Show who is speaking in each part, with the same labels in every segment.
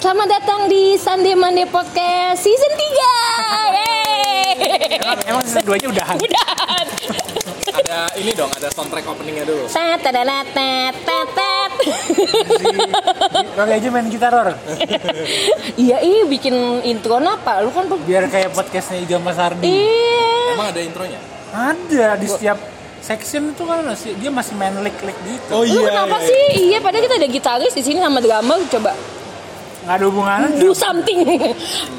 Speaker 1: Selamat datang di Sunday Monday Podcast Season 3 Yeay
Speaker 2: Emang, emang season 2 nya udahan.
Speaker 1: Udahan
Speaker 3: ada
Speaker 1: Ya,
Speaker 3: ini dong ada soundtrack openingnya dulu
Speaker 1: Tat, tat, tat, tat, tat, tat.
Speaker 2: Rock aja main gitar Ror.
Speaker 1: Iya iya bikin intro apa? Lu kan pe-
Speaker 2: Biar kayak podcastnya Iga Mas Ardi.
Speaker 1: Iya
Speaker 3: emang ada intronya
Speaker 2: Ada di setiap section itu kan masih dia masih main lick-lick gitu.
Speaker 3: Oh
Speaker 1: Lu kenapa sih? Iya padahal kita ada gitaris di sini sama drummer coba
Speaker 2: Nggak ada hubungannya.
Speaker 1: do something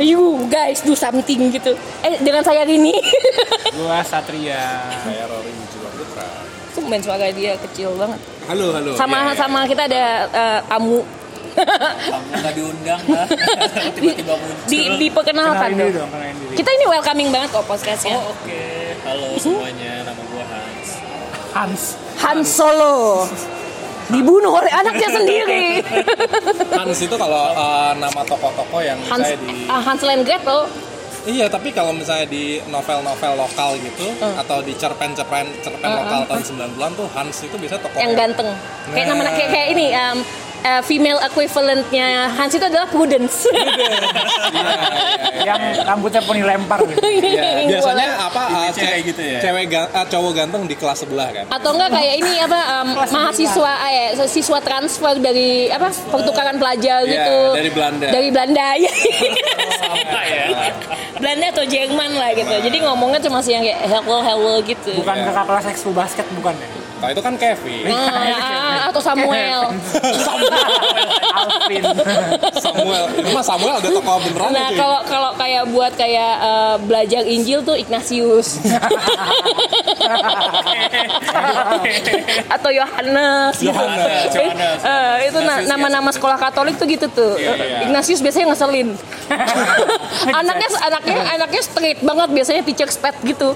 Speaker 1: You guys do something gitu Eh dengan saya Rini
Speaker 2: Gua Satria.
Speaker 3: saya Rory Jual Putra
Speaker 1: Tumben suara dia kecil banget
Speaker 3: halo halo
Speaker 4: Iya,
Speaker 1: Sama sama kita ada eh, tamu
Speaker 4: Kamu nggak diundang lah. Tiba-tiba muncul.
Speaker 1: di, diperkenalkan
Speaker 2: Kenalin diri
Speaker 1: dong
Speaker 2: dong, kenalin diri.
Speaker 1: Kita ini welcoming banget kok podcastnya
Speaker 4: Oh, Oke, halo semuanya. Nama gua Hans.
Speaker 2: Hans.
Speaker 1: Han Solo dibunuh oleh anaknya sendiri.
Speaker 3: Hans itu kalau eh, nama tokoh-tokoh yang
Speaker 1: Hans,
Speaker 3: misalnya di
Speaker 1: ah, Hansel and Gretel.
Speaker 3: iya tapi kalau misalnya di novel-novel lokal gitu
Speaker 1: Ah.
Speaker 3: atau di cerpen-cerpen cerpen lokal tahun 90-an tuh Hans itu biasa tokoh
Speaker 1: yang ganteng. Kayak nama kayak, kayak ini um, eh, female equivalentnya Hans itu adalah Prudence.
Speaker 2: Yang rambutnya poni lempar gitu.
Speaker 3: Iya, biasanya apa eh,
Speaker 4: Image-nya kayak gitu ya?
Speaker 3: cewek ga- eh, cowok ganteng di kelas sebelah kan
Speaker 1: atau enggak kayak ini apa um, mahasiswa eh, siswa transfer dari apa pertukaran pelajar
Speaker 3: Iya,
Speaker 1: gitu
Speaker 3: dari Belanda.
Speaker 1: dari Belanda ya
Speaker 2: Iya,
Speaker 4: Apa ya?
Speaker 1: Belanda atau Jerman lah gitu jadi ngomongnya cuma sih yang kayak hello hello gitu
Speaker 2: Bukan kakak kelas ekskul basket bukan ya?
Speaker 3: kalau itu kan Kevin
Speaker 1: Ah, ah, atau Samuel
Speaker 2: Alvin.
Speaker 3: Samuel itu mah Samuel ada tokoh beneran
Speaker 1: Nah
Speaker 3: itu
Speaker 1: kalau kalau kayak buat kayak eh, belajar Injil tuh Ignatius atau Yohanes. gitu.
Speaker 4: Yohanes,
Speaker 1: Eh,
Speaker 4: Yohanes.
Speaker 1: eh, itu na-
Speaker 3: Ignatius,
Speaker 1: nama-nama sekolah Katolik tuh gitu tuh. Ignatius biasanya ngeselin. anaknya anaknya anaknya straight banget biasanya teacher's pet gitu.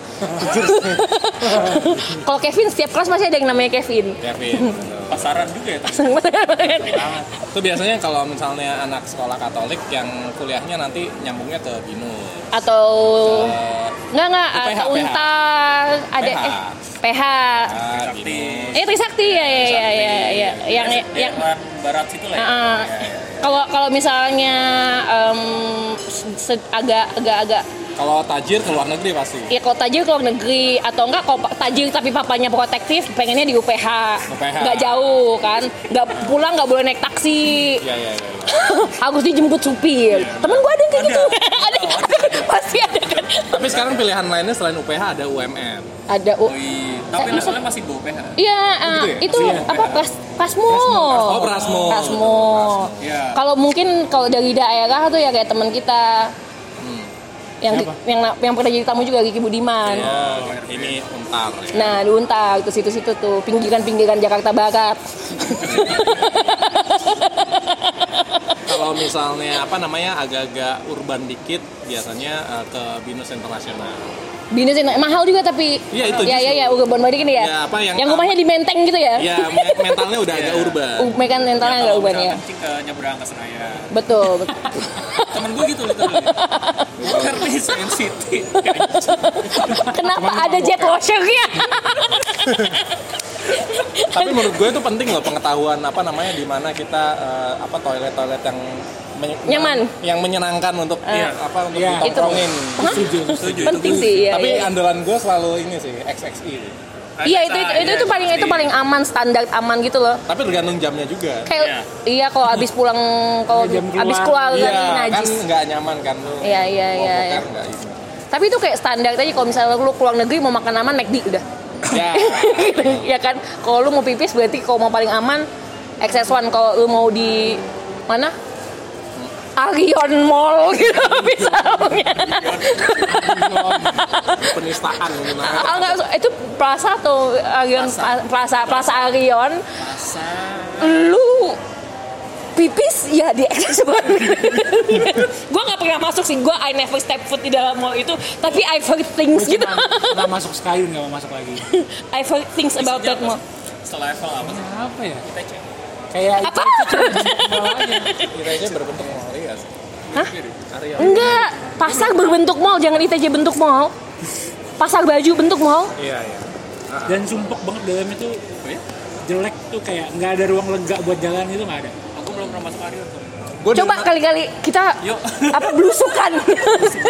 Speaker 1: kalau Kevin setiap kelas masih ada yang namanya Kevin.
Speaker 3: Kevin
Speaker 4: Pasaran juga ya.
Speaker 3: Itu biasanya kalau misalnya anak sekolah Katolik yang kuliahnya nanti nyambungnya ke BINUS.
Speaker 1: atau
Speaker 3: Eh,
Speaker 1: Nggak nggak
Speaker 3: PH,
Speaker 1: atau
Speaker 3: PH.
Speaker 1: unta ada
Speaker 3: PH.
Speaker 1: eh PH.
Speaker 3: ah,
Speaker 4: Sakti.
Speaker 3: BINUS.
Speaker 1: Eh Trisakti ya ya ya ya ya yang yang
Speaker 4: Daerah barat situ lah. ya.
Speaker 1: Ah, kalau kalau misalnya em, se- se- agak agak agak
Speaker 3: Kalau tajir ke luar negeri pasti.
Speaker 1: ya kalau tajir ke luar negeri atau enggak kalau pa- tajir tapi papanya protektif pengennya di UPH
Speaker 3: UPH.
Speaker 1: nggak jauh kan nggak pulang nggak boleh naik taksi
Speaker 3: Iya, iya, iya. iya.
Speaker 1: harus dijemput supir temen gue ada yang kayak gitu Iya. ada pasti ada kan
Speaker 3: Tapi sekarang pilihan lainnya selain UPH ada UMN.
Speaker 1: ada U-
Speaker 4: Wih, tapi
Speaker 1: Eh,
Speaker 4: levelnya masih go PH.
Speaker 1: Iya, eh,
Speaker 3: gitu ya?
Speaker 1: itu apa pras, prasmo.
Speaker 3: Oh, Prasmo.
Speaker 1: Prasmo.
Speaker 4: Iya.
Speaker 1: Kalau mungkin kalau dari daerah tuh ya kayak teman kita.
Speaker 3: Hmm.
Speaker 1: Yang yang yang pernah jadi tamu juga Kiki Budiman.
Speaker 3: Oh, ini untar. ya.
Speaker 1: Nah, di Untar, tuh situ-situ tuh, pinggiran-pinggiran Jakarta Barat.
Speaker 3: Kalau misalnya apa namanya agak-agak urban dikit, biasanya eh, ke BINUS internasional.
Speaker 1: Binus ini mahal juga tapi.
Speaker 3: Iya, itu
Speaker 1: Ya
Speaker 3: justru.
Speaker 1: ya ya, urban barat gini ya.
Speaker 3: Ya, apa yang-
Speaker 1: rumahnya di Menteng gitu ya.
Speaker 3: Ya, me- mentalnya udah agak urban.
Speaker 1: U- Mekan
Speaker 3: Iya,
Speaker 1: mentalnya nggak
Speaker 4: Iya. Kalau
Speaker 1: Iya, urban ya.
Speaker 4: misalnya kencing ke nyebrang ke Senayan.
Speaker 1: Betul, betul.
Speaker 4: Temen gue gitu literally. Karena di Senayan City.
Speaker 1: Kenapa ada jet washernya?
Speaker 3: Tapi menurut gue itu penting loh pengetahuan apa namanya di mana kita eh, apa toilet-toilet yang menye-
Speaker 1: Nyaman.
Speaker 3: yang menyenangkan untuk
Speaker 4: Iya.
Speaker 3: apa untuk
Speaker 2: Iya.
Speaker 1: Itu.
Speaker 3: ditongkrongin.
Speaker 1: Hah?
Speaker 4: Setuju.
Speaker 1: Penting sih, iya.
Speaker 3: Tapi
Speaker 1: iya.
Speaker 3: andalan gue selalu ini sih E. XXI.
Speaker 1: Iya itu itu, itu, itu paling itu paling aman standar aman gitu loh.
Speaker 3: Tapi tergantung jamnya juga.
Speaker 1: Kayak iya kalau abis pulang kalau
Speaker 2: Jam keluar.
Speaker 1: abis keluar
Speaker 3: Iya,
Speaker 1: dari
Speaker 3: kan
Speaker 1: najis.
Speaker 3: nggak nyaman kan lu.
Speaker 1: Iya, iya,
Speaker 3: mau
Speaker 1: iya,
Speaker 3: boker
Speaker 1: iya.
Speaker 3: nggak ini.
Speaker 1: Tapi itu kayak standar aja kalau misalnya lu keluar negeri mau makan aman McD udah.
Speaker 3: Ya,
Speaker 1: ya kan kalau lu mau pipis berarti kalau mau paling aman XS1 kalau lu mau di mana? Arion Mall gitu misalnya.
Speaker 3: penistaan menggunakan.
Speaker 1: Ah enggak, itu Plaza atau Arion Plaza Plaza Arion. Lu pipis ya di gue nggak pernah masuk sih gue I never step foot di dalam mall itu tapi I've heard things gitu
Speaker 2: Nah, masuk sekayun nggak mau masuk lagi.
Speaker 1: I've heard things about that mall
Speaker 4: Selevel apa sih?
Speaker 2: Apa ya?
Speaker 4: Kita cek.
Speaker 2: Kayak
Speaker 1: apa
Speaker 3: Kiranya berbentuk mori ya. sih?
Speaker 1: Hah? Hmm?
Speaker 3: Arya.
Speaker 1: enggak pasar berbentuk mall jangan ITJ bentuk mall pasar baju bentuk mall
Speaker 3: Iya, iya.
Speaker 2: dan sumpek banget dalam itu
Speaker 4: ya?
Speaker 2: jelek tuh kayak nggak ada ruang lega buat jalan itu nggak ada
Speaker 4: Aku belum pernah masuk Arion tuh.
Speaker 3: Gua
Speaker 1: Coba
Speaker 3: dari-
Speaker 1: kali-kali kita
Speaker 4: Yuk.
Speaker 1: apa belusukan.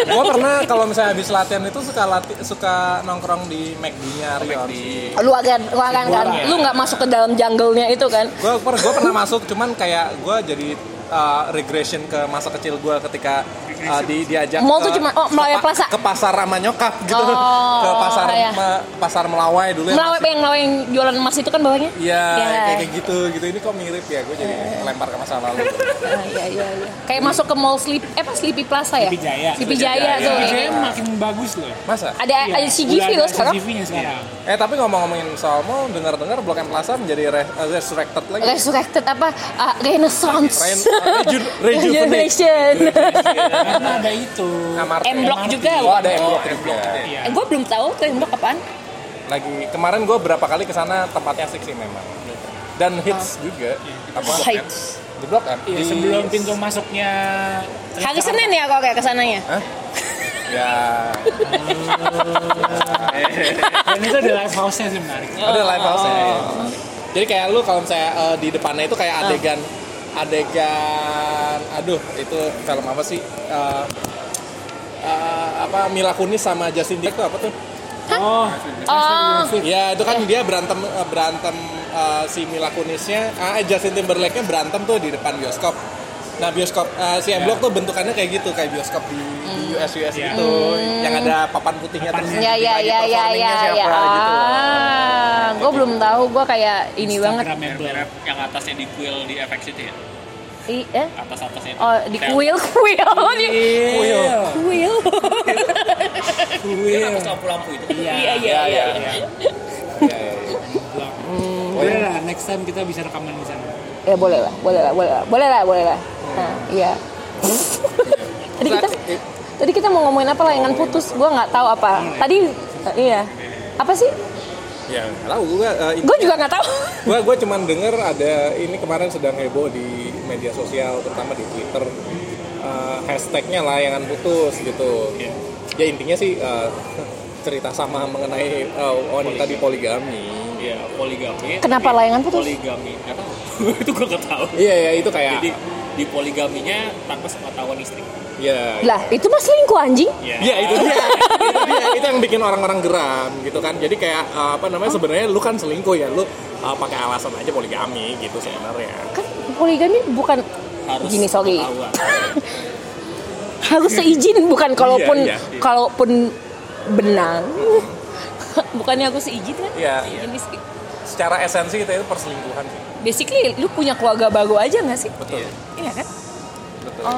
Speaker 3: gue pernah kalau misalnya habis latihan itu suka lati, suka nongkrong di McD-nya Rio.
Speaker 1: lu akan lu akan kan
Speaker 3: Boleh.
Speaker 1: lu nggak masuk ke dalam jungle-nya itu kan.
Speaker 3: Gue per, gua pernah masuk, cuman kayak gue jadi uh, regression ke masa kecil gue ketika uh, di, diajak
Speaker 1: Mall
Speaker 3: ke,
Speaker 1: tuh cuma- oh, Melawai
Speaker 3: ke pa-
Speaker 1: Plaza.
Speaker 3: ke pasar sama nyokap gitu,
Speaker 1: Oh,
Speaker 3: ke pasar
Speaker 1: iya.
Speaker 3: me- pasar melawai dulu. yang
Speaker 1: Melawai
Speaker 3: masih-
Speaker 1: yang melawai yang jualan emas itu kan bawahnya?
Speaker 3: Nah, Iya,
Speaker 1: Iya.
Speaker 3: kayak, kayak gitu gitu. Ini kok mirip ya, gue jadi lempar ke masa lalu.
Speaker 1: Ah, iya iya iya. Kayak masuk ke mall Sleep eh apa Sleepy Plaza ya?
Speaker 2: Sleepy Jaya.
Speaker 1: Sleepy Jaya
Speaker 3: Sleepy
Speaker 1: tuh.
Speaker 3: Jaya. iya.
Speaker 2: Kayaknya makin bagus loh. Iya.
Speaker 3: Masa?
Speaker 1: Ada Eh, ada CGV
Speaker 2: Udah
Speaker 1: loh
Speaker 2: ada
Speaker 1: sekarang.
Speaker 2: CGV-nya sekarang.
Speaker 4: Iya.
Speaker 3: Eh tapi ngomong-ngomongin soal mall, dengar-dengar Blok M Plaza menjadi re- uh, resurrected lagi.
Speaker 1: Resurrected apa? Ah, Renaissance.
Speaker 3: Ren- uh, reju- Iya, rejuvenate.
Speaker 1: Rejuvenation.
Speaker 2: Karena ada itu.
Speaker 3: Amarte.
Speaker 1: M Block juga.
Speaker 3: Oh ada M Block juga.
Speaker 2: Iya.
Speaker 1: Eh, gue belum tahu tuh yang apaan.
Speaker 3: Lagi kemarin gue berapa kali ke sana tempatnya asik sih memang. Dan hits juga. Apa?
Speaker 1: Hits.
Speaker 3: Di Blok M.
Speaker 2: Iya,
Speaker 3: Di-
Speaker 2: sebelum pintu masuknya
Speaker 1: Hari Senin ya kalau kayak kesananya.
Speaker 3: Hah? Ya.
Speaker 2: ya? dan itu ada live house-nya sih menarik.
Speaker 3: Ada live house nya Oh. Jadi kayak lu kalau misalnya eh, di depannya itu kayak adegan adegan aduh itu film apa sih? Eh, eh, apa Mila Kunis sama Justin Timberlake itu apa tuh?
Speaker 2: Oh,
Speaker 1: Oh,
Speaker 3: Ya itu kan dia berantem eh, berantem eh, si Mila Kunisnya, ah, eh, Justin Timberlake-nya berantem tuh di depan bioskop. Nah bioskop eh, si M Block tuh bentukannya kayak gitu kayak bioskop di, di US US
Speaker 2: Iya.
Speaker 3: gitu yang ada papan putihnya terus
Speaker 1: ya ya
Speaker 3: ditanya
Speaker 1: ya ya ya
Speaker 3: performingnya
Speaker 1: ya.
Speaker 3: siapa gitu.
Speaker 1: Ah, gue belum tahu. Gue kayak ini banget.
Speaker 2: Instagram yang blur.
Speaker 4: yang atasnya di kuil di FX itu ya
Speaker 1: I, eh?
Speaker 4: atas atasnya itu.
Speaker 1: Oh, di
Speaker 4: Kayak-
Speaker 1: kuil kuil.
Speaker 3: Iya.
Speaker 1: Di-
Speaker 3: Kuil.
Speaker 1: Kuil.
Speaker 4: Dia kan atas lampu-lampu itu
Speaker 1: Iya iya iya.
Speaker 3: Ya, ya,
Speaker 1: iya.
Speaker 3: ya. Ya, ya, ya.
Speaker 2: Boleh
Speaker 3: Iya.
Speaker 2: lah, next time kita bisa rekaman di sana.
Speaker 1: Ya boleh lah, boleh lah, boleh lah, boleh lah, boleh lah. Nah, iya. tadi kita
Speaker 3: Iya,
Speaker 1: tadi kita mau ngomongin apa layangan putus, gue nggak tahu apa. Tadi eh, iya. Apa sih?
Speaker 3: Ya, nggak tahu gue
Speaker 1: Gue juga nggak tahu.
Speaker 3: gue gue cuman denger ada ini kemarin sedang heboh di media sosial terutama di twitter eh, hashtagnya layangan putus gitu ya intinya sih eh, cerita sama mengenai eh, wanita di poligami
Speaker 4: ya poligami
Speaker 1: Kenapa layangan putus?
Speaker 4: poligami nggak tahu itu gue nggak tahu
Speaker 3: iya ya itu kayak
Speaker 4: jadi di poligaminya tanpa sepengetahuan istri
Speaker 3: ya
Speaker 1: Lah, itu mas selingkuh anjing.
Speaker 2: Ya.
Speaker 3: Iya itu dia. itu dia. Itu yang bikin orang-orang geram gitu kan. Jadi kayak eh, apa
Speaker 1: Oh.
Speaker 3: namanya sebenarnya lu kan selingkuh ya lu eh, pakai alasan aja poligami gitu sebenarnya.
Speaker 1: Kan poligami bukan
Speaker 4: harus
Speaker 1: Gini, sorry.
Speaker 4: ketahuan.
Speaker 1: harus seizin bukan kalaupun
Speaker 3: Iya, iya.
Speaker 1: kalaupun benang. Bukannya aku seizin kan?
Speaker 3: Iya.
Speaker 1: Ini sih.
Speaker 3: Secara esensi itu, itu perselingkuhan sih.
Speaker 1: Basically lu punya keluarga baru aja nggak sih?
Speaker 3: Betul.
Speaker 1: Iya kan? Oh.
Speaker 3: Betul.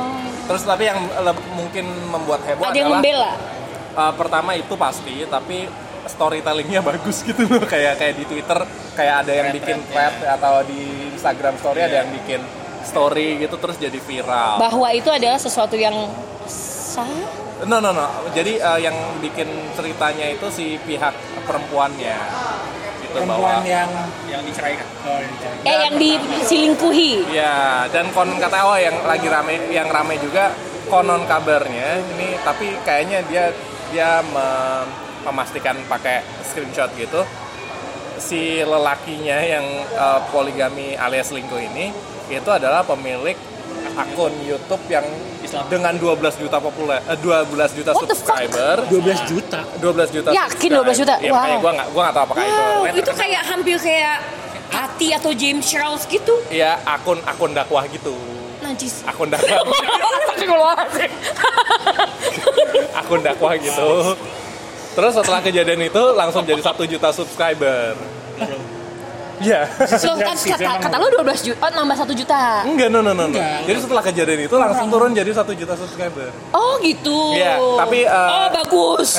Speaker 3: Terus tapi yang le- mungkin membuat heboh
Speaker 1: Ada yang
Speaker 3: adalah
Speaker 1: membela.
Speaker 3: uh, pertama itu pasti, tapi storytellingnya bagus gitu loh kayak kayak di Twitter kayak ada yang bikin thread atau di Instagram story ada yang bikin story gitu terus jadi viral.
Speaker 1: bahwa itu adalah sesuatu yang sah
Speaker 3: No no no. Jadi uh, yang bikin ceritanya itu si pihak perempuannya gitu
Speaker 2: Perempuan
Speaker 3: bahwa
Speaker 2: yang
Speaker 4: yang diceraikan
Speaker 2: oh, iya.
Speaker 1: eh yang diselingkuhi
Speaker 3: Ya, dan konon kata oh yang lagi rame yang rame juga konon kabarnya ini tapi kayaknya dia dia me- memastikan pakai screenshot gitu si lelakinya yang eh, poligami alias selingkuh ini itu adalah pemilik akun YouTube yang
Speaker 4: Islam.
Speaker 3: dengan 12 juta populer eh, 12 juta
Speaker 1: What the fuck?
Speaker 3: subscriber
Speaker 4: Iya.
Speaker 2: 12 juta.
Speaker 3: 12 juta
Speaker 1: Yakin 12 juta?
Speaker 3: subscriber. ya, makanya
Speaker 1: Wow.
Speaker 3: gua nggak gua nggak tahu apakah itu
Speaker 1: wow itu kayak hampir kayak hati atau James Charles gitu
Speaker 3: ya akun akun dakwah gitu
Speaker 1: najis
Speaker 3: akun dakwah
Speaker 1: Pakai keluar sih.
Speaker 3: akun dakwah gitu. Terus setelah kejadian itu langsung jadi satu juta subscriber. Iya.
Speaker 1: Loh, kan kata, kata lu 12 juta, oh, nambah 1 juta.
Speaker 3: Enggak, no, no, no, no.
Speaker 2: Enggak.
Speaker 3: Jadi setelah kejadian itu langsung turun jadi satu juta subscriber.
Speaker 1: Oh gitu.
Speaker 3: Iya, tapi, eh,
Speaker 1: oh bagus.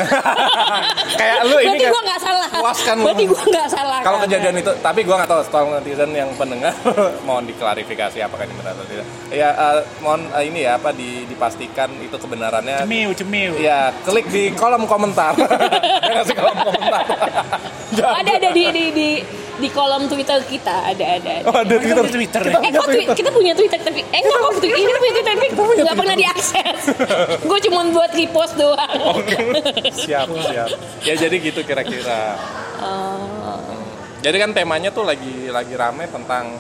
Speaker 3: Kayak lu ini
Speaker 1: Berarti
Speaker 3: kan
Speaker 1: gua nggak salah.
Speaker 3: puaskan lu.
Speaker 1: Berarti gua nggak salah. kan?
Speaker 3: Kalau kejadian itu, tapi gua nggak tahu tolong netizen yang pendengar mohon diklarifikasi apakah ini benar atau tidak. Ya eh, mohon eh, ini ya apa di- dipastikan itu kebenarannya.
Speaker 2: Cemil, cemil.
Speaker 3: Ya, klik di kolom komentar. Kasih kolom komentar.
Speaker 1: Oh, ada ada di di di di kolom Twitter kita ada ada. ada.
Speaker 3: Oh, ada
Speaker 2: Kita
Speaker 3: Twitter.
Speaker 2: di Twitter ya?
Speaker 1: Eh, kok Twi- kita punya Twitter tapi eh kok kok Twitter ini punya Twitter tapi nggak pernah diakses. Gue cuma buat repost doang.
Speaker 3: Oke. siap,
Speaker 1: Iya.
Speaker 3: siap. Ya jadi gitu kira-kira.
Speaker 1: Oh.
Speaker 3: Jadi kan temanya tuh lagi lagi rame tentang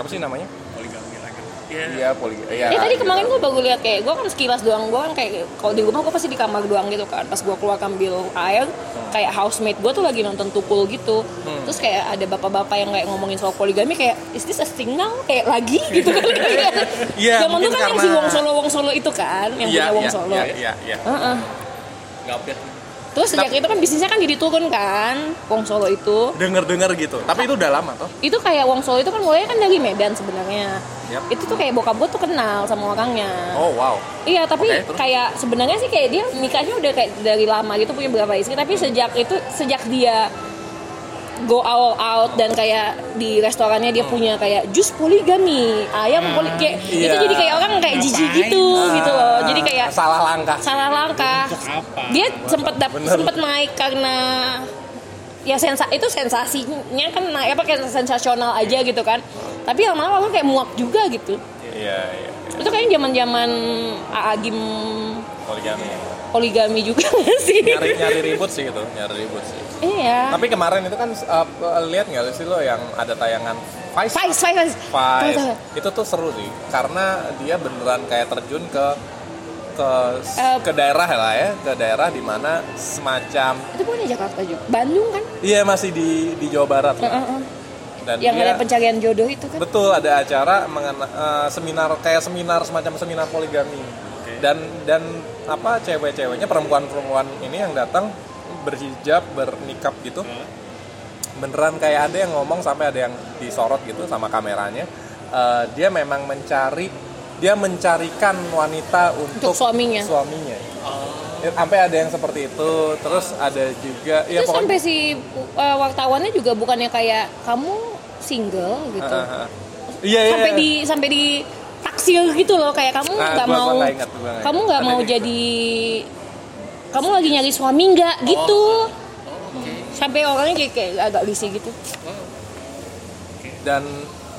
Speaker 3: apa sih namanya?
Speaker 4: poligami lagi Iya.
Speaker 3: Iya, poli. Iya.
Speaker 1: Ya tadi
Speaker 3: gitu.
Speaker 1: kemarin gue baru lihat kayak gue kan sekilas doang gue kan kayak kalau di rumah gue pasti di kamar doang gitu kan pas gue keluar ambil air
Speaker 3: Hmm.
Speaker 1: kayak housemate gue tuh lagi nonton tukul gitu terus kayak ada bapak-bapak yang kayak ngomongin soal poligami kayak is this a thing now kayak lagi gitu kan
Speaker 3: Iya,
Speaker 1: zaman dulu
Speaker 3: mungkin
Speaker 1: kan yang si
Speaker 3: karena-
Speaker 1: Wong Solo Wong Solo itu kan yang
Speaker 3: Iya,
Speaker 1: punya Wong
Speaker 3: iya,
Speaker 1: Solo
Speaker 3: Iya, iya, iya.
Speaker 1: Heeh.
Speaker 4: Nggak update.
Speaker 1: terus sejak itu kan bisnisnya kan jadi turun kan Wong Solo itu
Speaker 3: Dengar-dengar gitu. Tapi itu udah lama toh.
Speaker 1: itu kayak Wong Solo itu kan mulai kan dari Medan sebenarnya
Speaker 3: Yap.
Speaker 1: itu tuh kayak bokap gue tuh kenal sama orangnya
Speaker 3: Oh, wow.
Speaker 1: Iya, tapi
Speaker 3: Oke, terus?
Speaker 1: kayak sebenarnya sih kayak dia nikahnya udah kayak dari lama gitu punya beberapa istri, tapi sejak itu sejak dia go all out dan kayak di restorannya dia punya kayak jus poligami, ayam poli kayak itu
Speaker 3: Hmm. iya.
Speaker 1: jadi kayak orang kayak jijik
Speaker 4: Ngapain?
Speaker 1: gitu gitu loh. Jadi kayak
Speaker 3: Ah, salah langkah.
Speaker 1: salah langkah.
Speaker 4: Untuk apa?
Speaker 1: Dia sempat dap-
Speaker 3: Bener.
Speaker 1: sempat naik karena ya sensa itu sensasinya kan naik apa kayak sensasional aja gitu kan. Tapi yang lama orang kayak muak juga gitu.
Speaker 3: Iya, iya.
Speaker 1: Itu kayaknya zaman-zaman Aagim
Speaker 3: Poligami.
Speaker 1: poligami juga nggak sih?
Speaker 3: Nyari-nyari ribut sih itu, nyari ribut sih.
Speaker 1: Iya.
Speaker 3: Tapi kemarin itu kan uh, lihat nggak sih lo yang ada tayangan Vice?
Speaker 1: Faiz, Faiz, Faiz.
Speaker 3: Vice.
Speaker 1: Tahu, tahu.
Speaker 3: Itu tuh seru sih karena dia beneran kayak terjun ke ke
Speaker 1: Eh,
Speaker 3: ke daerah lah ya, ke daerah di mana semacam
Speaker 1: Itu bukannya Jakarta juga. Bandung kan?
Speaker 3: iya masih di di Jawa Barat lah.
Speaker 1: Heeh, heeh.
Speaker 3: dan
Speaker 1: Eh, Yang
Speaker 3: dia
Speaker 1: ada pencarian jodoh itu kan?
Speaker 3: Iya. betul ada acara mengena- eh, seminar kayak seminar semacam seminar poligami dan dan apa cewek-ceweknya perempuan-perempuan ini yang datang berhijab bernikap gitu beneran kayak ada yang ngomong sampai ada yang disorot gitu sama kameranya Eh, dia memang mencari dia mencarikan wanita
Speaker 1: Untuk
Speaker 3: untuk,
Speaker 1: suaminya.
Speaker 3: suaminya.
Speaker 4: Oh.
Speaker 3: Ya, sampai ada yang seperti itu terus ada juga ya
Speaker 1: Terus
Speaker 3: pokoknya
Speaker 1: sampai si uh, wartawannya juga bukannya kayak kamu single gitu.
Speaker 3: Ah, ah, ah. Iya, iya,
Speaker 1: Sampai
Speaker 3: iya.
Speaker 1: di sampai di taksir gitu loh kayak kamu
Speaker 3: Ah,
Speaker 1: nggak
Speaker 3: gua- gua
Speaker 1: mau
Speaker 3: nggak ingat, gua nggak ingat.
Speaker 1: kamu nggak
Speaker 3: Ada
Speaker 1: mau
Speaker 3: di-
Speaker 1: jadi kamu lagi nyari suami nggak
Speaker 3: Oh,
Speaker 1: gitu sampai orangnya kayak, kayak agak risih gitu
Speaker 3: dan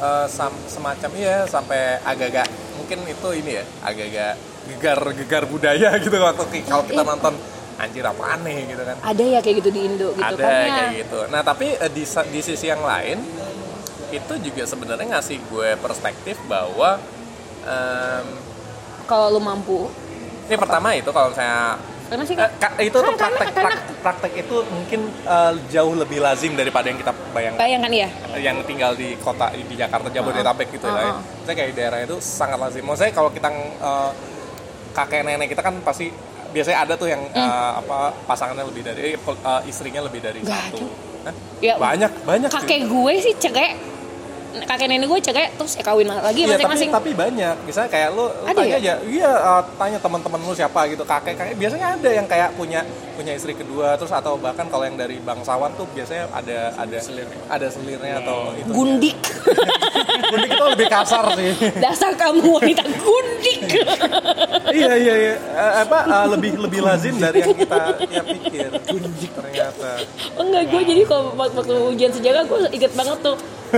Speaker 3: eh, sam- semacam iya sampai agak-agak mungkin itu ini ya agak-agak gegar-gegar budaya gitu waktu ki- kalau
Speaker 1: Iya.
Speaker 3: kita nonton anjir apa aneh gitu kan
Speaker 1: ada ya kayak gitu di Indo gitu
Speaker 3: ada
Speaker 1: Karena-
Speaker 3: kayak gitu nah tapi eh, di sa- di sisi yang lain itu juga sebenarnya ngasih gue perspektif bahwa em,
Speaker 1: kalau lu mampu
Speaker 3: ini pertama itu kalau misalnya
Speaker 1: karena sih
Speaker 3: eh, ka- itu tuh
Speaker 1: Karena- Kan karena-
Speaker 3: praktek,
Speaker 1: karena-
Speaker 3: prak- praktek itu mungkin eh, jauh lebih lazim daripada yang kita bayangkan
Speaker 1: bayangkan ya
Speaker 3: yang tinggal di kota di Jakarta Jabodetabek gitu ya.
Speaker 1: Uh-uh.
Speaker 3: Saya kayak di daerah itu sangat lazim. Maksudnya kalau kita eh, kakek nenek kita kan pasti biasanya ada tuh yang eh, apa pasangannya lebih dari eh, pol- eh, istrinya lebih dari
Speaker 1: Nggak
Speaker 3: satu. Hah?
Speaker 1: Ya,
Speaker 3: banyak banyak sih.
Speaker 1: kakek gue sih cerai kakek nenek gue cerai terus ya kawin lagi
Speaker 3: Iya, tapi,
Speaker 1: masing-masing
Speaker 3: tapi banyak. Misalnya kayak lu lu
Speaker 1: Ada
Speaker 3: tanya
Speaker 1: ya?
Speaker 3: aja, iya eh, tanya teman-teman lu siapa gitu, kakek-kakek biasanya ada yang kayak punya punya istri kedua terus atau bahkan kalau yang dari bangsawan tuh biasanya ada ada ada selirnya atau itu.
Speaker 1: gundik
Speaker 3: Gundik itu lebih kasar sih.
Speaker 1: dasar kamu wanita gundik
Speaker 3: iya iya iya Eh, apa eh, lebih lebih lazim dari yang kita kita pikir ternyata
Speaker 1: enggak
Speaker 3: Ya.
Speaker 1: gue jadi kalau waktu waktu ujian sejarah gue inget banget tuh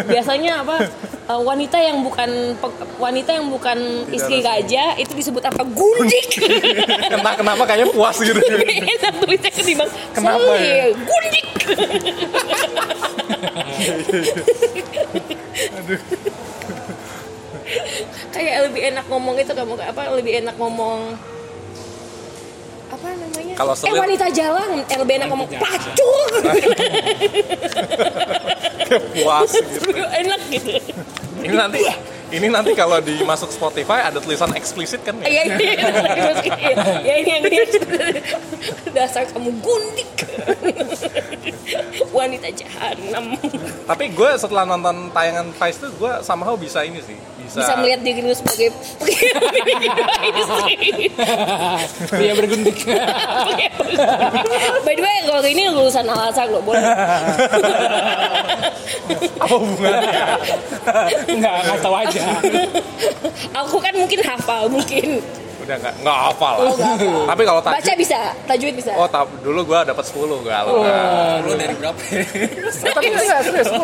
Speaker 1: biasanya apa eh, wanita yang bukan pe- wanita yang bukan istri
Speaker 3: resmi.
Speaker 1: raja itu disebut apa gundik
Speaker 3: kenapa kenapa kayaknya puas gitu
Speaker 1: enak tulisnya ketimbang
Speaker 3: Kenapa
Speaker 1: "Selir,
Speaker 3: ya?
Speaker 1: gundik kayak lebih enak ngomong itu kamu apa lebih enak ngomong apa namanya
Speaker 3: Kalau
Speaker 1: eh
Speaker 3: selir-
Speaker 1: wanita jalan eh, lebih enak ngomong pacul
Speaker 3: puas gitu.
Speaker 1: enak gitu
Speaker 3: ini nanti ini nanti kalau dimasuk Spotify ada tulisan eksplisit kan ya?
Speaker 1: ya ini ya ini yang ini dasar kamu gundik wanita jahanam
Speaker 3: tapi gue setelah nonton tayangan Vice tuh gue somehow bisa ini sih bisa,
Speaker 1: bisa melihat diri lu sebagai istri.
Speaker 4: Pria bergundik.
Speaker 1: By the way, kalau ini lulusan alasan lo boleh.
Speaker 3: apa hubungannya
Speaker 4: Enggak, nggak tahu aja.
Speaker 1: Aku kan mungkin hafal, mungkin
Speaker 3: udah nggak nggak apa lah
Speaker 1: Oh, nggak hafal.
Speaker 3: tapi kalau
Speaker 1: baca
Speaker 3: tajwid
Speaker 1: bisa, tajwid bisa.
Speaker 3: oh tab- dulu gue dapat 10 gue kalau
Speaker 1: Oh.
Speaker 4: Lu dari berapa?
Speaker 3: tapi enggak serius 10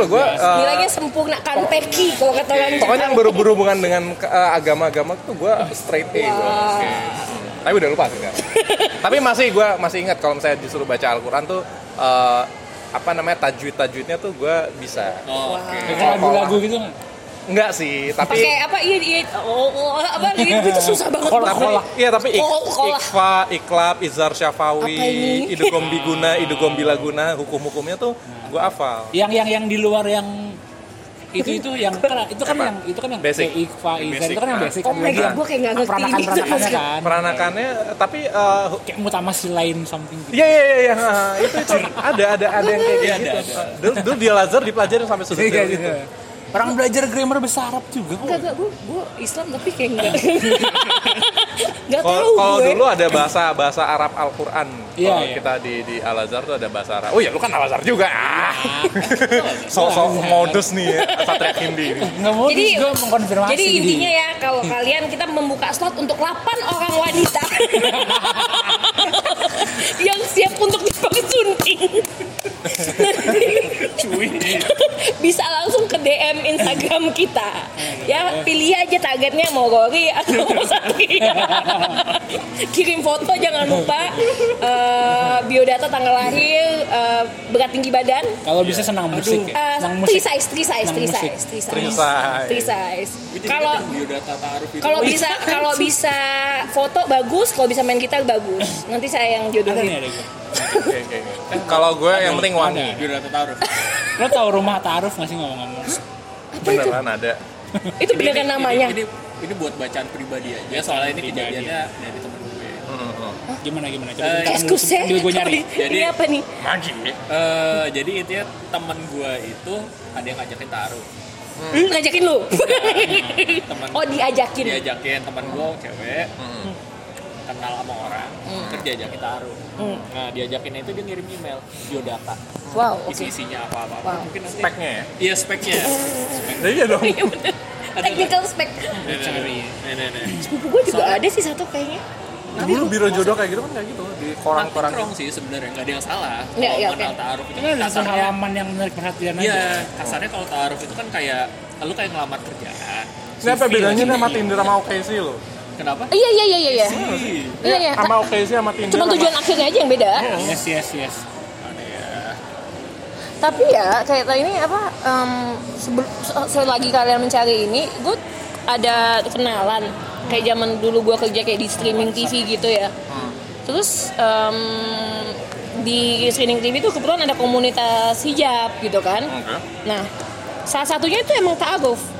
Speaker 3: 10 gue eh,
Speaker 1: Nilainya sempurna kan peki kalau kata orang.
Speaker 3: Pokoknya yang
Speaker 1: Jakarta.
Speaker 3: baru berhubungan dengan ke- eh, agama-agama tuh gue straight A bro.
Speaker 1: Wah.
Speaker 3: Tapi udah lupa sih Kak. Tapi masih gue masih ingat kalau misalnya disuruh baca Al-Quran tuh eh, apa namanya tajwid-tajwidnya tuh gue bisa.
Speaker 4: Oh,
Speaker 1: Wah.
Speaker 4: Kayak lagu-lagu gitu nggak?
Speaker 3: Enggak sih, tapi
Speaker 1: pakai apa iya iya oh, oh, apa gitu
Speaker 3: Iya.
Speaker 1: itu susah banget
Speaker 2: Kolak,
Speaker 3: tapi
Speaker 2: kolak.
Speaker 3: iya tapi Ik-
Speaker 1: Kol- kolak.
Speaker 3: Ikfa, Iklab, Izar Syafawi,
Speaker 1: Apa ini?
Speaker 3: Idugom Biguna, Idugom Bilaguna, hukum-hukumnya tuh gue hafal.
Speaker 2: yang yang yang di luar yang itu itu yang kan- itu kan
Speaker 3: Apa?
Speaker 2: yang itu kan yang
Speaker 3: Basic.
Speaker 2: kayak Iqfa,
Speaker 3: Yang
Speaker 2: Izan,
Speaker 3: basic.
Speaker 2: itu kan yang
Speaker 3: Ah.
Speaker 2: basic
Speaker 1: Oh my
Speaker 2: Yang
Speaker 1: God, gua kayak nggak ngerti Gitu, ini.
Speaker 2: peranakan-peranakannya kan
Speaker 3: Peranakannya tapi eh, hu-
Speaker 2: kayak mutamassilain something gitu
Speaker 3: Iya iya iya iya nah, itu itu ada ada ada yang kayak gitu. Dulu, dulu dia Lazar dipelajarin sampai sudut
Speaker 2: Iya,
Speaker 3: gitu.
Speaker 2: iya. orang belajar grammar bahasa Arab juga kok
Speaker 1: Enggak, enggak, gue, gue Islam tapi kayak enggak Enggak tahu
Speaker 3: Kalau kalau
Speaker 1: gue
Speaker 3: dulu ada bahasa bahasa Arab Al-Qur'an.
Speaker 2: Iya,
Speaker 3: Kalau
Speaker 2: iya.
Speaker 3: kita di di Al Azhar tuh ada bahasa Arab. Oh ya lu kan Al Azhar juga. Ah. Sosok modus nih ya, Satria Kindi.
Speaker 2: nggak mau
Speaker 1: Jadi-
Speaker 2: gue Oh, mengkonfirmasi gitu.
Speaker 1: Jadi
Speaker 2: diri.
Speaker 1: intinya ya kalau kalian kita membuka slot untuk 8 orang wanita yang siap untuk dipakai sunting. Nanti bisa langsung ke DM Instagram kita. Ya pilih aja targetnya mau Rory atau mau Satria. Kirim foto jangan lupa eh, biodata tanggal lahir, eh, berat tinggi badan,
Speaker 2: kalau bisa senang musik ya.
Speaker 1: Eh,
Speaker 2: senang
Speaker 1: three
Speaker 2: musik
Speaker 1: size, three size,
Speaker 2: Senang
Speaker 1: three
Speaker 2: musik.
Speaker 1: size, three size,
Speaker 3: Three size.
Speaker 1: Three size.
Speaker 5: Jadi
Speaker 1: Kalau
Speaker 5: kan biodata taruh itu.
Speaker 1: kalau bisa kalau bisa foto bagus, kalau bisa main gitar bagus. Nanti saya yang
Speaker 2: ada nih
Speaker 1: jodohin.
Speaker 2: ada gue
Speaker 3: Oke oke. oke. Kalau gue yang penting wangi.
Speaker 5: biodata taruh.
Speaker 2: lo tau rumah Ta'aruf nggak sih ngomong-ngomong
Speaker 3: Beneran ada.
Speaker 1: Itu beneran kan namanya.
Speaker 5: Ini, ini, ini buat bacaan pribadi aja. Soalnya ini
Speaker 2: Pribadi.
Speaker 5: kejadiannya dari temen gue.
Speaker 2: gimana gimana coba
Speaker 5: Eh,
Speaker 2: ceritakan dulu,
Speaker 1: Excuse saya.
Speaker 2: sambil gue nyari
Speaker 1: Ini
Speaker 5: Jadi- hmm.
Speaker 1: apa nih?
Speaker 3: Magi.
Speaker 5: Eh, jadi intinya temen gue itu ada yang ngajakin taruh.
Speaker 1: Hmm, ngajakin lu.
Speaker 5: Temen
Speaker 1: oh, diajakin.
Speaker 5: diajakin temen gue cewek kenal sama orang terus diajakin taruh
Speaker 1: Hmm.
Speaker 5: nah diajakin itu dia ngirim email biodata
Speaker 1: Wow, oke.
Speaker 5: isi isinya apa apa
Speaker 1: Wow. Oh.
Speaker 5: mungkin nanti
Speaker 3: Speknya ya.
Speaker 5: iya speknya
Speaker 3: Iya dong.
Speaker 1: Iya, bener. Technical spec.
Speaker 5: Nih, nih, nih. Nih, nih, nih.
Speaker 1: Sepupu gue juga ada sih satu kayaknya.
Speaker 3: Dulu biro jodoh kayak gitu kan kayak gitu di
Speaker 5: Kurang
Speaker 3: korang-korang.
Speaker 5: wrong sih sebenarnya nggak ada yang salah.
Speaker 1: Iya,
Speaker 5: Kalau
Speaker 1: iya,
Speaker 5: mengenal
Speaker 1: oke.
Speaker 5: taaruf itu
Speaker 2: itu
Speaker 5: kan
Speaker 2: kan satu
Speaker 5: kasarnya.
Speaker 2: halaman yang menarik perhatian
Speaker 5: Iya,
Speaker 2: aja
Speaker 5: kasarnya kalau taaruf itu kan kayak lu kayak ngelamar kerjaan.
Speaker 3: Ini apa bedanya nih sama Tinder sama OKC lo?
Speaker 5: Kenapa?
Speaker 1: Iya, iya, iya, iya, iya.
Speaker 5: Ih,
Speaker 1: Iya, iya.
Speaker 3: Sama OKC sama Tinder.
Speaker 1: Cuma
Speaker 3: sama-
Speaker 1: tujuan akhirnya aja yang beda.
Speaker 2: yes yes yes
Speaker 5: aneh ya.
Speaker 1: tapi ya kayak tadi ini apa em, sebel- se- selagi kalian mencari ini gue ada kenalan kayak zaman dulu gue kerja kayak di streaming TV gitu ya terus em, di streaming TV itu kebetulan ada komunitas hijab gitu kan
Speaker 3: Oke.
Speaker 1: nah salah satunya itu emang ta'aruf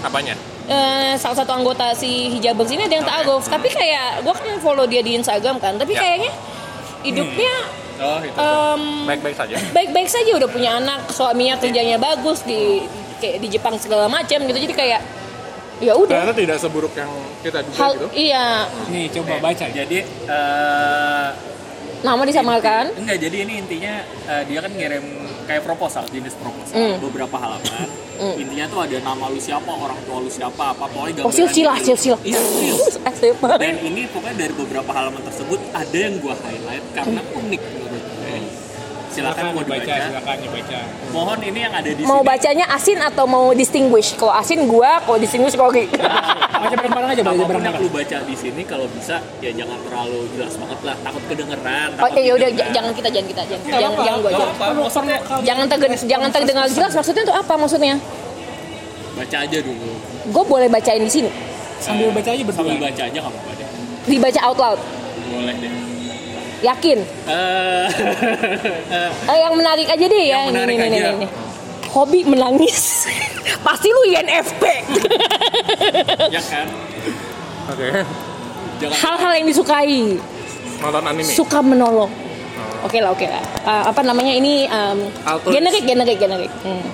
Speaker 3: Apanya?
Speaker 1: Eh, salah satu anggota si hijabers ini ada yang ta'aruf tapi kayak gue kan follow dia di Instagram kan tapi
Speaker 3: Ya. Hmm.
Speaker 1: kayaknya hidupnya
Speaker 5: Oh,
Speaker 1: gitu.
Speaker 5: itu.
Speaker 1: em,
Speaker 3: Baik-baik saja.
Speaker 1: baik-baik saja udah punya anak suaminya kerjanya bagus di kayak di Jepang segala macam gitu jadi kayak ya udah
Speaker 3: Ternyata tidak seburuk yang kita duga
Speaker 1: hal
Speaker 3: Nah, gitu.
Speaker 1: iya
Speaker 2: nih coba baca aja
Speaker 5: Jadi eh
Speaker 1: nama disamakan
Speaker 5: enggak jadi ini intinya eh, dia kan ngirim kayak proposal, jenis proposal
Speaker 1: Hmm.
Speaker 5: beberapa halaman.
Speaker 1: Hmm.
Speaker 5: Intinya tuh ada nama lu siapa, orang tua lu siapa, apa
Speaker 1: oh
Speaker 5: pokoknya gambaran
Speaker 1: silsilah
Speaker 5: gitu.
Speaker 1: silsilah
Speaker 5: Iya, serius.
Speaker 1: Asik banget.
Speaker 5: Dan ini pokoknya dari beberapa halaman tersebut ada yang gua highlight karena unik menurut gue. Silakan mau dibaca.
Speaker 2: silakan dibaca
Speaker 5: Mohon ini yang ada di
Speaker 1: mau
Speaker 5: sini.
Speaker 1: bacanya asin atau mau distinguish kalau asin gua kalau distinguish Rory
Speaker 2: baca bareng-bareng aja baca
Speaker 5: Apapun yang
Speaker 2: bareng-bareng
Speaker 5: lu baca di sini kalau bisa ya jangan terlalu jelas banget lah, takut kedengeran.
Speaker 1: oh
Speaker 5: takut
Speaker 1: ya udah
Speaker 5: didengar.
Speaker 1: j- jangan kita jangan kita jangan jangan, jangan gua
Speaker 5: Gak
Speaker 1: aja
Speaker 5: apa-apa,
Speaker 2: ya.
Speaker 5: maksudnya
Speaker 1: jangan tergen- jangan terdengar jelas maksudnya tuh apa maksudnya
Speaker 5: baca aja dulu.
Speaker 1: gue boleh bacain di sini
Speaker 2: sambil baca aja berdua
Speaker 5: Sambil baca aja nggak apa-apa deh.
Speaker 1: dibaca out loud
Speaker 5: Boleh deh.
Speaker 1: yakin
Speaker 5: Eh, eh,
Speaker 1: Eh, yang menarik aja deh ya.
Speaker 5: Yang menarik
Speaker 1: ini,
Speaker 5: aja.
Speaker 1: ini, ini. Hobi menangis. Pasti lu INFP.
Speaker 5: ya kan.
Speaker 3: Oke.
Speaker 5: Jangan
Speaker 1: Hal-hal yang disukai,
Speaker 3: Nonton anime.
Speaker 1: suka menolong. Oke lah, oke lah. Eh, apa namanya ini um,
Speaker 3: Altruis.
Speaker 1: generik, generik, generik. Hmm.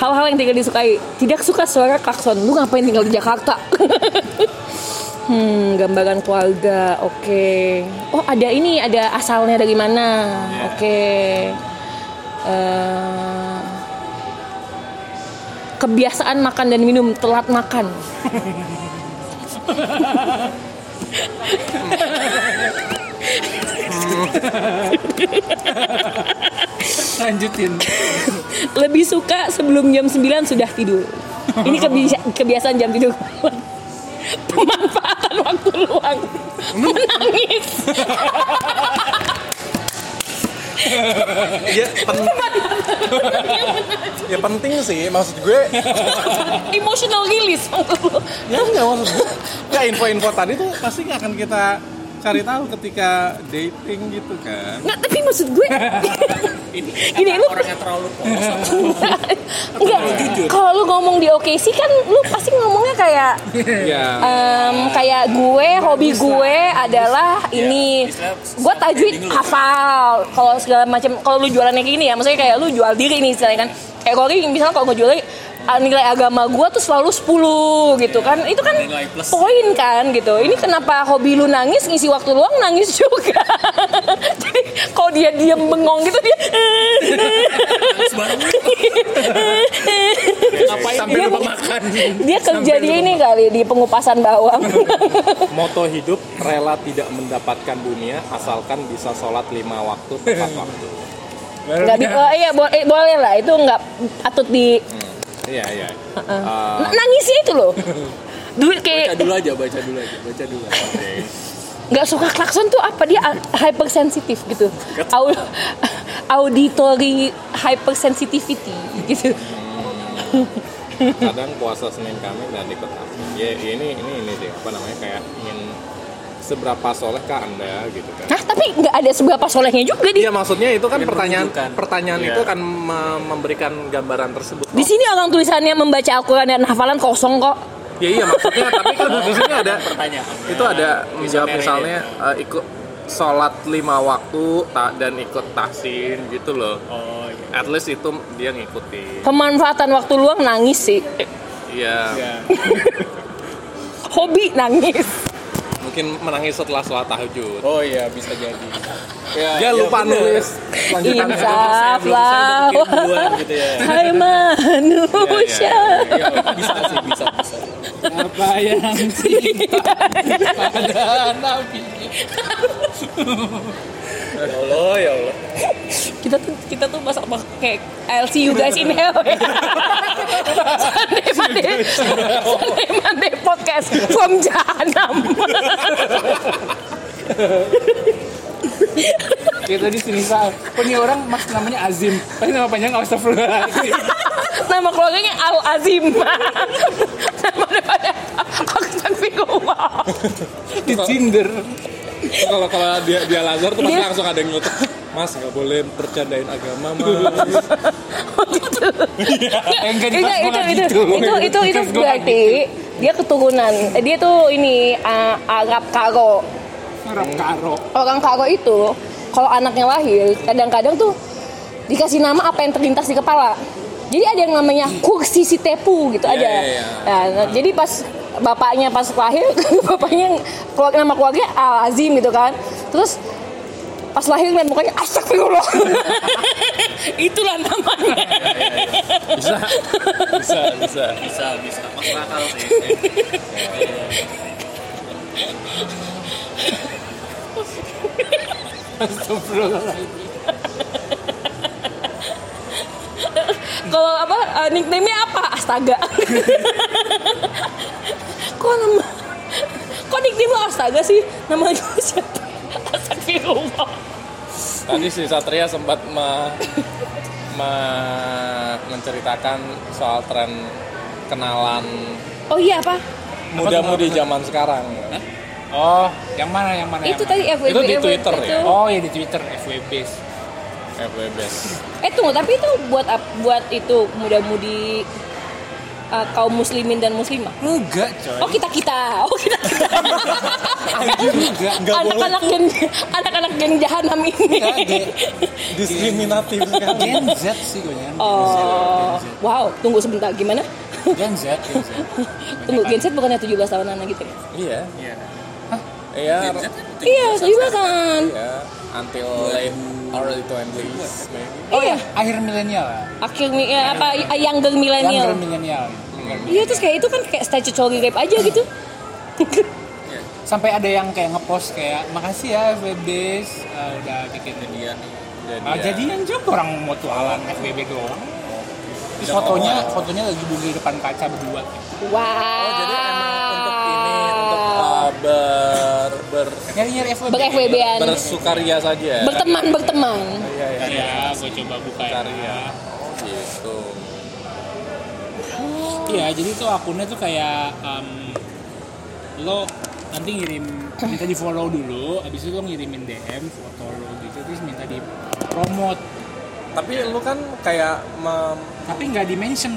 Speaker 1: Hal-hal yang tidak disukai, tidak suka suara klakson. Lu ngapain tinggal di Jakarta? hmm, gambaran keluarga. Oke. Oh, ada ini, ada asalnya dari mana? Oke. Eh, kebiasaan makan dan minum, telat makan.
Speaker 2: lanjutin
Speaker 1: lebih suka sebelum jam 9 sudah tidur. Ini kebisa- kebiasaan jam tidur. Pemanfaatan waktu luang. Menangis.
Speaker 3: ya, pen- ya penting sih maksud gue
Speaker 1: Emotional release maksud lu.
Speaker 3: ya nggak maksud gue nggak info-info tadi tuh Ya, pasti nggak akan kita cari tahu ketika dating gitu kan
Speaker 1: Nggak, tapi maksud gue
Speaker 4: Ini
Speaker 1: Gini,
Speaker 4: kata
Speaker 1: lu-
Speaker 4: orangnya terlalu polos.
Speaker 1: Enggak, kalau lu ngomong di OKC kan lu pasti ngomongnya kayak Iya.
Speaker 3: ya
Speaker 1: em, kayak gue, hobi gue adalah ini.
Speaker 4: istilah-
Speaker 1: Gue tajwid
Speaker 4: branding lu.
Speaker 1: hafal. Kalau segala macam, kalau lu jualannya kayak gini ya, maksudnya kayak lu jual diri nih istilahnya kan. Kayak kalau ini, misalnya kalau gue jual diri, ah, nilai agama gue tuh selalu 10 gitu kan. Itu kan
Speaker 4: Nilai plus.
Speaker 1: poin kan gitu. Ini kenapa hobi lu nangis, ngisi waktu luang nangis juga. Jadi kalau dia diem bengong gitu dia
Speaker 4: Sembarangan.
Speaker 3: ngapain sampai
Speaker 1: dia
Speaker 3: lupa
Speaker 1: mau-
Speaker 3: makan
Speaker 1: dia
Speaker 3: Sampai
Speaker 1: kerja di
Speaker 3: lupa
Speaker 1: ini kali di pengupasan bawang.
Speaker 3: Moto hidup rela tidak mendapatkan dunia asalkan bisa sholat lima waktu tepat waktu.
Speaker 1: Nggak di, oh, iya bo- eh, boleh lah itu nggak patut di
Speaker 3: Iya iya.
Speaker 4: Ah.
Speaker 1: N- nangisnya itu loh. Duit
Speaker 4: Baca
Speaker 1: kayak
Speaker 4: dulu aja, baca dulu aja, baca dulu. aja.
Speaker 1: nggak suka klakson tuh apa dia a- hypersensitif gitu. Au- auditory hypersensitivity gitu.
Speaker 3: Kadang puasa Senin Kamis dan ikut apa. Ya ini ini ini deh apa namanya kayak ingin seberapa solehkah anda gitu kan.
Speaker 1: Nah tapi nggak ada seberapa solehnya juga dia.
Speaker 3: Iya maksudnya itu kan pertanyaan
Speaker 4: menunjukkan.
Speaker 3: pertanyaan
Speaker 4: Iya.
Speaker 3: itu kan me- memberikan gambaran tersebut.
Speaker 1: Di sini orang tulisannya membaca Al-Quran dan hafalan kosong kok.
Speaker 3: Ya iya maksudnya tapi kan di sini ada
Speaker 4: Pertanyaan.
Speaker 3: itu ada
Speaker 4: Visioner
Speaker 3: menjawab
Speaker 4: ini.
Speaker 3: misalnya eh, ikut sholat lima waktu ta- dan ikut tahsin gitu loh.
Speaker 4: Oh iya.
Speaker 3: At least itu dia ngikutin.
Speaker 1: Pemanfaatan waktu luang nangis sih.
Speaker 3: Iya.
Speaker 4: Ya.
Speaker 1: Hobi nangis.
Speaker 3: Mungkin menangis setelah sholat tahajud.
Speaker 4: Oh iya, bisa jadi. Ya,
Speaker 3: Dia lupa nulis
Speaker 1: Iya,
Speaker 3: lanjutannya.
Speaker 1: Insaf lah.
Speaker 4: Belum saya berpikiran gitu ya.
Speaker 1: Hai manusia.
Speaker 4: Iya, bisa sih, bisa, bisa.
Speaker 2: Apa yang
Speaker 4: iya,
Speaker 2: cinta pada Nabi?
Speaker 4: Ya Allah, ya Allah.
Speaker 1: kita tuh kita tuh masa apa kayak I'll see you guys in hell ya. Sunday Monday Sunday Monday podcast from Jahanam
Speaker 2: Ya tadi sini Sal. Punya orang mas namanya Azim. Tapi nama panjang nggak usah
Speaker 1: nama keluarganya Al Azim nama daripada Aksan Fikuwa
Speaker 2: Di Tinder.
Speaker 3: Kalau kalau dia dia lazar tuh pasti
Speaker 1: Dia-
Speaker 3: langsung ada yang nyutuk. Mas nggak boleh bercandain agama mas.
Speaker 1: gitu itu
Speaker 2: Enggak dibahas
Speaker 1: itu itu
Speaker 2: malah gitu.
Speaker 1: itu itu itu
Speaker 2: Dibahas malah gitu.
Speaker 1: berarti dia keturunan eh, dia tuh ini uh, Arab Karo
Speaker 2: Orang karo.
Speaker 1: orang karo itu kalau anaknya lahir kadang-kadang tuh dikasih nama apa yang terlintas di kepala jadi ada yang namanya kursi si tepu gitu aja
Speaker 3: iya, iya.
Speaker 1: Nah, nah, jadi pas bapaknya pas lahir bapaknya keluarga nama keluarganya Al Azim gitu kan terus pas lahir ngeliat mukanya astagfirullah itulah namanya
Speaker 3: Bisa bisa.
Speaker 4: Bisa, bisa. Masuk akal sih.
Speaker 1: kalau apa eh, nickname-nya apa astaga kok nama kok nickname lu astaga sih namanya siapa astagfirullah
Speaker 3: Tadi si Satria sempat me, me- menceritakan soal tren kenalan
Speaker 1: Oh iya apa?
Speaker 3: muda-mudi zaman sekarang.
Speaker 2: Oh, yang mana yang mana?
Speaker 1: Nah, itu
Speaker 2: yang
Speaker 1: tadi FWB.
Speaker 3: Itu di
Speaker 1: FWB,
Speaker 3: Twitter ya?
Speaker 2: mana? Oh ya di Twitter FWB.
Speaker 3: FWB.
Speaker 1: Eh tunggu, tapi itu buat ap- buat itu muda-mudi uh, kaum muslimin dan muslimah.
Speaker 2: Enggak coy.
Speaker 1: Oh kita kita, oh kita kita. anak-anak gen anak-anak gen jahanam ini.
Speaker 3: Diskriminatif sekali.
Speaker 2: Gen Z sih gue Gen Z,
Speaker 1: Oh, wow. Tunggu sebentar, gimana?
Speaker 2: Gen Z, Gen Z.
Speaker 1: Tunggu, Gen Z bukannya 17 tahunan gitu ya?
Speaker 3: Iya.
Speaker 4: Iya.
Speaker 3: Iya.
Speaker 1: Iya, 17 kan.
Speaker 3: Iya. Until late early 20s maybe.
Speaker 1: Oh iya,
Speaker 2: Akhir milenial lah.
Speaker 1: akhirnya ya, apa y- younger
Speaker 2: Younger
Speaker 1: millennial.
Speaker 2: milenial.
Speaker 1: Iya, terus kayak itu kan kayak statutory rape aja gitu.
Speaker 2: Sampai ada yang kayak ngepost kayak makasih ya FWB eh, udah bikin dia.
Speaker 3: Jadi,
Speaker 2: Ah, jadian juga orang mau tualan FWB doang. Terus fotonya, fotonya lagi berdiri depan kaca berdua.
Speaker 1: Wow.
Speaker 3: Ah. Oh, jadi emang untuk ini untuk uh, ber ber
Speaker 2: nyari-nyari FWB.
Speaker 1: Ber-FWB-an.
Speaker 3: bersukaria saja ya?
Speaker 1: Berteman, berteman.
Speaker 3: iya iya
Speaker 2: Ya, gue coba buka ya.
Speaker 3: Karya. gitu
Speaker 2: Iya, jadi tuh akunnya tuh kayak em, lo nanti ngirim minta di follow dulu, abis itu lo ngirimin DM foto lo gitu, terus minta di promote,
Speaker 3: tapi lu kan kayak mem
Speaker 2: tapi nggak di mention,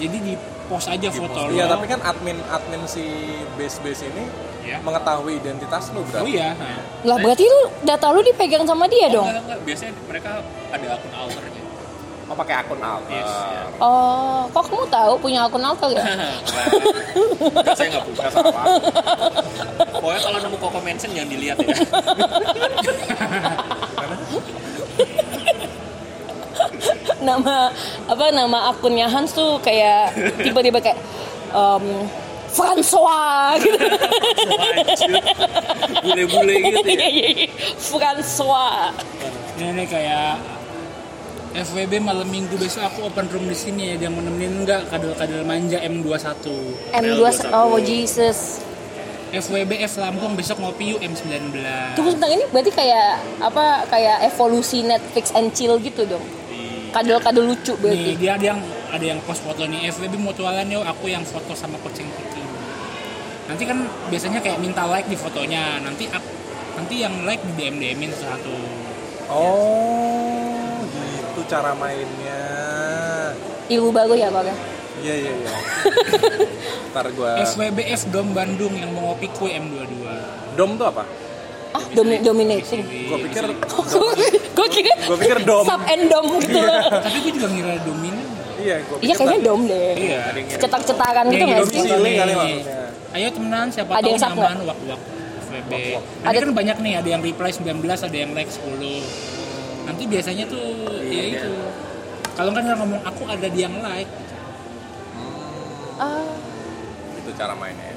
Speaker 2: jadi di post aja foto lo.
Speaker 3: Iya, tapi kan admin admin si base base ini
Speaker 4: Ya.
Speaker 2: Iya.
Speaker 3: mengetahui identitas lu
Speaker 2: Oh
Speaker 3: berarti.
Speaker 2: iya. nah.
Speaker 1: Lah berarti lu data lu dipegang sama dia dong.
Speaker 4: Enggak, enggak. Biasanya mereka ada akun alternya.
Speaker 3: Oh, pakai akun alter.
Speaker 4: Yes, iya.
Speaker 1: Oh, kok kamu tahu punya akun alter ya?
Speaker 4: Enggak, saya nggak punya.
Speaker 3: Nggak salah.
Speaker 4: Pokoknya kalau nemu Koko Mansion jangan dilihat ya.
Speaker 1: nama apa nama akunnya Hans tuh kayak tiba-tiba kayak em François gitu.
Speaker 4: Bule-bule gitu
Speaker 1: Iya,
Speaker 4: ya.
Speaker 1: François.
Speaker 2: Ini nih kayak FWB malam minggu besok aku open room di sini ya, dia mau nemenin nggak kadal-kadal manja M21.
Speaker 1: M2 oh Jesus.
Speaker 2: FWB F Lampung besok ngopi yuk M19.
Speaker 1: Tunggu sebentar ini berarti kayak apa kayak evolusi Netflix and chill gitu dong. Kadal-kadal lucu
Speaker 2: Nih
Speaker 1: berarti.
Speaker 2: dia ada yang ada yang post foto nih FWB mau tualan yuk aku yang foto sama kucing putih. Nanti kan biasanya kayak minta like di fotonya. Nanti ak- nanti yang like di DM DMin satu.
Speaker 3: Oh, gitu cara mainnya.
Speaker 1: Ilmu baru ya Pak.
Speaker 3: Iya, iya, iya. Ntar gua
Speaker 2: FWB F Dom Bandung yang mau ngopi kue M22.
Speaker 3: Dom tuh apa?
Speaker 1: Ah, domi- dominating.
Speaker 3: Gua
Speaker 4: Iya
Speaker 3: pikir
Speaker 1: gue kira
Speaker 3: ya? Gua pikir dom.
Speaker 1: sub and dom gitu loh
Speaker 2: Tapi gue juga ngira dominan.
Speaker 3: iya, gua pikir
Speaker 1: iya kayaknya
Speaker 3: tadi-
Speaker 1: dom deh
Speaker 3: Iya, ada yang ngirim.
Speaker 1: cetak-cetakan gitu
Speaker 2: Kayak
Speaker 1: nggak
Speaker 2: gitu
Speaker 1: sih
Speaker 2: sih.
Speaker 3: Domisili kali maksudnya.
Speaker 2: Ayo temenan siapa
Speaker 1: Ada
Speaker 2: tahu
Speaker 1: yang ya? subway?
Speaker 2: nyaman wak-wak FWB. Nanti
Speaker 1: Ada-
Speaker 2: kan banyak nih ada yang reply 19, ada yang like 10. Nanti biasanya tuh
Speaker 3: Iya,
Speaker 2: ya itu. Kalau kan nggak ngomong aku ada di yang like.
Speaker 1: Ah,
Speaker 3: Itu cara mainnya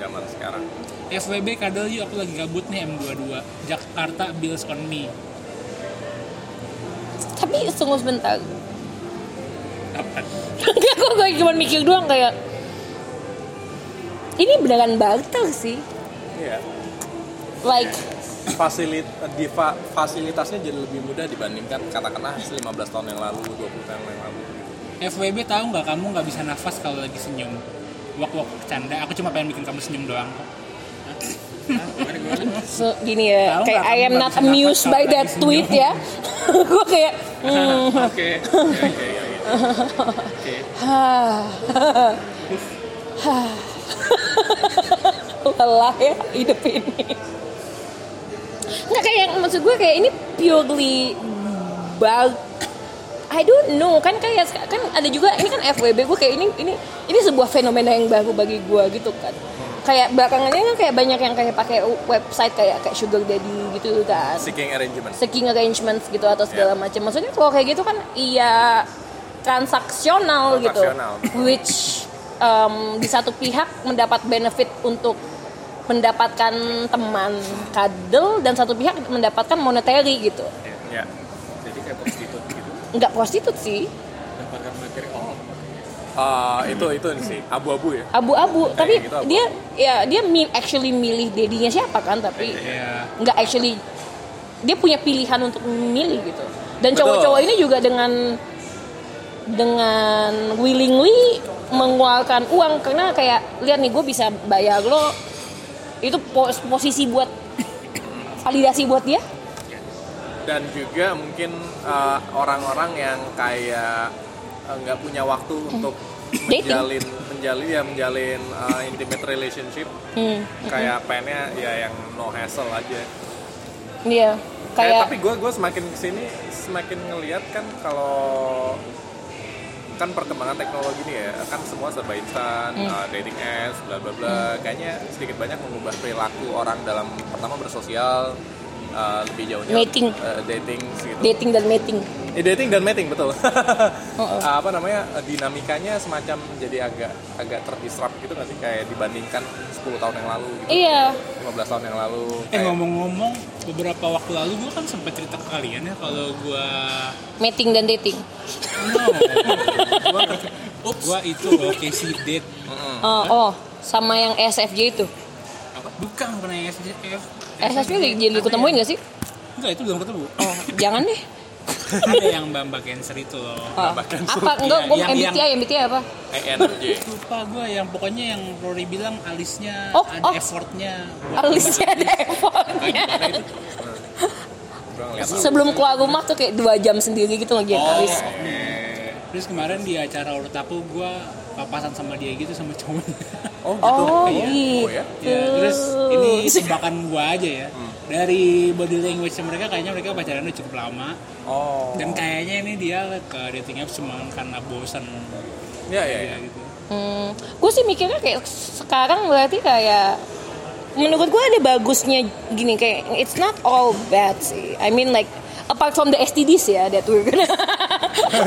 Speaker 3: zaman sekarang.
Speaker 2: FWB kadal yuk aku lagi gabut nih M22 Jakarta Bills on me
Speaker 1: tapi tunggu sebentar Enggak, kok gue cuma mikir doang kayak ini beneran barter sih
Speaker 3: Iya.
Speaker 1: like
Speaker 3: Fasilit eh, di fa- fasilitasnya jadi lebih mudah dibandingkan katakanlah 15 tahun yang lalu, 20 tahun yang lalu gitu.
Speaker 2: FWB tahu nggak kamu nggak bisa nafas kalau lagi senyum Wak-wak canda, aku cuma pengen bikin kamu senyum doang kok
Speaker 1: so, gini ya
Speaker 2: Tahu
Speaker 1: kayak
Speaker 2: nggak
Speaker 1: I am
Speaker 2: kamu
Speaker 1: not
Speaker 2: barusan
Speaker 1: amused
Speaker 2: apa
Speaker 1: by
Speaker 2: kalau
Speaker 1: that
Speaker 2: lagi
Speaker 1: tweet
Speaker 2: senyum?
Speaker 1: ya gue kayak hmm,
Speaker 4: Oke.
Speaker 3: Iya, iya, iya.
Speaker 1: Hah. Hah. lelah ya hidup ini nggak kayak maksud gue kayak ini purely bug I don't know kan kayak kan ada juga ini kan FWB gue kayak ini ini ini sebuah fenomena yang baru bagi gue gitu kan kayak belakangannya kan kayak banyak yang kayak pakai website kayak kayak sugar daddy gitu kan
Speaker 3: Seeking arrangement.
Speaker 1: seeking arrangements gitu atau segala macam. Maksudnya kalau kayak gitu kan iya transaksional, gitu,
Speaker 3: Transaksional, betul.
Speaker 1: which em, di satu pihak mendapat benefit untuk mendapatkan teman kadel dan satu pihak mendapatkan monetary gitu.
Speaker 3: Ya.
Speaker 4: Jadi kayak prostitut gitu.
Speaker 1: Enggak prostitut sih,
Speaker 4: Dapatkan materi oh.
Speaker 3: Eh, itu itu sih abu-abu ya.
Speaker 1: abu-abu. Tapi
Speaker 3: gitu abu-abu.
Speaker 1: dia ya dia mi- actually milih dedinya siapa kan, tapi
Speaker 2: Iya
Speaker 1: nggak actually dia punya pilihan untuk milih gitu dan
Speaker 3: Betul.
Speaker 1: cowok-cowok ini juga dengan dengan willingly mengeluarkan uang karena kayak lihat nih gue bisa bayar lo itu pos- posisi buat validasi buat dia
Speaker 3: Dan juga mungkin eh, orang-orang yang kayak eh, nggak punya waktu untuk
Speaker 1: Dating.
Speaker 3: menjalin menjalin ya menjalin eh, intimate relationship
Speaker 1: hmm.
Speaker 3: kayak pengennya ya yang no hassle aja.
Speaker 1: dia
Speaker 3: Kayak,
Speaker 1: iya. kayak
Speaker 3: Eh, tapi gue gue semakin kesini semakin ngelihat kan kalau kan perkembangan teknologi nih ya kan semua serba instan uh, dating apps bla bla bla kayaknya sedikit banyak mengubah perilaku orang dalam pertama bersosial uh, lebih jauhnya
Speaker 1: Mating.
Speaker 3: uh, dating gitu
Speaker 1: dating dan mating
Speaker 3: Eh, dating dan mating betul Uh, apa namanya uh, dinamikanya semacam jadi agak agak terdisrupt gitu nggak sih kayak dibandingkan 10 tahun yang lalu gitu
Speaker 1: iya
Speaker 3: 15 tahun yang lalu
Speaker 2: Eh
Speaker 3: Kayak-
Speaker 2: ngomong-ngomong beberapa waktu lalu gue kan sempat cerita ke kalian ya kalau gue
Speaker 1: mating dan dating
Speaker 2: no gue itu loh Casey date
Speaker 3: Hmm.
Speaker 1: oh, oh sama yang SFJ itu
Speaker 4: apa?
Speaker 2: Bukan, bukan
Speaker 1: Eh,
Speaker 2: yang SSF.
Speaker 1: SSP jadi ketemuin gak sih?
Speaker 2: Enggak, itu belum ketemu.
Speaker 1: Oh, jangan deh.
Speaker 2: Ada yang Bambang Cancer itu loh.
Speaker 1: Oh.
Speaker 3: Tambahkan
Speaker 1: Apa? Enggak, gue
Speaker 2: Yang- yang-
Speaker 1: MBTI, MBTI apa?
Speaker 3: ENJ
Speaker 2: Lupa gue yang pokoknya yang Rory bilang alisnya
Speaker 1: Oh,
Speaker 2: ada
Speaker 1: oh.
Speaker 2: effortnya.
Speaker 1: Harusnya Oh, ada effortnya.
Speaker 3: Gua ngeliat.
Speaker 1: Sebelum keluar rumah tuh kayak dua jam sendiri gitu lagi
Speaker 2: Oh,
Speaker 1: Aris.
Speaker 2: oke. Terus kemarin di acara urut aku gue papasan sama dia gitu sama cowoknya.
Speaker 3: oh gitu
Speaker 1: Oh,
Speaker 3: Iya.
Speaker 1: gitu.
Speaker 3: Oh, ya.
Speaker 2: Ya, terus ini jebakan gua aja ya. Dari body language mereka kayaknya mereka pacaran udah cukup lama
Speaker 3: oh
Speaker 2: dan kayaknya ini dia ke dating apps cuma karena bosan
Speaker 3: ya ya
Speaker 2: ya
Speaker 3: ya.
Speaker 2: gitu.
Speaker 1: Hmm, gue sih mikirnya kayak sekarang berarti kayak menurut gue ada bagusnya gini kayak it's not all bad sih. I mean like apart from the STDs ya that we're gonna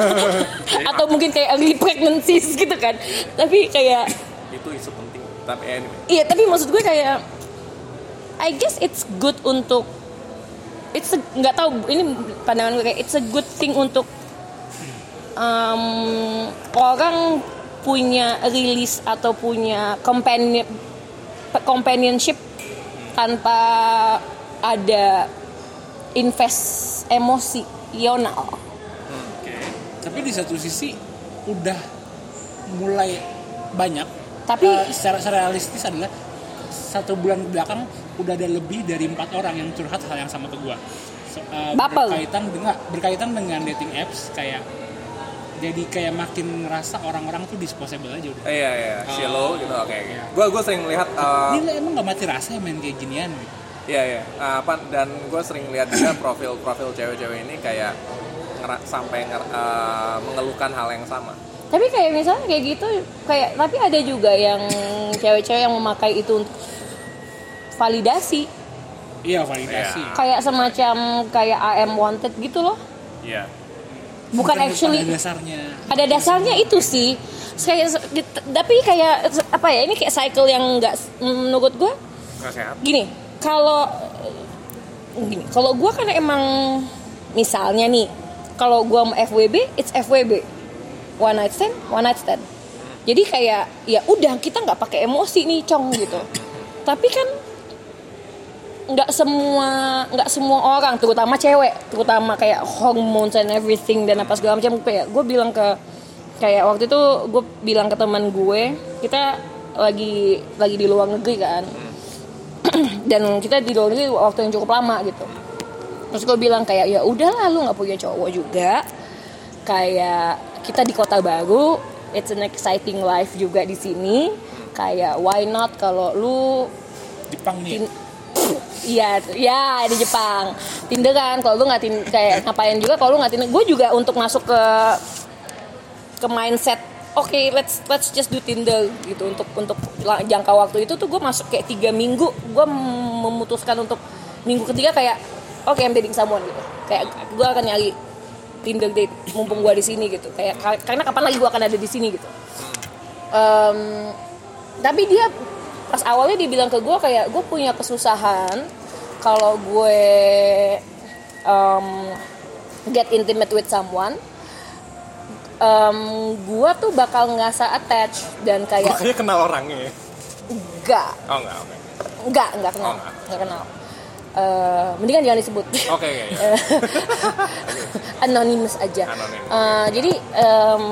Speaker 1: atau mungkin kayak early pregnancies gitu kan. Tapi kayak
Speaker 3: itu isu penting tapi eh, anyway
Speaker 1: iya tapi maksud gue kayak I guess it's good untuk it's a- nggak tahu ini pandangan gue kayak it's a good thing untuk um, orang punya rilis atau punya companion companionship tanpa ada invest emosional.
Speaker 2: Tapi di satu sisi udah mulai banyak
Speaker 1: Tapi-
Speaker 2: eh, secara, secara realistis adalah satu bulan ke belakang udah ada lebih dari empat orang yang curhat hal yang sama ke gua. So, eh,
Speaker 1: Baper.
Speaker 2: berkaitan dengan berkaitan dengan dating apps kayak jadi kayak makin ngerasa orang-orang tuh disposable aja udah.
Speaker 3: Eh, iya iya Shiloh gitu oke oke.
Speaker 2: Iya.
Speaker 3: gua gua sering lihat eh,
Speaker 2: Ini emang gak mati rasa ya main kayak ginian gitu.
Speaker 3: Iya iya. Nah, apa dan gue sering lihat juga profil-profil cewek-cewek ini kayak ngera- sampai nger- eh, mengeluhkan hal yang sama.
Speaker 1: Tapi kayak misalnya kayak gitu kayak tapi ada juga yang cewek-cewek yang memakai itu untuk validasi
Speaker 2: Iya validasi.
Speaker 3: Iya.
Speaker 1: kayak semacam kayak I am wanted gitu loh.
Speaker 3: Iya.
Speaker 1: Bukan actually
Speaker 2: pada dasarnya.
Speaker 1: pada dasarnya itu sih. Kayak tapi kayak apa ya? Ini kayak cycle yang nggak menurut gue
Speaker 3: Nggak sehat.
Speaker 1: gini kalau gini kalau gue kan emang misalnya nih kalau gue mau FWB it's FWB one night stand one night stand jadi kayak ya udah kita nggak pakai emosi nih cong gitu tapi kan nggak semua nggak semua orang terutama cewek terutama kayak hormones and everything dan apa segala macam kayak gue bilang ke kayak waktu itu gue bilang ke teman gue kita lagi lagi di luar negeri kan dan kita di luar negeri waktu yang cukup lama gitu terus gue bilang kayak ya udahlah lu nggak punya cowok juga kayak kita di kota baru it's an exciting life juga di sini kayak why not kalau lu
Speaker 2: Jepang nih.
Speaker 1: Tin- Iya, ya di Jepang. Tinder kan, kalau lu nggak tin kayak ngapain juga, kalau lu nggak tinder, gue juga untuk masuk ke ke mindset, oke let's let's just do Tinder gitu untuk untuk la- jangka waktu itu tuh gue masuk kayak tiga minggu, gue mem- memutuskan untuk minggu ketiga kayak oke I'm dating someone gitu, kayak gue akan nyari Tinder date mumpung gue di sini gitu, kayak ka- karena kapan lagi gue akan ada di sini gitu. Em, tapi dia pas awalnya dia bilang ke gue kayak gue punya kesusahan kalau gue um, get intimate with someone um, gue tuh bakal ngerasa attached dan kayak
Speaker 3: Makanya kenal orangnya. ya?
Speaker 1: enggak
Speaker 3: Oh enggak oke.
Speaker 1: enggak enggak kenal
Speaker 3: Oh, enggak.
Speaker 1: enggak kenal Eh, mendingan jangan disebut
Speaker 3: Oke oke. oke.
Speaker 1: Eh, anonymous aja.
Speaker 3: Anonymous.
Speaker 1: Eh, jadi em,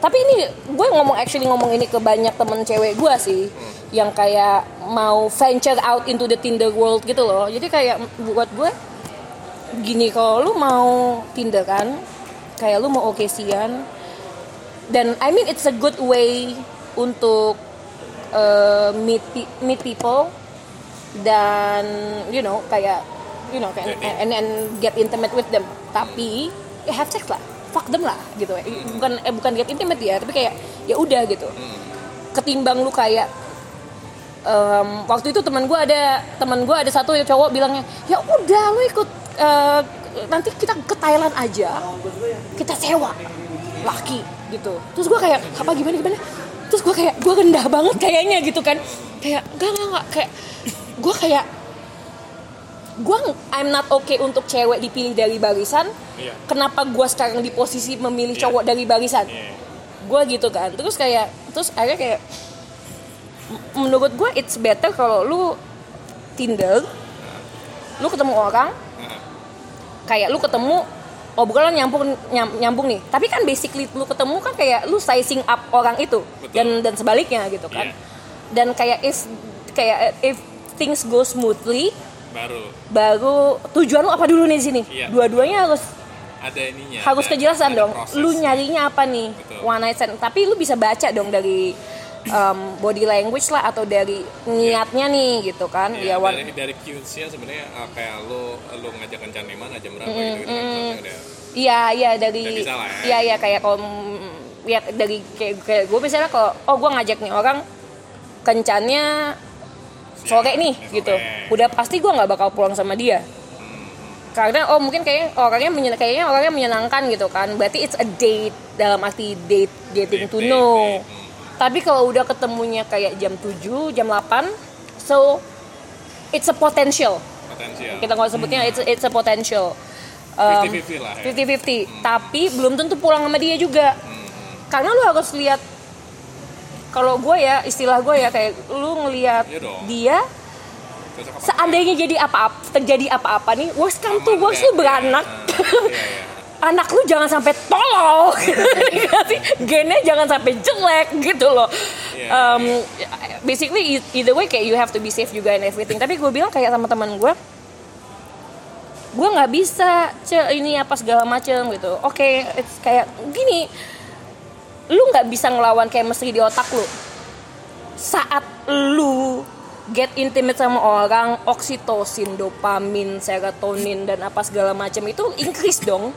Speaker 1: tapi ini gue ngomong actually ngomong ini ke banyak temen cewek gue sih yang kayak mau venture out into the Tinder world gitu loh. Jadi kayak buat gue gini kalau lu mau Tinder kan kayak lu mau okesian dan I mean it's a good way untuk eh, meet pe- meet people dan you know kayak you know kayak and, and get intimate with them tapi ya have sex lah fuck them lah gitu bukan eh, bukan get intimate ya tapi kayak ya udah gitu ketimbang lu kayak em, waktu itu teman gue ada teman gue ada satu cowok bilangnya ya udah lu ikut eh, nanti kita ke Thailand aja kita sewa laki gitu terus gue kayak apa gimana gimana terus gue kayak gue rendah banget kayaknya gitu kan kayak enggak enggak enggak kayak gue kayak gue I'm not okay untuk cewek dipilih dari barisan
Speaker 3: Iya.
Speaker 1: kenapa gue sekarang di posisi memilih cowok dari barisan
Speaker 3: Iya.
Speaker 1: gue gitu kan terus kayak terus akhirnya kayak menurut gue it's better kalau lu Tinder, lu ketemu orang, kayak lu ketemu Oh bukan lah nyambung nyam- nyambung nih, tapi kan basically lu ketemu kan kayak lu sizing up orang itu
Speaker 3: Betul.
Speaker 1: dan dan sebaliknya gitu kan,
Speaker 3: Iya.
Speaker 1: dan kayak is kayak eh, if things go smoothly
Speaker 3: baru
Speaker 1: baru tujuan lu apa dulu nih di sini,
Speaker 3: Iya.
Speaker 1: dua-duanya harus
Speaker 3: ada ininya
Speaker 1: harus
Speaker 3: ada-
Speaker 1: kejelasan
Speaker 3: ada
Speaker 1: dong
Speaker 3: proses.
Speaker 1: lu nyarinya apa nih
Speaker 3: Betul.
Speaker 1: one night stand tapi lu bisa baca dong dari um, body language lah atau dari niatnya nih gitu kan
Speaker 3: Iya,
Speaker 1: ya one
Speaker 3: dari dari cues-nya sebenarnya uh, kayak lu lu ngajak kencan di mana jam berapa gitu gitu udah
Speaker 1: iya iya dari
Speaker 3: Udah bisa lah ya.
Speaker 1: iya iya kayak kalau ya dari kayak, kayak gue misalnya kalau oh gue ngajak nih orang kencannya sore nih
Speaker 3: sore.
Speaker 1: gitu udah pasti gue nggak bakal pulang sama dia karena oh mungkin kayak orangnya menyen- kayaknya orangnya menyenangkan gitu kan berarti it's a date dalam arti date getting to
Speaker 3: Date,
Speaker 1: know
Speaker 3: date, date.
Speaker 1: tapi kalau udah ketemunya kayak jam 7 jam 8 so it's a potential
Speaker 3: potensial
Speaker 1: kita nggak sebutnya
Speaker 3: Hmm.
Speaker 1: it's a, it's a potential Um,
Speaker 3: 50-50 lah ya
Speaker 1: 50-50 tapi belum tentu pulang sama dia juga karena lu harus lihat kalau gue ya istilah gue ya kayak lu ngelihat
Speaker 3: Iya dong.
Speaker 1: dia
Speaker 3: Terus apa?
Speaker 1: seandainya jadi apa terjadi apa-apa nih worst come to worst lu beranak
Speaker 3: Iya, iya.
Speaker 1: anak lu jangan sampai tolol gitu sih. gennya jangan sampai jelek gitu loh
Speaker 3: Iya.
Speaker 1: Um, basically e- either way kayak you have to be safe juga and everything tapi gue bilang kayak sama teman gue gue nggak bisa ce ini apa segala macem gitu oke it's kayak gini lu nggak bisa ngelawan chemistry di otak lu saat lu get intimate sama orang oksitosin dopamin serotonin dan apa segala macam itu increase dong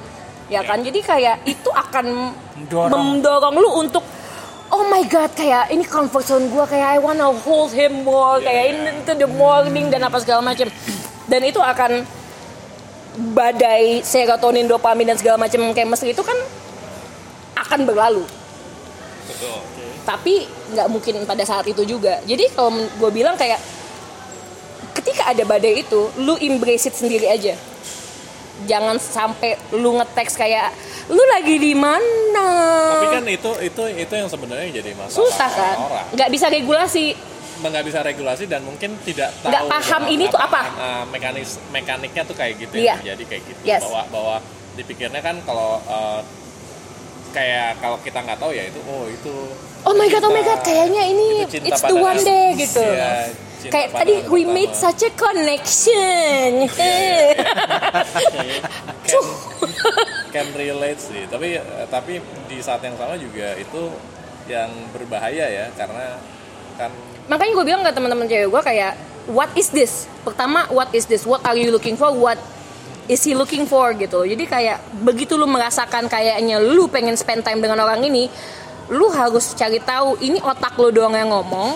Speaker 1: ya kan jadi kayak itu akan
Speaker 2: Mendorong.
Speaker 1: mendorong lu untuk oh my god kayak ini comfort zone gue kayak I wanna hold him more kayak into the morning dan apa segala macam dan itu akan badai serotonin dopamin dan segala macam chemistry itu kan akan berlalu
Speaker 3: betul
Speaker 1: tapi nggak mungkin pada saat itu juga jadi kalau gue bilang kayak ketika ada badai itu lu embrace it sendiri aja jangan sampai lu ngeteks kayak lu lagi di mana
Speaker 3: tapi kan itu itu itu yang sebenarnya jadi masalah
Speaker 1: susah kan
Speaker 3: orang
Speaker 1: nggak bisa regulasi
Speaker 3: nggak bisa regulasi dan mungkin tidak tahu
Speaker 1: Nggak paham
Speaker 3: dengan
Speaker 1: ini tuh apa.
Speaker 3: eh, mekanis mekaniknya tuh kayak gitu
Speaker 1: Iya.
Speaker 3: ya jadi kayak gitu
Speaker 1: Yes.
Speaker 3: bahwa bahwa dipikirnya kan kalau eh, kayak kalau kita nggak tahu ya itu oh itu
Speaker 1: oh my god oh my god
Speaker 3: Cinta.
Speaker 1: kayaknya ini
Speaker 3: Itu cinta
Speaker 1: it's the
Speaker 3: pada-
Speaker 1: one day gitu
Speaker 3: Iya, cinta
Speaker 1: kayak
Speaker 3: pada Iya,
Speaker 1: tadi
Speaker 3: orang
Speaker 1: we
Speaker 3: pertama.
Speaker 1: made such a connection Cuh.
Speaker 3: can relate sih tapi eh, tapi di saat yang sama juga itu yang berbahaya ya karena kan
Speaker 1: makanya gue bilang ke teman-teman cewek gue kayak what is this pertama what is this what are you looking for what is he looking for gitu jadi kayak begitu lu merasakan kayaknya lu pengen spend time dengan orang ini lu harus cari tahu ini otak lu doang yang ngomong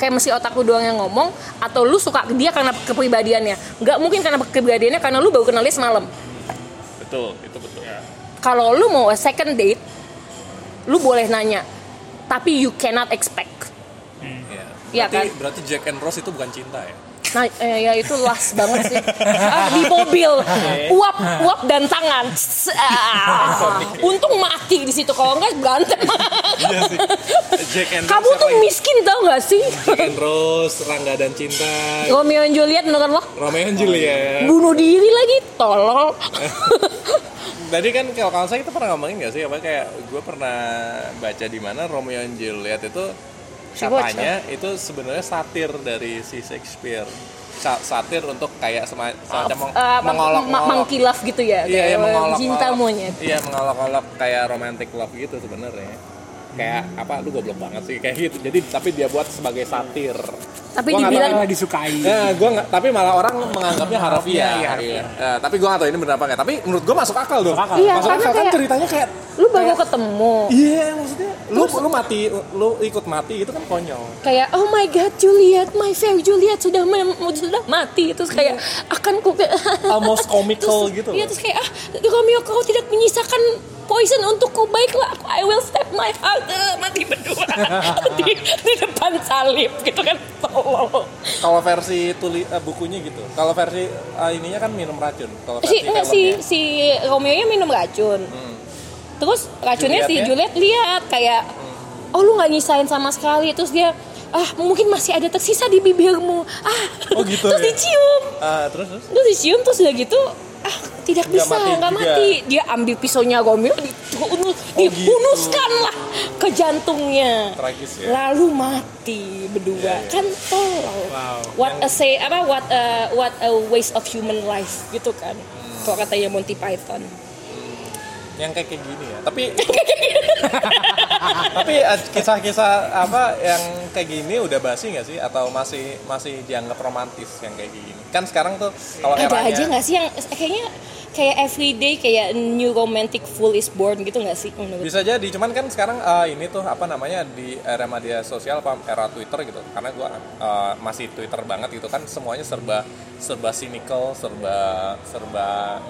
Speaker 1: kayak mesti otak lu doang yang ngomong atau lu suka ke dia karena kepribadiannya nggak mungkin karena kepribadiannya karena lu baru kenal dia semalam
Speaker 3: betul itu betul
Speaker 1: kalau lu mau a second date lu boleh nanya tapi you cannot expect
Speaker 3: Iya.
Speaker 1: Iya
Speaker 3: berarti,
Speaker 1: kan?
Speaker 3: berarti Jack and Rose itu bukan cinta ya
Speaker 1: Nah, eh, ya itu luas banget sih. Ah, di mobil, uap, uap dan tangan. Tss, ah. Untung mati di situ kalau enggak berantem.
Speaker 3: Iya Jack and
Speaker 1: Kamu
Speaker 3: Rose
Speaker 1: tuh
Speaker 3: siapa
Speaker 1: miskin tau gak sih?
Speaker 3: ya? Jack and Rose Rangga dan Cinta
Speaker 1: Romeo and Juliet menurut lo
Speaker 3: Romeo and Juliet
Speaker 1: bunuh diri lagi, tolol.
Speaker 3: tadi kan kalau kalau saya kita pernah ngomongin nggak sih apa kayak gue pernah baca di mana Romeo and Juliet itu
Speaker 1: Si
Speaker 3: katanya itu sebenarnya satir dari si Shakespeare Sa- satir untuk kayak sema- semacam
Speaker 1: Eh,
Speaker 3: meng-
Speaker 1: mang- ma-
Speaker 3: mengolok-olok
Speaker 1: mangkilaf gitu ya.
Speaker 3: iya iya
Speaker 1: kayak
Speaker 3: mengolok-olok
Speaker 1: Cinta monyet.
Speaker 3: iya mengolok-olok kayak romantic love gitu sebenarnya kayak apa lu goblok banget sih kayak gitu jadi tapi dia buat sebagai satir
Speaker 1: Tapi
Speaker 3: Gua nggak
Speaker 1: dibilang
Speaker 2: Malah disukai.
Speaker 3: Ya, gua nggak, tapi malah orang menganggapnya
Speaker 2: Harfiah,
Speaker 3: harfiah.
Speaker 2: iya,
Speaker 3: Iya,
Speaker 2: harfiah.
Speaker 3: Eh, tapi gua nggak tahu ini benar apa nggak. Tapi menurut gua masuk akal dong.
Speaker 2: Masuk akal.
Speaker 1: Iya,
Speaker 3: masuk
Speaker 1: karena
Speaker 3: akal kan
Speaker 1: kayak-
Speaker 3: ceritanya kayak
Speaker 1: lu baru ketemu.
Speaker 3: Iya, maksudnya lu lu mati, lu ikut mati itu kan konyol.
Speaker 1: Kayak oh my god Juliet, my fair Juliet sudah mem- sudah mati. Terus
Speaker 3: Iya.
Speaker 1: kayak akan ku
Speaker 3: Almost comical gitu.
Speaker 1: Iya terus kayak ah Romeo kau tidak menyisakan poison untukku baiklah aku I will step my heart Eh, mati berdua di, di depan salib gitu kan tolol
Speaker 3: Kalau versi tuli eh, bukunya gitu. Kalau versi eh, ininya kan minum racun. Kalau versi
Speaker 1: si enggak, si
Speaker 3: filmnya.
Speaker 1: si Romeo nya minum racun
Speaker 5: Hmm.
Speaker 1: terus racunnya si
Speaker 3: Julietnya?
Speaker 5: ya? Hmm.
Speaker 1: Juliet lihat kayak oh lu nggak nyisain sama sekali terus dia ah mungkin masih ada tersisa di bibirmu ah
Speaker 5: Oh, gitu
Speaker 1: terus
Speaker 5: ya?
Speaker 1: dicium
Speaker 3: Eh,
Speaker 5: Ah, terus terus
Speaker 1: terus dicium terus udah gitu ah tidak
Speaker 5: Nggak
Speaker 1: bisa
Speaker 5: mati
Speaker 1: nggak
Speaker 5: juga. Oh,
Speaker 1: mati, dia ambil pisaunya Romeo
Speaker 5: gitu.
Speaker 1: dihunuskan lah ke jantungnya
Speaker 5: Tragis ya.
Speaker 1: lalu mati berdua kan tolong
Speaker 5: Iya, Wow.
Speaker 1: what a say apa what a, what a waste of human life gitu kan
Speaker 5: Hmm.
Speaker 1: kalau katanya Monty Python
Speaker 5: yang kayak kayak gini ya. Tapi tapi eh, kisah-kisah apa yang kayak gini udah basi nggak sih atau masih masih dianggap romantis yang kayak gini? Kan sekarang tuh kalau
Speaker 1: ada
Speaker 5: eranya
Speaker 1: aja nggak sih yang kayaknya kayak everyday kayak new romantic fool is born gitu nggak sih menurut
Speaker 5: bisa jadi cuman kan sekarang eh, ini tuh apa namanya di era media sosial apa era Twitter gitu karena gua eh, masih Twitter banget gitu kan semuanya serba serba cynical serba serba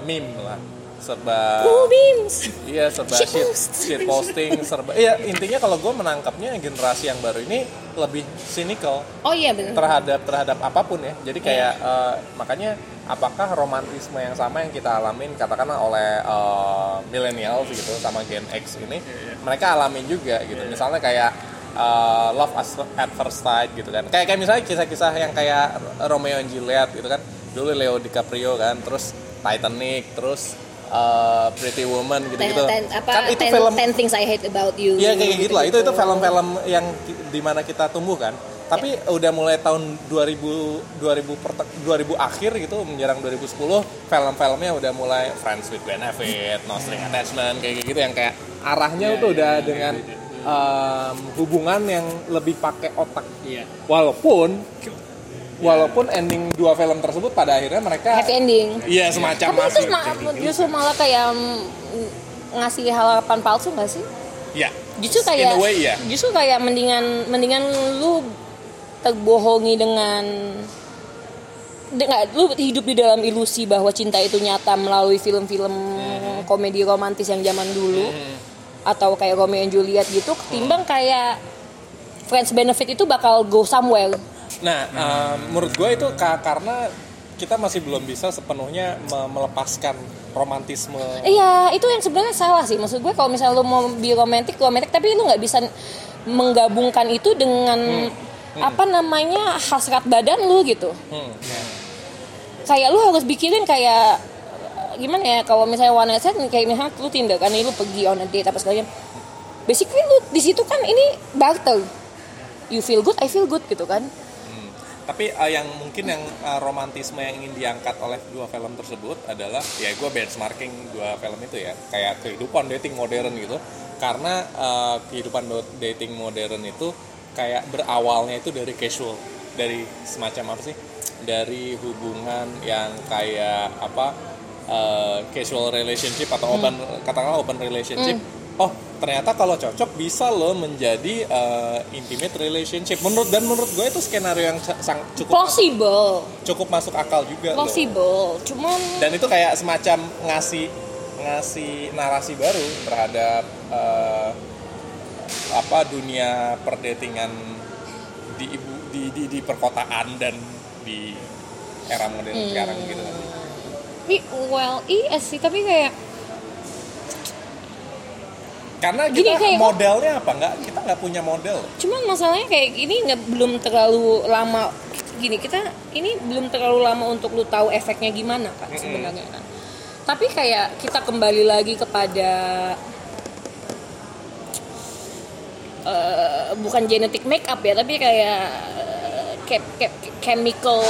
Speaker 5: meme lah serba
Speaker 1: Oh, memes
Speaker 5: Iya serba shit,
Speaker 1: Shitpost.
Speaker 5: shit posting serba. Iya intinya kalau gue menangkapnya generasi yang baru ini lebih cynical
Speaker 1: oh iya benar
Speaker 5: terhadap terhadap apapun ya. Jadi kayak eh, makanya apakah romantisme yang sama yang kita alamin katakanlah oleh eh, millennials gitu sama Gen X ini mereka alamin juga gitu. Misalnya kayak eh, love as- at first sight gitu kan. Kayak kayak misalnya kisah-kisah yang kayak Romeo and Juliet gitu kan. Dulu Leo DiCaprio kan, terus Titanic, terus eh, Pretty Woman gitu-gitu.
Speaker 1: Ten, ten- apa,
Speaker 5: kan itu
Speaker 1: ten,
Speaker 5: film
Speaker 1: ten things I hate about you.
Speaker 5: Iya kayak gitu lah. Itu itu film-film yang ki- di mana kita tumbuh kan. Tapi
Speaker 1: Ya.
Speaker 5: udah mulai tahun 2000 2000 pert- 2000 akhir gitu menjelang 2010 film-filmnya udah mulai Friends with Benefit, No String Attachment kayak gitu yang kayak arahnya tuh udah dengan em, hubungan yang lebih pakai otak.
Speaker 2: Iya.
Speaker 5: Walaupun walaupun ending dua film tersebut pada akhirnya mereka
Speaker 1: Happy ending.
Speaker 5: Iya semacam
Speaker 1: Tapi itu
Speaker 5: happy
Speaker 1: ma-
Speaker 5: ending.
Speaker 1: justru malah kayak mm, ngasih harapan palsu nggak sih?
Speaker 5: Iya.
Speaker 1: Justru kayak
Speaker 5: In a way, iya.
Speaker 1: justru kayak mendingan mendingan lu terbohongi dengan dengan lu hidup di dalam ilusi bahwa cinta itu nyata melalui film-film
Speaker 5: Hmm.
Speaker 1: komedi romantis yang zaman dulu atau kayak Romeo and Juliet gitu ketimbang kayak Friends Benefit itu bakal go somewhere.
Speaker 5: Nah, em, menurut gue itu ka- karena kita masih belum bisa sepenuhnya me- melepaskan romantisme.
Speaker 1: Iya, itu yang sebenarnya salah sih. Maksud gue kalau misalnya lu mau bi romantis, romantis tapi lu nggak bisa menggabungkan itu dengan apa namanya hasrat badan lu gitu.
Speaker 5: Hmm.
Speaker 1: Kayak lu harus pikirin kayak eh, gimana ya kalau misalnya one night stand kayak misalnya lu tindak kan lu pergi on a date apa segala macam. Basically lu di situ kan ini barter. You feel good, I feel good gitu kan.
Speaker 5: Tapi eh, yang mungkin yang eh, romantisme yang ingin diangkat oleh dua film tersebut adalah ya gue benchmarking dua film itu ya kayak kehidupan dating modern gitu. Karena eh, kehidupan do- dating modern itu kayak berawalnya itu dari casual, dari semacam apa sih? Dari hubungan yang kayak apa? uh, casual relationship atau open katakanlah open relationship. Oh, ternyata kalau cocok bisa loh menjadi uh, intimate relationship. Menurut dan menurut gue itu skenario yang sa- sang, cukup
Speaker 1: Plausible,
Speaker 5: cukup masuk akal juga loh.
Speaker 1: plausible. Cuman
Speaker 5: Dan itu kayak semacam ngasih ngasih narasi baru terhadap uh, apa dunia perdatingan di ibu di, di di perkotaan dan di era modern sekarang gitu.
Speaker 1: i- well iya sih tapi kayak
Speaker 5: Karena
Speaker 1: Gini,
Speaker 5: kita
Speaker 1: kayak-
Speaker 5: modelnya apa? Nggak, kita nggak punya model.
Speaker 1: cuman masalahnya kayak ini nggak belum terlalu lama gini kita ini belum terlalu lama untuk lu tahu efeknya gimana kan sebenarnya kan tapi kayak kita kembali lagi kepada eh, bukan genetic makeup ya tapi kayak eh, ke- ke- chemical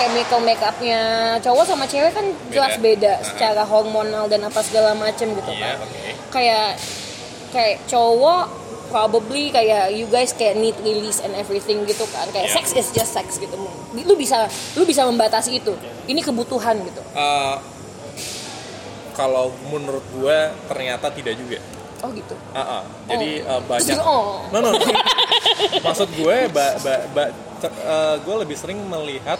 Speaker 1: chemical makeupnya cowok sama cewek kan jelas beda,
Speaker 5: Beda. Ah.
Speaker 1: secara hormonal dan apa segala macem gitu kan
Speaker 5: oke.
Speaker 1: kayak kayak cowok probably kayak you guys kayak need release and everything gitu kan kayak
Speaker 5: Iya.
Speaker 1: sex is just sex gitu lu bisa lu bisa membatasi itu ini kebutuhan gitu
Speaker 5: Eh, kalau menurut gue ternyata tidak juga.
Speaker 1: oh gitu
Speaker 5: Ah, ah. Jadi eh, banyak.
Speaker 1: Oh.
Speaker 5: No, no, no. Maksud gue, ba, ba- ba- ter- eh, gue lebih sering melihat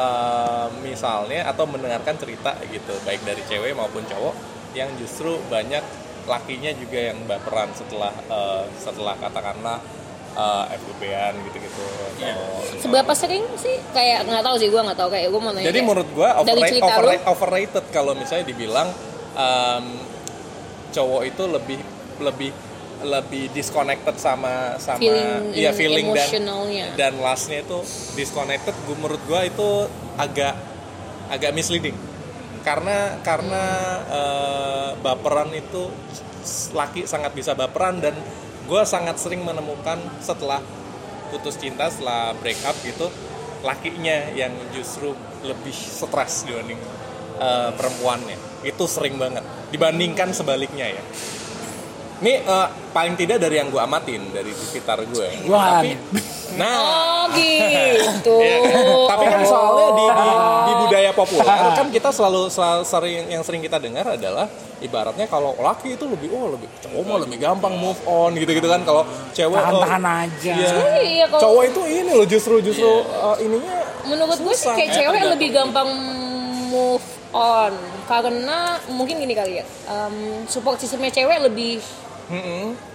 Speaker 5: eh, misalnya atau mendengarkan cerita gitu, baik dari cewek maupun cowok, yang justru banyak lakinya juga yang baperan setelah eh, setelah katakanlah eh, FBB-an gitu-gitu. atau-
Speaker 1: seberapa sering sih kayak nggak tahu sih gua nggak tahu kayak gua mau nanya
Speaker 5: Jadi
Speaker 1: kayak
Speaker 5: menurut gua
Speaker 1: dari
Speaker 5: overrate-
Speaker 1: cerita lu
Speaker 5: overrate- overrated kalau misalnya dibilang em, cowok itu lebih lebih lebih disconnected sama sama
Speaker 1: Feeling
Speaker 5: iya
Speaker 1: and
Speaker 5: feeling
Speaker 1: emotionalnya.
Speaker 5: dan dan lastnya itu disconnected gue menurut gue itu agak agak misleading karena karena eh, baperan itu s- laki sangat bisa baperan dan gue sangat sering menemukan setelah putus cinta setelah break up gitu lakinya yang justru lebih stres dibanding eh, perempuannya itu sering banget dibandingkan sebaliknya ya ini eh, paling tidak dari yang gue amatin dari sekitar gue
Speaker 2: Wah,
Speaker 5: nah
Speaker 1: Oh gitu.
Speaker 5: Iya kan? Tapi kan soalnya di, di, di budaya populer kan kita selalu, selalu sering yang sering kita dengar adalah ibaratnya kalau laki itu lebih oh lebih cowok mah lebih gampang move on gitu-gitu kan kalau cewek oh,
Speaker 2: tahan-tahan aja.
Speaker 5: iya.
Speaker 1: Iya, kalau-
Speaker 5: cowok itu ini loh justru justru uh, ininya
Speaker 1: menurut gue sih
Speaker 5: Susah,
Speaker 1: kayak
Speaker 5: ya,
Speaker 1: cewek
Speaker 5: tergantung.
Speaker 1: lebih gampang move on karena mungkin gini kali ya em, support sistemnya cewek lebih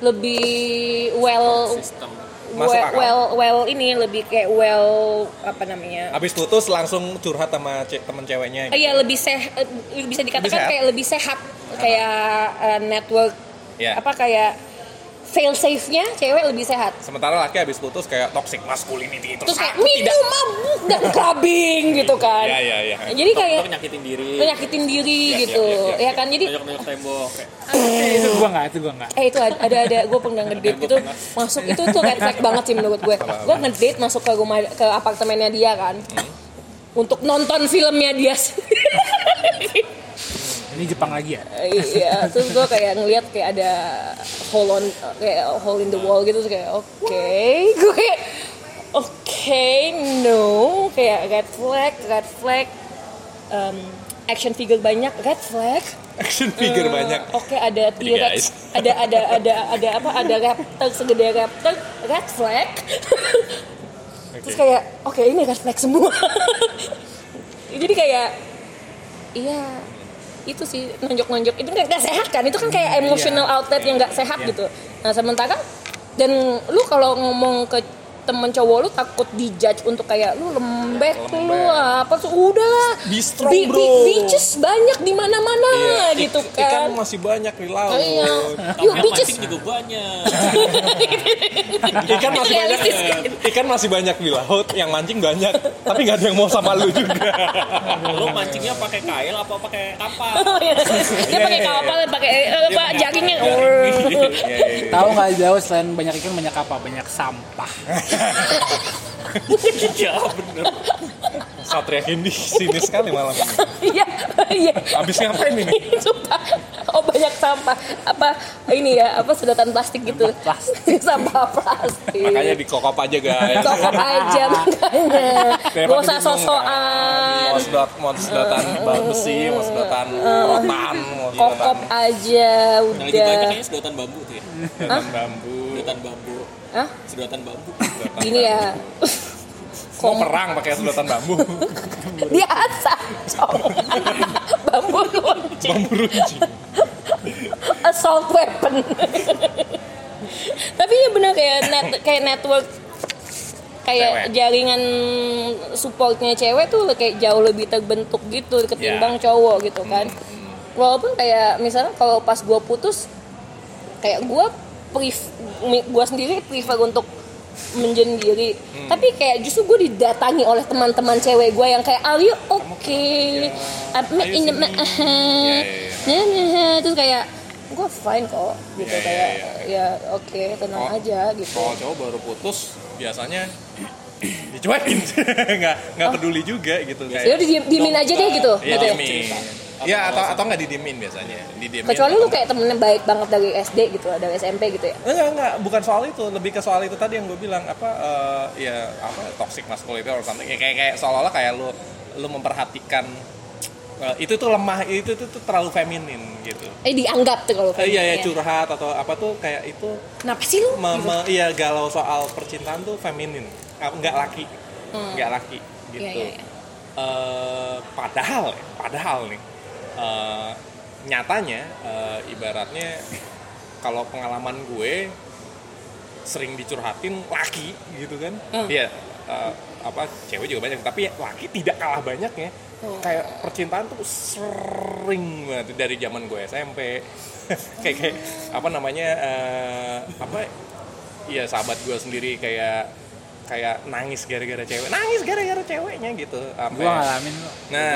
Speaker 1: lebih well
Speaker 6: sistem
Speaker 5: Masuk
Speaker 1: well,
Speaker 5: akal.
Speaker 1: well well ini lebih kayak well apa namanya
Speaker 5: habis putus langsung curhat sama ce- temen ceweknya gitu.
Speaker 1: iya lebih seh eh, bisa dikatakan
Speaker 5: Lebih sehat.
Speaker 1: kayak lebih sehat kayak eh, network
Speaker 5: Iya.
Speaker 1: apa kayak fail safe nya cewek lebih sehat
Speaker 5: sementara laki habis putus kayak toxic masculinity terus,
Speaker 1: terus kayak
Speaker 5: aku tidak
Speaker 1: minum mabuk dan clubbing gitu kan
Speaker 5: ya ya ya
Speaker 1: jadi kayak
Speaker 6: Dokter nyakitin diri
Speaker 1: menyakitin diri
Speaker 5: Iya,
Speaker 1: gitu
Speaker 5: iya, iya, iya.
Speaker 1: ya kan jadi
Speaker 6: banyak tembok kayak
Speaker 3: Iya.
Speaker 2: Eh, itu gua nggak, itu gua nggak.
Speaker 1: eh itu ada ada, ada gue pernah ngedate gitu masuk itu tuh red flag banget sih menurut gue gue ngedate masuk ke rumah ke apartemennya dia kan
Speaker 5: Hmm.
Speaker 1: untuk nonton filmnya dia sendiri.
Speaker 2: Ini Jepang lagi ya.
Speaker 1: iya terus gue kayak ngeliat kayak ada hole on kayak hole in the
Speaker 5: Hmm.
Speaker 1: wall gitu terus kayak oke gue kayak oke no kayak red flag red flag um, action figure banyak red flag
Speaker 5: action figure banyak
Speaker 1: Oke ada
Speaker 5: guys.
Speaker 1: T-Rex, ada ada ada ada apa? Ada raptor segede raptor, red flag. Terus kayak oke ini red flag semua. Jadi kayak iya itu sih nonjok-nonjok itu nggak nggak sehat kan itu kan
Speaker 5: Iya.
Speaker 1: kayak emotional outlet yang nggak sehat gitu nah sementara dan lu kalau ngomong ke temen cowok lu takut dijudge untuk kayak lu lembek, lu apa tuh udahlah
Speaker 5: Be strong,
Speaker 1: Bi- bi-
Speaker 5: bro.
Speaker 1: bitches banyak di mana-mana
Speaker 5: Iya, ik-
Speaker 1: gitu kan
Speaker 5: ikan masih banyak di laut
Speaker 1: Iya. Yuk bitches. Oh,
Speaker 6: mancing
Speaker 5: gitu.
Speaker 6: juga banyak
Speaker 5: ikan Iya, kan masih banyak
Speaker 1: Realistis
Speaker 5: ikan masih banyak di laut yang mancing banyak tapi nggak ada yang mau sama lu juga
Speaker 6: lo mancingnya pakai kail apa pakai kapal
Speaker 1: iya.
Speaker 5: Iya,
Speaker 1: Dia pakai kapal dan pakai eh, apa jaringnya.
Speaker 2: Iya. Tahu nggak jauh selain banyak ikan banyak apa? Banyak sampah.
Speaker 6: iya bener
Speaker 5: Satria Kindi sini sekali malam ini
Speaker 1: Iya, iya.
Speaker 5: abis ngapain ini
Speaker 1: Sumpah. Oh banyak sampah. Apa ini ya? Apa sedotan plastik gitu? sampah plastik.
Speaker 5: makanya di kokop aja guys
Speaker 1: Kokop aja makanya. Gak usah sosokan.
Speaker 5: mau sedot mau sedotan bal besi mau sedotan rotan mau sedotan
Speaker 1: Kokop aja
Speaker 6: yang lebih banyak
Speaker 1: udah.
Speaker 6: kayaknya sedotan bambu tuh ya
Speaker 5: sedotan bambu
Speaker 6: sedotan bambu
Speaker 1: Hah?
Speaker 6: sedotan bambu
Speaker 5: sedotan
Speaker 1: Gini ya.
Speaker 5: mau perang pakai sedotan bambu
Speaker 1: Dia asal. Bambu runcing.
Speaker 5: bambu runcing
Speaker 1: assault weapon. Tapi ya benar kayak net kayak network kayak
Speaker 5: Cewek.
Speaker 1: jaringan supportnya cewek tuh kayak jauh lebih terbentuk gitu ketimbang
Speaker 5: Ya. hmm,
Speaker 1: cowok gitu kan. Walaupun kayak misalnya kalau pas gua putus kayak gua pref- mi- gua sendiri prefer untuk menjendiri
Speaker 5: Hmm.
Speaker 1: tapi kayak justru gue didatangi oleh teman-teman cewek gue yang kayak are you okay
Speaker 5: ya,
Speaker 1: I'm in the Nah, nah, nah. terus kayak gue fine kok gitu
Speaker 5: Ya, ya,
Speaker 1: kayak
Speaker 5: ya,
Speaker 1: ya oke tenang
Speaker 5: Kalau-
Speaker 1: aja gitu
Speaker 5: kalau cowok baru putus biasanya dicuekin nggak nggak peduli juga gitu
Speaker 1: ya
Speaker 5: kayak
Speaker 1: udah diem- diemin aja deh gitu
Speaker 5: Iya,
Speaker 1: gitu ya.
Speaker 5: diemin. Iya, atau atau nggak didiemin biasanya. Didiemin.
Speaker 1: kecuali lu kayak temennya baik banget dari SD gitu dari SMP gitu ya
Speaker 5: Enggak, enggak, bukan soal itu, lebih ke soal itu tadi yang gue bilang apa eh, ya apa toxic masculinity or something. Ya, kayak kayak seolah-olah kayak lu lu memperhatikan eh, itu tuh lemah, itu tuh, tuh terlalu feminin gitu.
Speaker 1: eh dianggap tuh kalau
Speaker 5: Eh, iya
Speaker 1: feminine.
Speaker 5: ya curhat atau apa tuh kayak itu
Speaker 1: kenapa sih lu Gitu.
Speaker 5: me- me- iya galau soal percintaan tuh feminin. Ah, Enggak laki. Enggak laki gitu.
Speaker 1: Hmm. Iya, iya, iya.
Speaker 5: Eh, padahal, padahal nih, eh, nyatanya, eh, ibaratnya kalau pengalaman gue sering dicurhatin laki
Speaker 1: Hmm.
Speaker 5: gitu kan, Iya, eh, apa cewek juga banyak, tapi laki tidak kalah banyaknya kayak percintaan tuh sering banget dari zaman gue SMP kayak kayak apa namanya eh, apa ya sahabat gue sendiri kayak kayak nangis gara-gara cewek nangis gara-gara ceweknya gitu Sampai-
Speaker 2: Gue ngalamin lo.
Speaker 5: nah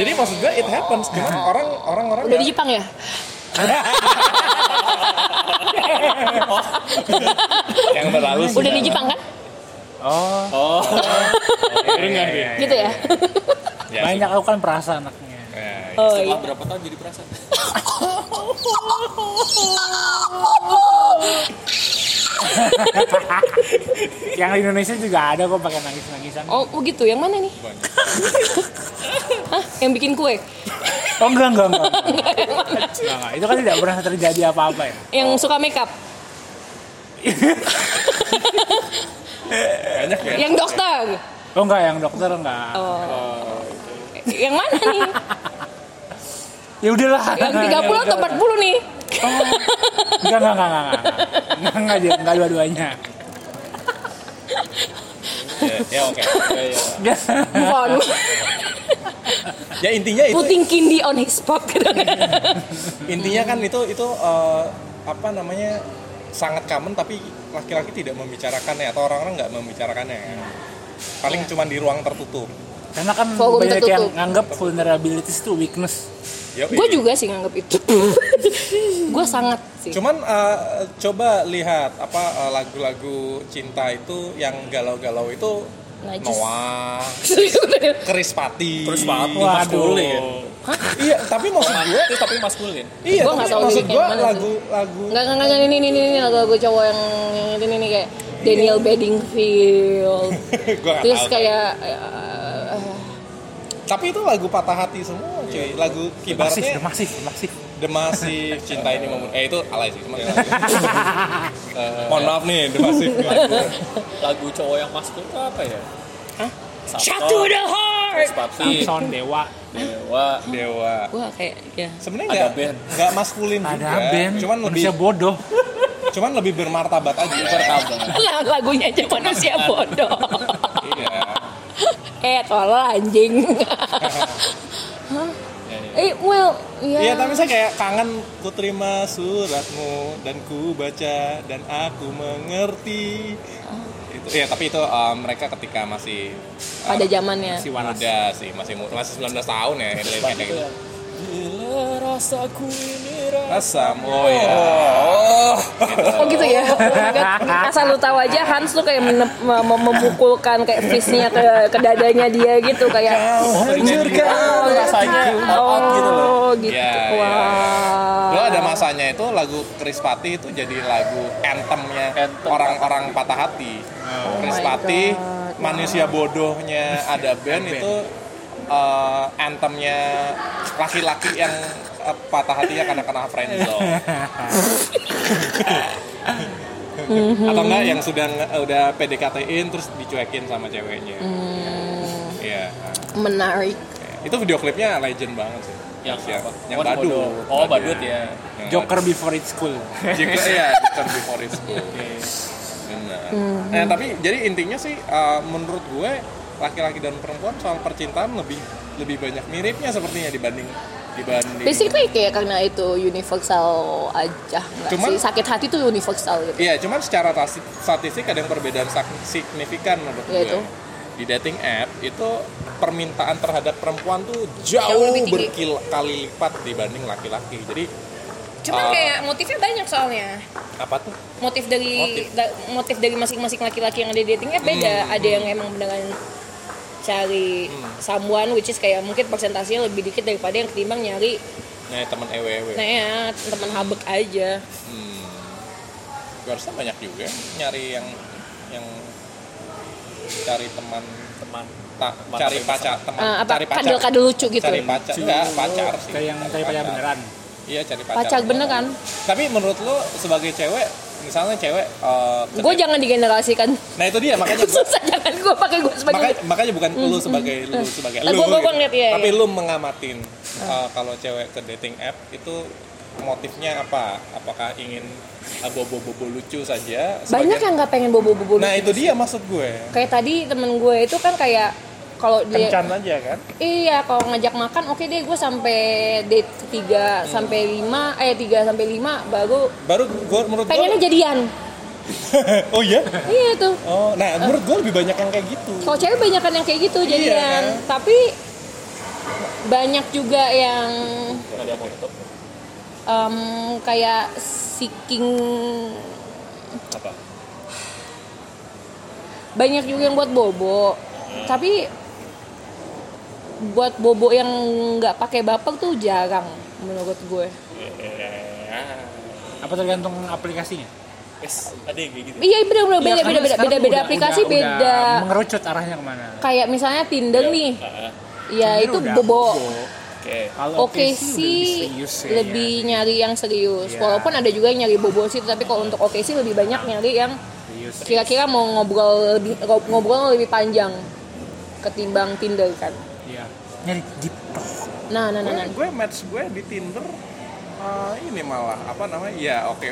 Speaker 5: jadi maksud gue it happens cuman orang orang orang
Speaker 1: Udah
Speaker 5: nggak-
Speaker 1: di Jepang ya?
Speaker 5: yang berlalu
Speaker 1: Udah di Jepang kan?
Speaker 2: Oh,
Speaker 5: Iya, iya, iya, iya.
Speaker 1: Gitu ya?
Speaker 3: Iya.
Speaker 5: Ya,
Speaker 2: banyak aku kan perasa anaknya.
Speaker 5: sih. Ya, ya.
Speaker 1: Oh iya.
Speaker 3: Setelah berapa tahun jadi perasaan?
Speaker 2: Yang di Indonesia juga ada kok pakai nangis-nangisan.
Speaker 1: Oh, oh gitu, yang mana nih? Hah? Yang bikin kue?
Speaker 2: Oh enggak enggak enggak. Enggak, enggak. Itu kan tidak pernah terjadi apa-apa ya.
Speaker 1: Yang
Speaker 5: Oh.
Speaker 1: suka makeup?
Speaker 5: banyak ya
Speaker 1: Yang dokter? gitu.
Speaker 2: Oh enggak yang dokter enggak.
Speaker 1: Oh. Yang mana nih?
Speaker 2: Ya udahlah.
Speaker 1: Yang
Speaker 5: Nah,
Speaker 1: 30 atau 40 nih?
Speaker 2: Enggak enggak enggak enggak. Enggak enggak dia enggak dua-duanya.
Speaker 5: ya, ya, oke Ya, ya.
Speaker 2: Enggak.
Speaker 1: Bukan.
Speaker 5: ya intinya itu
Speaker 1: Putting kindi on his spot.
Speaker 5: intinya kan itu itu eh, apa namanya sangat common tapi laki-laki tidak membicarakannya atau orang-orang nggak membicarakannya ya.
Speaker 1: Iya.
Speaker 5: paling cuma di ruang tertutup
Speaker 2: Karena kan
Speaker 1: Forum
Speaker 2: banyak
Speaker 1: tertutup.
Speaker 2: yang nganggap vulnerabilities itu weakness.
Speaker 5: Yoi.
Speaker 1: gue juga sih nganggep itu. gue sangat sih.
Speaker 5: cuman eh, coba lihat apa eh, lagu-lagu cinta itu yang galau-galau itu
Speaker 1: Najis.
Speaker 5: Noah Krispati
Speaker 3: Krispati. maskulin.
Speaker 5: iya tapi maksud gue
Speaker 3: tapi maskulin.
Speaker 5: iya
Speaker 1: Gua nggak
Speaker 5: tapi
Speaker 1: tahu liriknya
Speaker 5: maksud gue
Speaker 1: yang mana sih.
Speaker 5: lagu-lagu
Speaker 1: Enggak, enggak, enggak, ini, ini, ini, ini, lagu-lagu cowok yang ini, ini, ini kayak Daniel
Speaker 5: Iya.
Speaker 1: Bedingfield.
Speaker 5: gue nggak
Speaker 1: Terus
Speaker 5: tahu
Speaker 1: kayak eh, eh,
Speaker 5: tapi itu lagu patah hati semua cuy lagu
Speaker 2: Masif,
Speaker 5: kibarnya
Speaker 2: masif, masif.
Speaker 5: Demasi cinta ini membunuh. Eh itu alay sih, cuma Eh, Mohon maaf nih, Demasi.
Speaker 3: Lagu cowok yang maskulin itu apa ya? Hah?
Speaker 1: Shut to the heart.
Speaker 3: Sepati,
Speaker 2: Samson dewa.
Speaker 3: Dewa,
Speaker 5: Dewa.
Speaker 1: Gue kayak ya.
Speaker 5: Sebenarnya
Speaker 3: Ada
Speaker 5: nggak
Speaker 3: band.
Speaker 5: nggak maskulin
Speaker 3: Iya,
Speaker 5: juga,
Speaker 2: Ada Ben.
Speaker 5: cuman lebih
Speaker 2: Manusia bodoh.
Speaker 5: cuman lebih bermartabat aja.
Speaker 3: pertama.
Speaker 1: Lah, lagunya aja manusia bodoh.
Speaker 5: Iya.
Speaker 1: eh, tolol anjing. Hah? Eh, well, ya.
Speaker 5: Iya, tapi saya kayak kangen ku terima suratmu dan ku baca dan aku mengerti. Itu ya, tapi itu eh, mereka ketika masih eh,
Speaker 1: pada zamannya.
Speaker 2: Si waras.
Speaker 5: muda sih, masih mu- masih 19 tahun ya, kayak gitu.
Speaker 3: Gila rasaku ini rasa.
Speaker 5: Asam, oh ya.
Speaker 1: Oh gitu ya. Asal lu tahu aja Hans tuh kayak menep- me- me- memukulkan kayak fistnya ke ke dadanya dia gitu kayak
Speaker 5: Hancurkan
Speaker 3: Iya, rasanya out gitu loh.
Speaker 1: oh gitu.
Speaker 5: Iya, iya, iya.
Speaker 1: Wah.
Speaker 5: Dulu ada masanya itu lagu Krispati itu jadi lagu anthemnya
Speaker 3: Anthem.
Speaker 5: orang-orang patah hati. Krispati, manusia bodohnya ada band itu eh, anthemnya laki-laki yang eh, patah hatinya karena kena friendzone. Atau enggak yang sudah nge- udah PDKT-in terus dicuekin sama ceweknya. Iya.
Speaker 1: menarik.
Speaker 5: Itu video klipnya legend banget sih.
Speaker 3: Yang
Speaker 5: Siap.
Speaker 3: apa?
Speaker 5: Yang
Speaker 3: Wan
Speaker 5: badut.
Speaker 3: Bodoh. Ya, Oh, badut ya.
Speaker 5: Yang
Speaker 2: Joker before it's cool.
Speaker 1: Iya,
Speaker 5: Jika ya Victor before is cool. Benar.
Speaker 1: Hmm.
Speaker 5: Nah, tapi jadi intinya sih uh, menurut gue laki-laki dan perempuan soal percintaan lebih lebih banyak miripnya sepertinya dibanding dibanding.
Speaker 1: Basically kayak karena itu universal aja nggak
Speaker 5: Cuman-
Speaker 1: sih sakit hati tuh universal gitu.
Speaker 5: Iya, cuman secara tasi- statistik ada yang perbedaan sak- signifikan menurut
Speaker 1: Iya,
Speaker 5: gue.
Speaker 1: itu.
Speaker 5: Di dating app itu permintaan terhadap perempuan tuh
Speaker 1: Jauh
Speaker 5: jauh
Speaker 1: lebih tinggi.
Speaker 5: berkali lipat dibanding laki-laki. Jadi
Speaker 1: Cuman
Speaker 5: Ah.
Speaker 1: kayak motifnya banyak soalnya.
Speaker 5: apa tuh?
Speaker 1: Motif dari
Speaker 5: Motif. Hmm,
Speaker 1: da- motif, dari masing-masing laki-laki yang ada di dating app beda. Ada yang emang beneran cari someone which is kayak mungkin persentasenya lebih dikit daripada yang ketimbang nyari
Speaker 5: Nah, teman ewe-ewe.
Speaker 1: Nah ya, teman habek aja.
Speaker 5: Hmm. Gue harusnya banyak juga yang nyari yang yang cari teman teman tak cari pacar teman
Speaker 1: Eh, apa
Speaker 5: Ah, cari pacar
Speaker 1: kadel-kadel lucu gitu.
Speaker 5: cari pacar enggak pacar sih
Speaker 2: Iya, Kayak yang kayak pacar beneran.
Speaker 5: iya cari pacar,
Speaker 1: Pacar bener kan?
Speaker 5: tapi menurut lo sebagai cewek misalnya cewek eh, ke
Speaker 1: Gue
Speaker 5: date-
Speaker 1: jangan digenerasikan.
Speaker 5: nah itu dia makanya
Speaker 1: Susah jangan gue pakai gue sebagai
Speaker 5: makanya, makanya bukan
Speaker 1: Mm,
Speaker 5: lu sebagai lu sebagai
Speaker 1: Lah,
Speaker 5: lu,
Speaker 1: gua- gua-
Speaker 5: gitu.
Speaker 1: gua ngeliat, iya, Mm.
Speaker 5: tapi
Speaker 1: iya.
Speaker 5: lu mengamatin uh, kalau cewek ke dating app itu motifnya apa apakah ingin uh, bobo-bobo lucu saja
Speaker 1: banyak
Speaker 5: sebagian-
Speaker 1: yang nggak pengen bobo-bobo.
Speaker 5: nah itu dia maksud gue
Speaker 1: Kayak tadi temen gue itu kan kayak kalau dia
Speaker 3: kencan aja kan
Speaker 1: Iya, kalau ngajak makan oke deh gue sampai date ketiga sampai lima eh tiga sampai lima baru
Speaker 5: baru gua menurut
Speaker 1: pengennya
Speaker 5: gua
Speaker 1: jadian.
Speaker 5: oh iya
Speaker 1: Iya tuh.
Speaker 5: oh nah menurut gua lebih banyak yang kayak gitu
Speaker 1: Kalau cewek banyak yang kayak gitu jadian, tapi banyak juga yang em, kayak seeking
Speaker 5: apa
Speaker 1: banyak juga yang buat bobo tapi buat bobo yang nggak pakai baper tuh jarang menurut gue
Speaker 2: Apa tergantung aplikasinya?
Speaker 4: Yes, ada yang kayak gitu.
Speaker 1: iya bener bener beda
Speaker 2: Iya, karena
Speaker 1: beda beda beda
Speaker 2: sekarang
Speaker 1: beda
Speaker 2: udah-
Speaker 1: aplikasi
Speaker 2: udah- udah
Speaker 1: beda
Speaker 2: mengerucut arahnya kemana?
Speaker 1: kayak misalnya Tinder nih ya
Speaker 2: Tinder
Speaker 1: itu
Speaker 2: udah
Speaker 1: bobo
Speaker 3: oke
Speaker 2: Kalau
Speaker 1: oke
Speaker 2: lebih
Speaker 1: sih
Speaker 2: serius ya.
Speaker 1: lebih nyari yang serius
Speaker 2: Iya.
Speaker 1: walaupun ada juga yang nyari bobo sih tapi kalau untuk oke sih lebih banyak nyari yang
Speaker 2: Serius.
Speaker 1: kira-kira mau ngobrol lebih ngobrol lebih panjang ketimbang Tinder kan
Speaker 2: Iya. Nyari deep talk.
Speaker 1: nah nah nah,
Speaker 3: gue
Speaker 1: nah.
Speaker 3: gue match gue di Tinder eh, ini malah apa namanya ya oke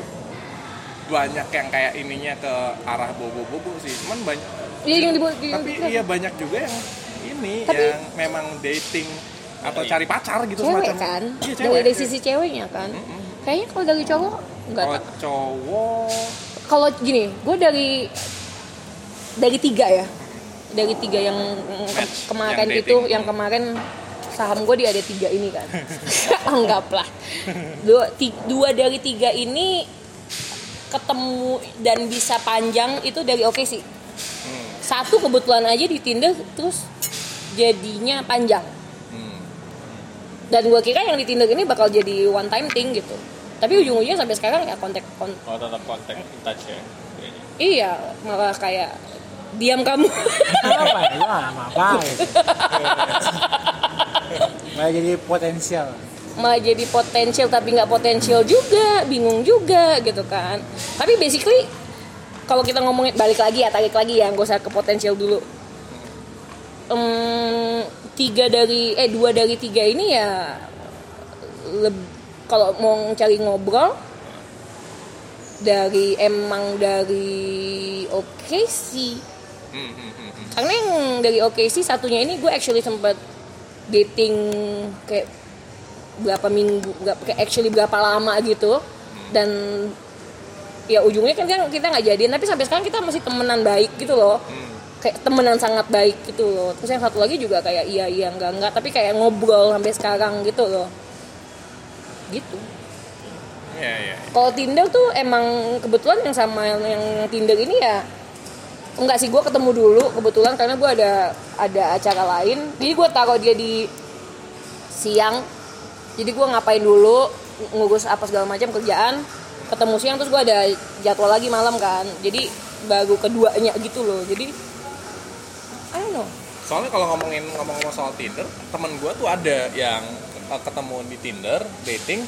Speaker 3: banyak yang kayak ininya ke arah bobo-bobo sih cuman banyak
Speaker 1: Iya yang dibuat di
Speaker 3: tapi iya banyak juga yang ini
Speaker 1: Tapi-
Speaker 2: iya,
Speaker 3: yang memang dating atau cari pacar gitu
Speaker 1: cewek
Speaker 3: semacam
Speaker 1: kan
Speaker 3: iya cewek
Speaker 1: dari, dari
Speaker 3: cewek.
Speaker 1: sisi ceweknya kan kayaknya kalau dari cowok nggak
Speaker 3: kalau
Speaker 1: tak-
Speaker 3: cowok
Speaker 1: kalau gini gue dari dari tiga ya dari tiga yang ke-
Speaker 3: Match,
Speaker 1: kemarin
Speaker 3: yang
Speaker 1: itu
Speaker 3: dating.
Speaker 1: yang kemarin saham gue di ada tiga ini kan anggaplah dua, ti- dua dari tiga ini ketemu dan bisa panjang itu dari oke sih satu kebetulan aja di Tinder terus jadinya panjang dan gue kira yang di Tinder ini bakal jadi one time thing gitu tapi ujung-ujungnya sampai sekarang ya kontak kon-
Speaker 5: oh tetap kontak in touch ya
Speaker 1: Iya, malah kayak diam kamu.
Speaker 2: apa ya? Lama apa? Malah jadi potensial.
Speaker 1: malah jadi potensial tapi nggak potensial juga, bingung juga gitu kan. Tapi basically kalau kita ngomongin balik lagi ya, tarik lagi ya, nggak usah ke potensial dulu. Em, tiga dari eh dua dari tiga ini ya leb- kalau mau cari ngobrol dari emang dari oke sih
Speaker 3: hmm, hmm, hmm, hmm.
Speaker 1: karena yang dari OKC satunya ini gue actually sempat dating kayak berapa minggu berapa kayak actually berapa lama gitu dan ya ujungnya kan kan kita nggak jadian tapi sampai sekarang kita masih temenan baik gitu loh kayak temenan sangat baik gitu loh terus yang satu lagi juga kayak iya iya enggak enggak tapi kayak ngobrol sampai sekarang gitu loh gitu
Speaker 3: Iya, iya.
Speaker 1: kalau Tinder tuh emang kebetulan yang sama yang, yang Tinder ini ya enggak sih gue ketemu dulu kebetulan karena gue ada ada acara lain jadi gue taruh dia di siang jadi gue ngapain dulu ng- ngurus apa segala macam kerjaan ketemu siang terus gue ada jadwal lagi malam kan jadi baru keduanya gitu loh jadi I don't know
Speaker 3: soalnya kalau ngomongin ngomong-ngomong soal Tinder temen gue tuh ada yang eh, ketemu di Tinder dating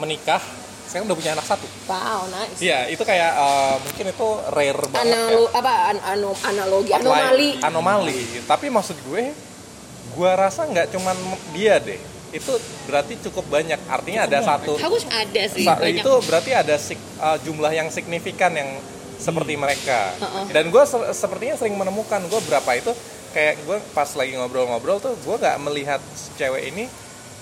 Speaker 3: menikah sekarang udah punya anak satu
Speaker 1: wow nice
Speaker 3: Iya, itu kayak eh, mungkin itu rare banget. ya.
Speaker 1: Analo, apa an- ano- analogi anomali
Speaker 3: Like, anomali. Tapi maksud gue, gue rasa nggak cuman dia deh. Itu berarti cukup banyak. Artinya ada satu.
Speaker 1: harus ada sih
Speaker 3: sa-
Speaker 1: banyak
Speaker 3: itu berarti ada sig- eh, jumlah yang signifikan yang seperti mereka.
Speaker 1: Heeh.
Speaker 3: Dan gue se- sepertinya sering menemukan gue berapa itu kayak gue pas lagi ngobrol-ngobrol tuh gue nggak melihat si cewek ini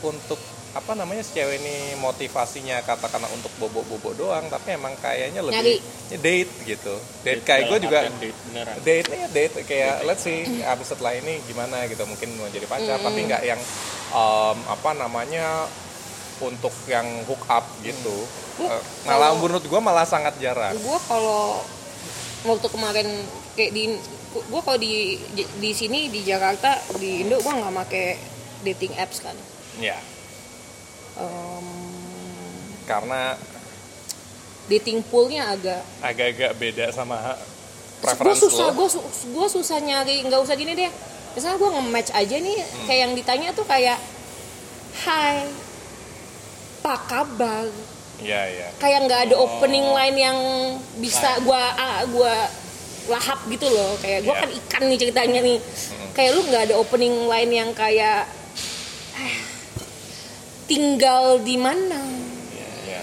Speaker 3: untuk apa namanya si cewek ini motivasinya katakanlah untuk bobo-bobo doang tapi emang kayaknya lebih date gitu date kayak gue juga
Speaker 5: beneran
Speaker 3: date nya ya, date kayak let's see abis setelah ini gimana gitu mungkin mau jadi pacar tapi
Speaker 1: Hmm.
Speaker 3: nggak yang em, apa namanya untuk yang hook up gitu
Speaker 1: Hmm.
Speaker 3: Eh, malah menurut gue malah sangat jarang
Speaker 1: gue kalau waktu kemarin kayak di gue kalau di di sini di Jakarta di Indo gue nggak make dating apps kan
Speaker 3: ya
Speaker 1: Em,
Speaker 3: karena
Speaker 1: dating poolnya agak
Speaker 3: agak-agak beda
Speaker 1: gue
Speaker 3: sama preference
Speaker 1: susah
Speaker 3: Ah, lo
Speaker 1: gue gue susah nyari nggak usah gini deh misalnya gue nge-match aja nih kayak yang ditanya tuh kayak Hai apa kabar
Speaker 3: ya ya
Speaker 1: kayak nggak ada opening line yang bisa gua ah, gua lahap gitu loh kayak gua
Speaker 3: Iya. Hmm.
Speaker 1: kan ikan nih ceritanya nih kayak lu nggak ada opening line yang kayak "Ah, tinggal di mana
Speaker 3: ya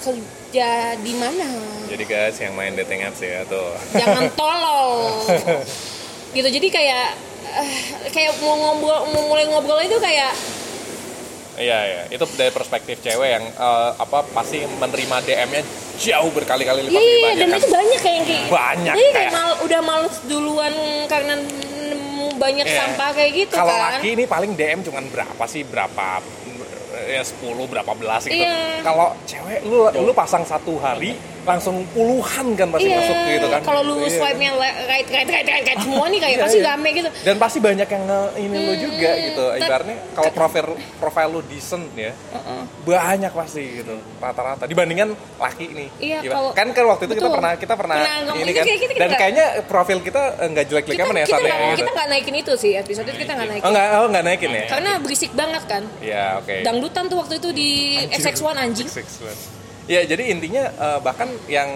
Speaker 1: kerja di mana
Speaker 3: jadi guys yang main dating apps ya tuh
Speaker 1: jangan tolol gitu jadi kayak kayak mau ngobrol mau mulai ngobrol itu kayak
Speaker 3: Iya iya, itu dari perspektif cewek yang eh, apa pasti menerima DM-nya jauh berkali-kali lipat
Speaker 1: iya iya iya,
Speaker 3: lebih
Speaker 1: dan
Speaker 3: banyak.
Speaker 1: itu
Speaker 3: kan.
Speaker 1: banyak kayak yang kayak
Speaker 3: Banyak,
Speaker 1: jadi kayak
Speaker 3: kayak-
Speaker 1: mal, udah males duluan karena nemu banyak
Speaker 3: Iya.
Speaker 1: sampah kayak gitu
Speaker 3: Kalau
Speaker 1: kan
Speaker 3: laki ini paling DM cuman berapa sih? Berapa ya 10 berapa belas gitu.
Speaker 1: Iya.
Speaker 3: Kalau cewek lu lu pasang satu hari langsung puluhan kan pasti
Speaker 1: iya
Speaker 3: masuk gitu kan.
Speaker 1: kalau lu
Speaker 3: Iya.
Speaker 1: swipe-nya le- right right right right, right semua nih kayak
Speaker 3: Iya,
Speaker 1: pasti
Speaker 3: iya.
Speaker 1: rame gitu
Speaker 3: dan pasti banyak yang nge ini lu juga
Speaker 1: Hmm,
Speaker 3: gitu.
Speaker 1: tet-
Speaker 3: Ibaratnya kalau profil profil lu decent ya. Banyak pasti gitu rata-rata dibandingkan laki nih.
Speaker 1: Iya,
Speaker 3: Iba-
Speaker 1: kalau-
Speaker 3: kan kan waktu itu kita
Speaker 1: betul.
Speaker 3: pernah kita pernah
Speaker 1: Pernah ngomong
Speaker 3: ini
Speaker 1: itu
Speaker 3: kan.
Speaker 1: kayak gitu, kita
Speaker 3: dan
Speaker 1: nggak-
Speaker 3: kayaknya profil kita eh, nggak jelek-jelek
Speaker 1: kita
Speaker 3: aman ya
Speaker 1: kita
Speaker 3: saatnya
Speaker 1: nggak
Speaker 3: gitu.
Speaker 1: kita nggak naikin itu sih episode itu kita nggak naikin
Speaker 3: Oh enggak, oh enggak naikin ya.
Speaker 1: karena berisik banget kan
Speaker 3: Iya, oke.
Speaker 1: dangdutan tuh waktu itu di XX1 anjing
Speaker 3: Ya jadi intinya eh, bahkan yang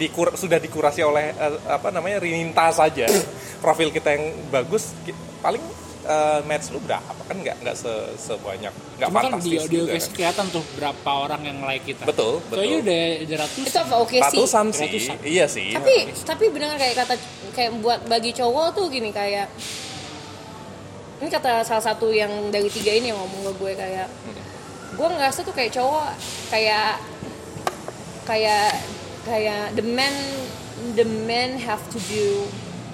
Speaker 3: dikur- sudah dikurasi oleh eh, apa namanya Rininta saja profil kita yang bagus ki- paling eh, match lu berapa kan nggak nggak se- sebanyak nggak
Speaker 2: Cuma kan di
Speaker 3: fantastis
Speaker 2: audio
Speaker 3: juga
Speaker 2: case
Speaker 3: kan.
Speaker 2: kelihatan tuh berapa orang yang like kita.
Speaker 3: Betul,
Speaker 2: Soalnya
Speaker 3: betul.
Speaker 2: udah ada ratus.
Speaker 1: itu apa oke sih
Speaker 3: ratusan sih
Speaker 2: Ratusan.
Speaker 3: iya sih
Speaker 1: tapi tapi benar kayak kata kayak buat bagi cowok tuh gini kayak ini kata salah satu yang dari tiga ini yang ngomong ke gue kayak gue ngerasa tuh kayak cowok kayak kayak kayak the man the man have to do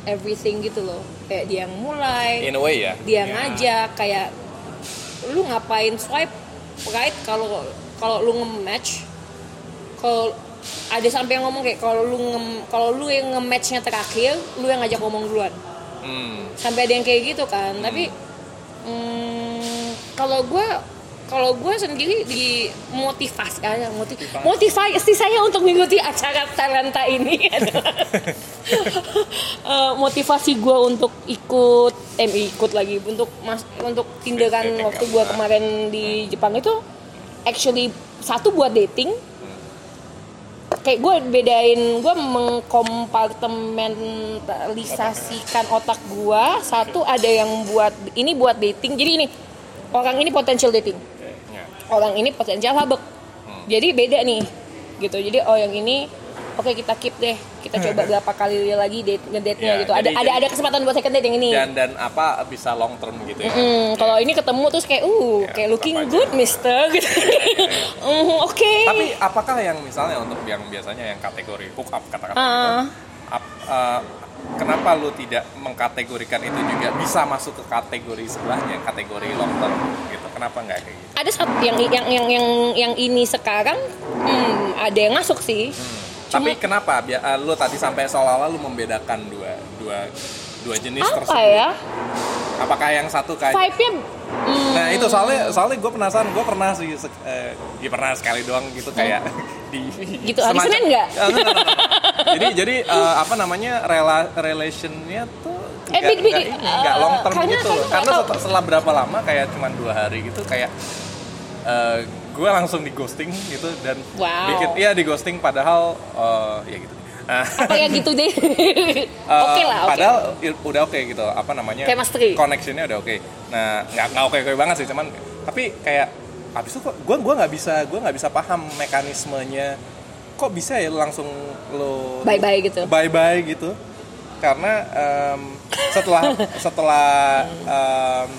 Speaker 1: everything gitu loh kayak dia yang mulai
Speaker 3: in a way ya
Speaker 1: dia ngajak kayak lu ngapain swipe right kalau kalau lu nge-match kalau ada sampai yang ngomong kayak kalau lu nge kalau lu yang nge-matchnya terakhir lu yang ngajak ngomong duluan
Speaker 3: Hmm,
Speaker 1: sampai ada yang kayak gitu kan tapi mm, kalau gue kalau gue sendiri dimotivasi ah, motiv, motivasi saya untuk mengikuti acara talenta ini adalah eh, motivasi gue untuk ikut eh ikut lagi untuk mas untuk tindakan
Speaker 3: Dating
Speaker 1: waktu
Speaker 3: apa?
Speaker 1: gue kemarin di Jepang itu actually satu buat dating kayak gue bedain gue mengkompartementalisasikan otak gue satu ada yang buat ini buat dating jadi ini orang ini potensial dating
Speaker 3: ya.
Speaker 1: orang ini potensial habek
Speaker 3: Hmm.
Speaker 1: jadi beda nih gitu jadi oh yang ini oke kita keep deh kita coba berapa kali lagi date ngedate nya
Speaker 3: Hmm. Ya,
Speaker 1: gitu ada
Speaker 3: jadi-
Speaker 1: ada ada kesempatan buat second date yang ini
Speaker 3: dan dan apa bisa long term gitu ya
Speaker 1: Hmm, kalau ini ketemu terus kayak uh
Speaker 3: Ya,
Speaker 1: kayak looking
Speaker 3: tetap aja.
Speaker 1: good mister gitu Mhm, oke
Speaker 3: Tapi apakah yang misalnya untuk yang biasanya yang kategori hook up katakan
Speaker 1: Ah.
Speaker 3: gitu, ap- eh, kenapa lu tidak mengkategorikan itu juga bisa masuk ke kategori sebelahnya kategori long term gitu? Kenapa nggak kayak gitu?
Speaker 1: ada satu yang yang yang yang yang ini sekarang hmm, ada yang masuk sih
Speaker 3: Tapi kenapa Bia- eh, lu tadi sampai seolah-olah lu membedakan dua dua dua jenis
Speaker 1: apa
Speaker 3: tersebut?
Speaker 1: ya
Speaker 3: Apakah yang satu kayak
Speaker 1: vibe nya hmm, eh,
Speaker 3: Nah itu soalnya soalnya gue penasaran gue pernah sih sek- eh, ya pernah sekali doang gitu kayak di
Speaker 1: Gitu, hari
Speaker 3: semacam-
Speaker 1: Senin nggak?
Speaker 3: Eh, no, no, no, no. jadi jadi eh, apa namanya rela relationnya tuh
Speaker 1: Eh,
Speaker 3: nggak-
Speaker 1: bit- bit-
Speaker 3: nggak ini, nggak long term
Speaker 1: eh, karena
Speaker 3: gitu
Speaker 1: kan
Speaker 3: loh.
Speaker 1: nggak
Speaker 3: karena
Speaker 1: tahu.
Speaker 3: setel- setelah berapa lama kayak cuman dua hari gitu kayak eh, gue langsung di ghosting gitu dan
Speaker 1: Wow.
Speaker 3: bikin iya di ghosting padahal eh, ya gitu Ah.
Speaker 1: apa ya gitu deh
Speaker 3: Eh,
Speaker 1: oke lah oke
Speaker 3: Padahal i- udah oke gitu, apa namanya?
Speaker 1: Chemistry.
Speaker 3: Connectionnya udah oke. Nah, nggak nggak oke oke banget sih, cuman tapi kayak habis itu kok gue gua nggak bisa gue nggak bisa paham mekanismenya kok bisa ya lu langsung lo
Speaker 1: Bye-bye gitu.
Speaker 3: bye bye gitu karena em, setelah setelah em,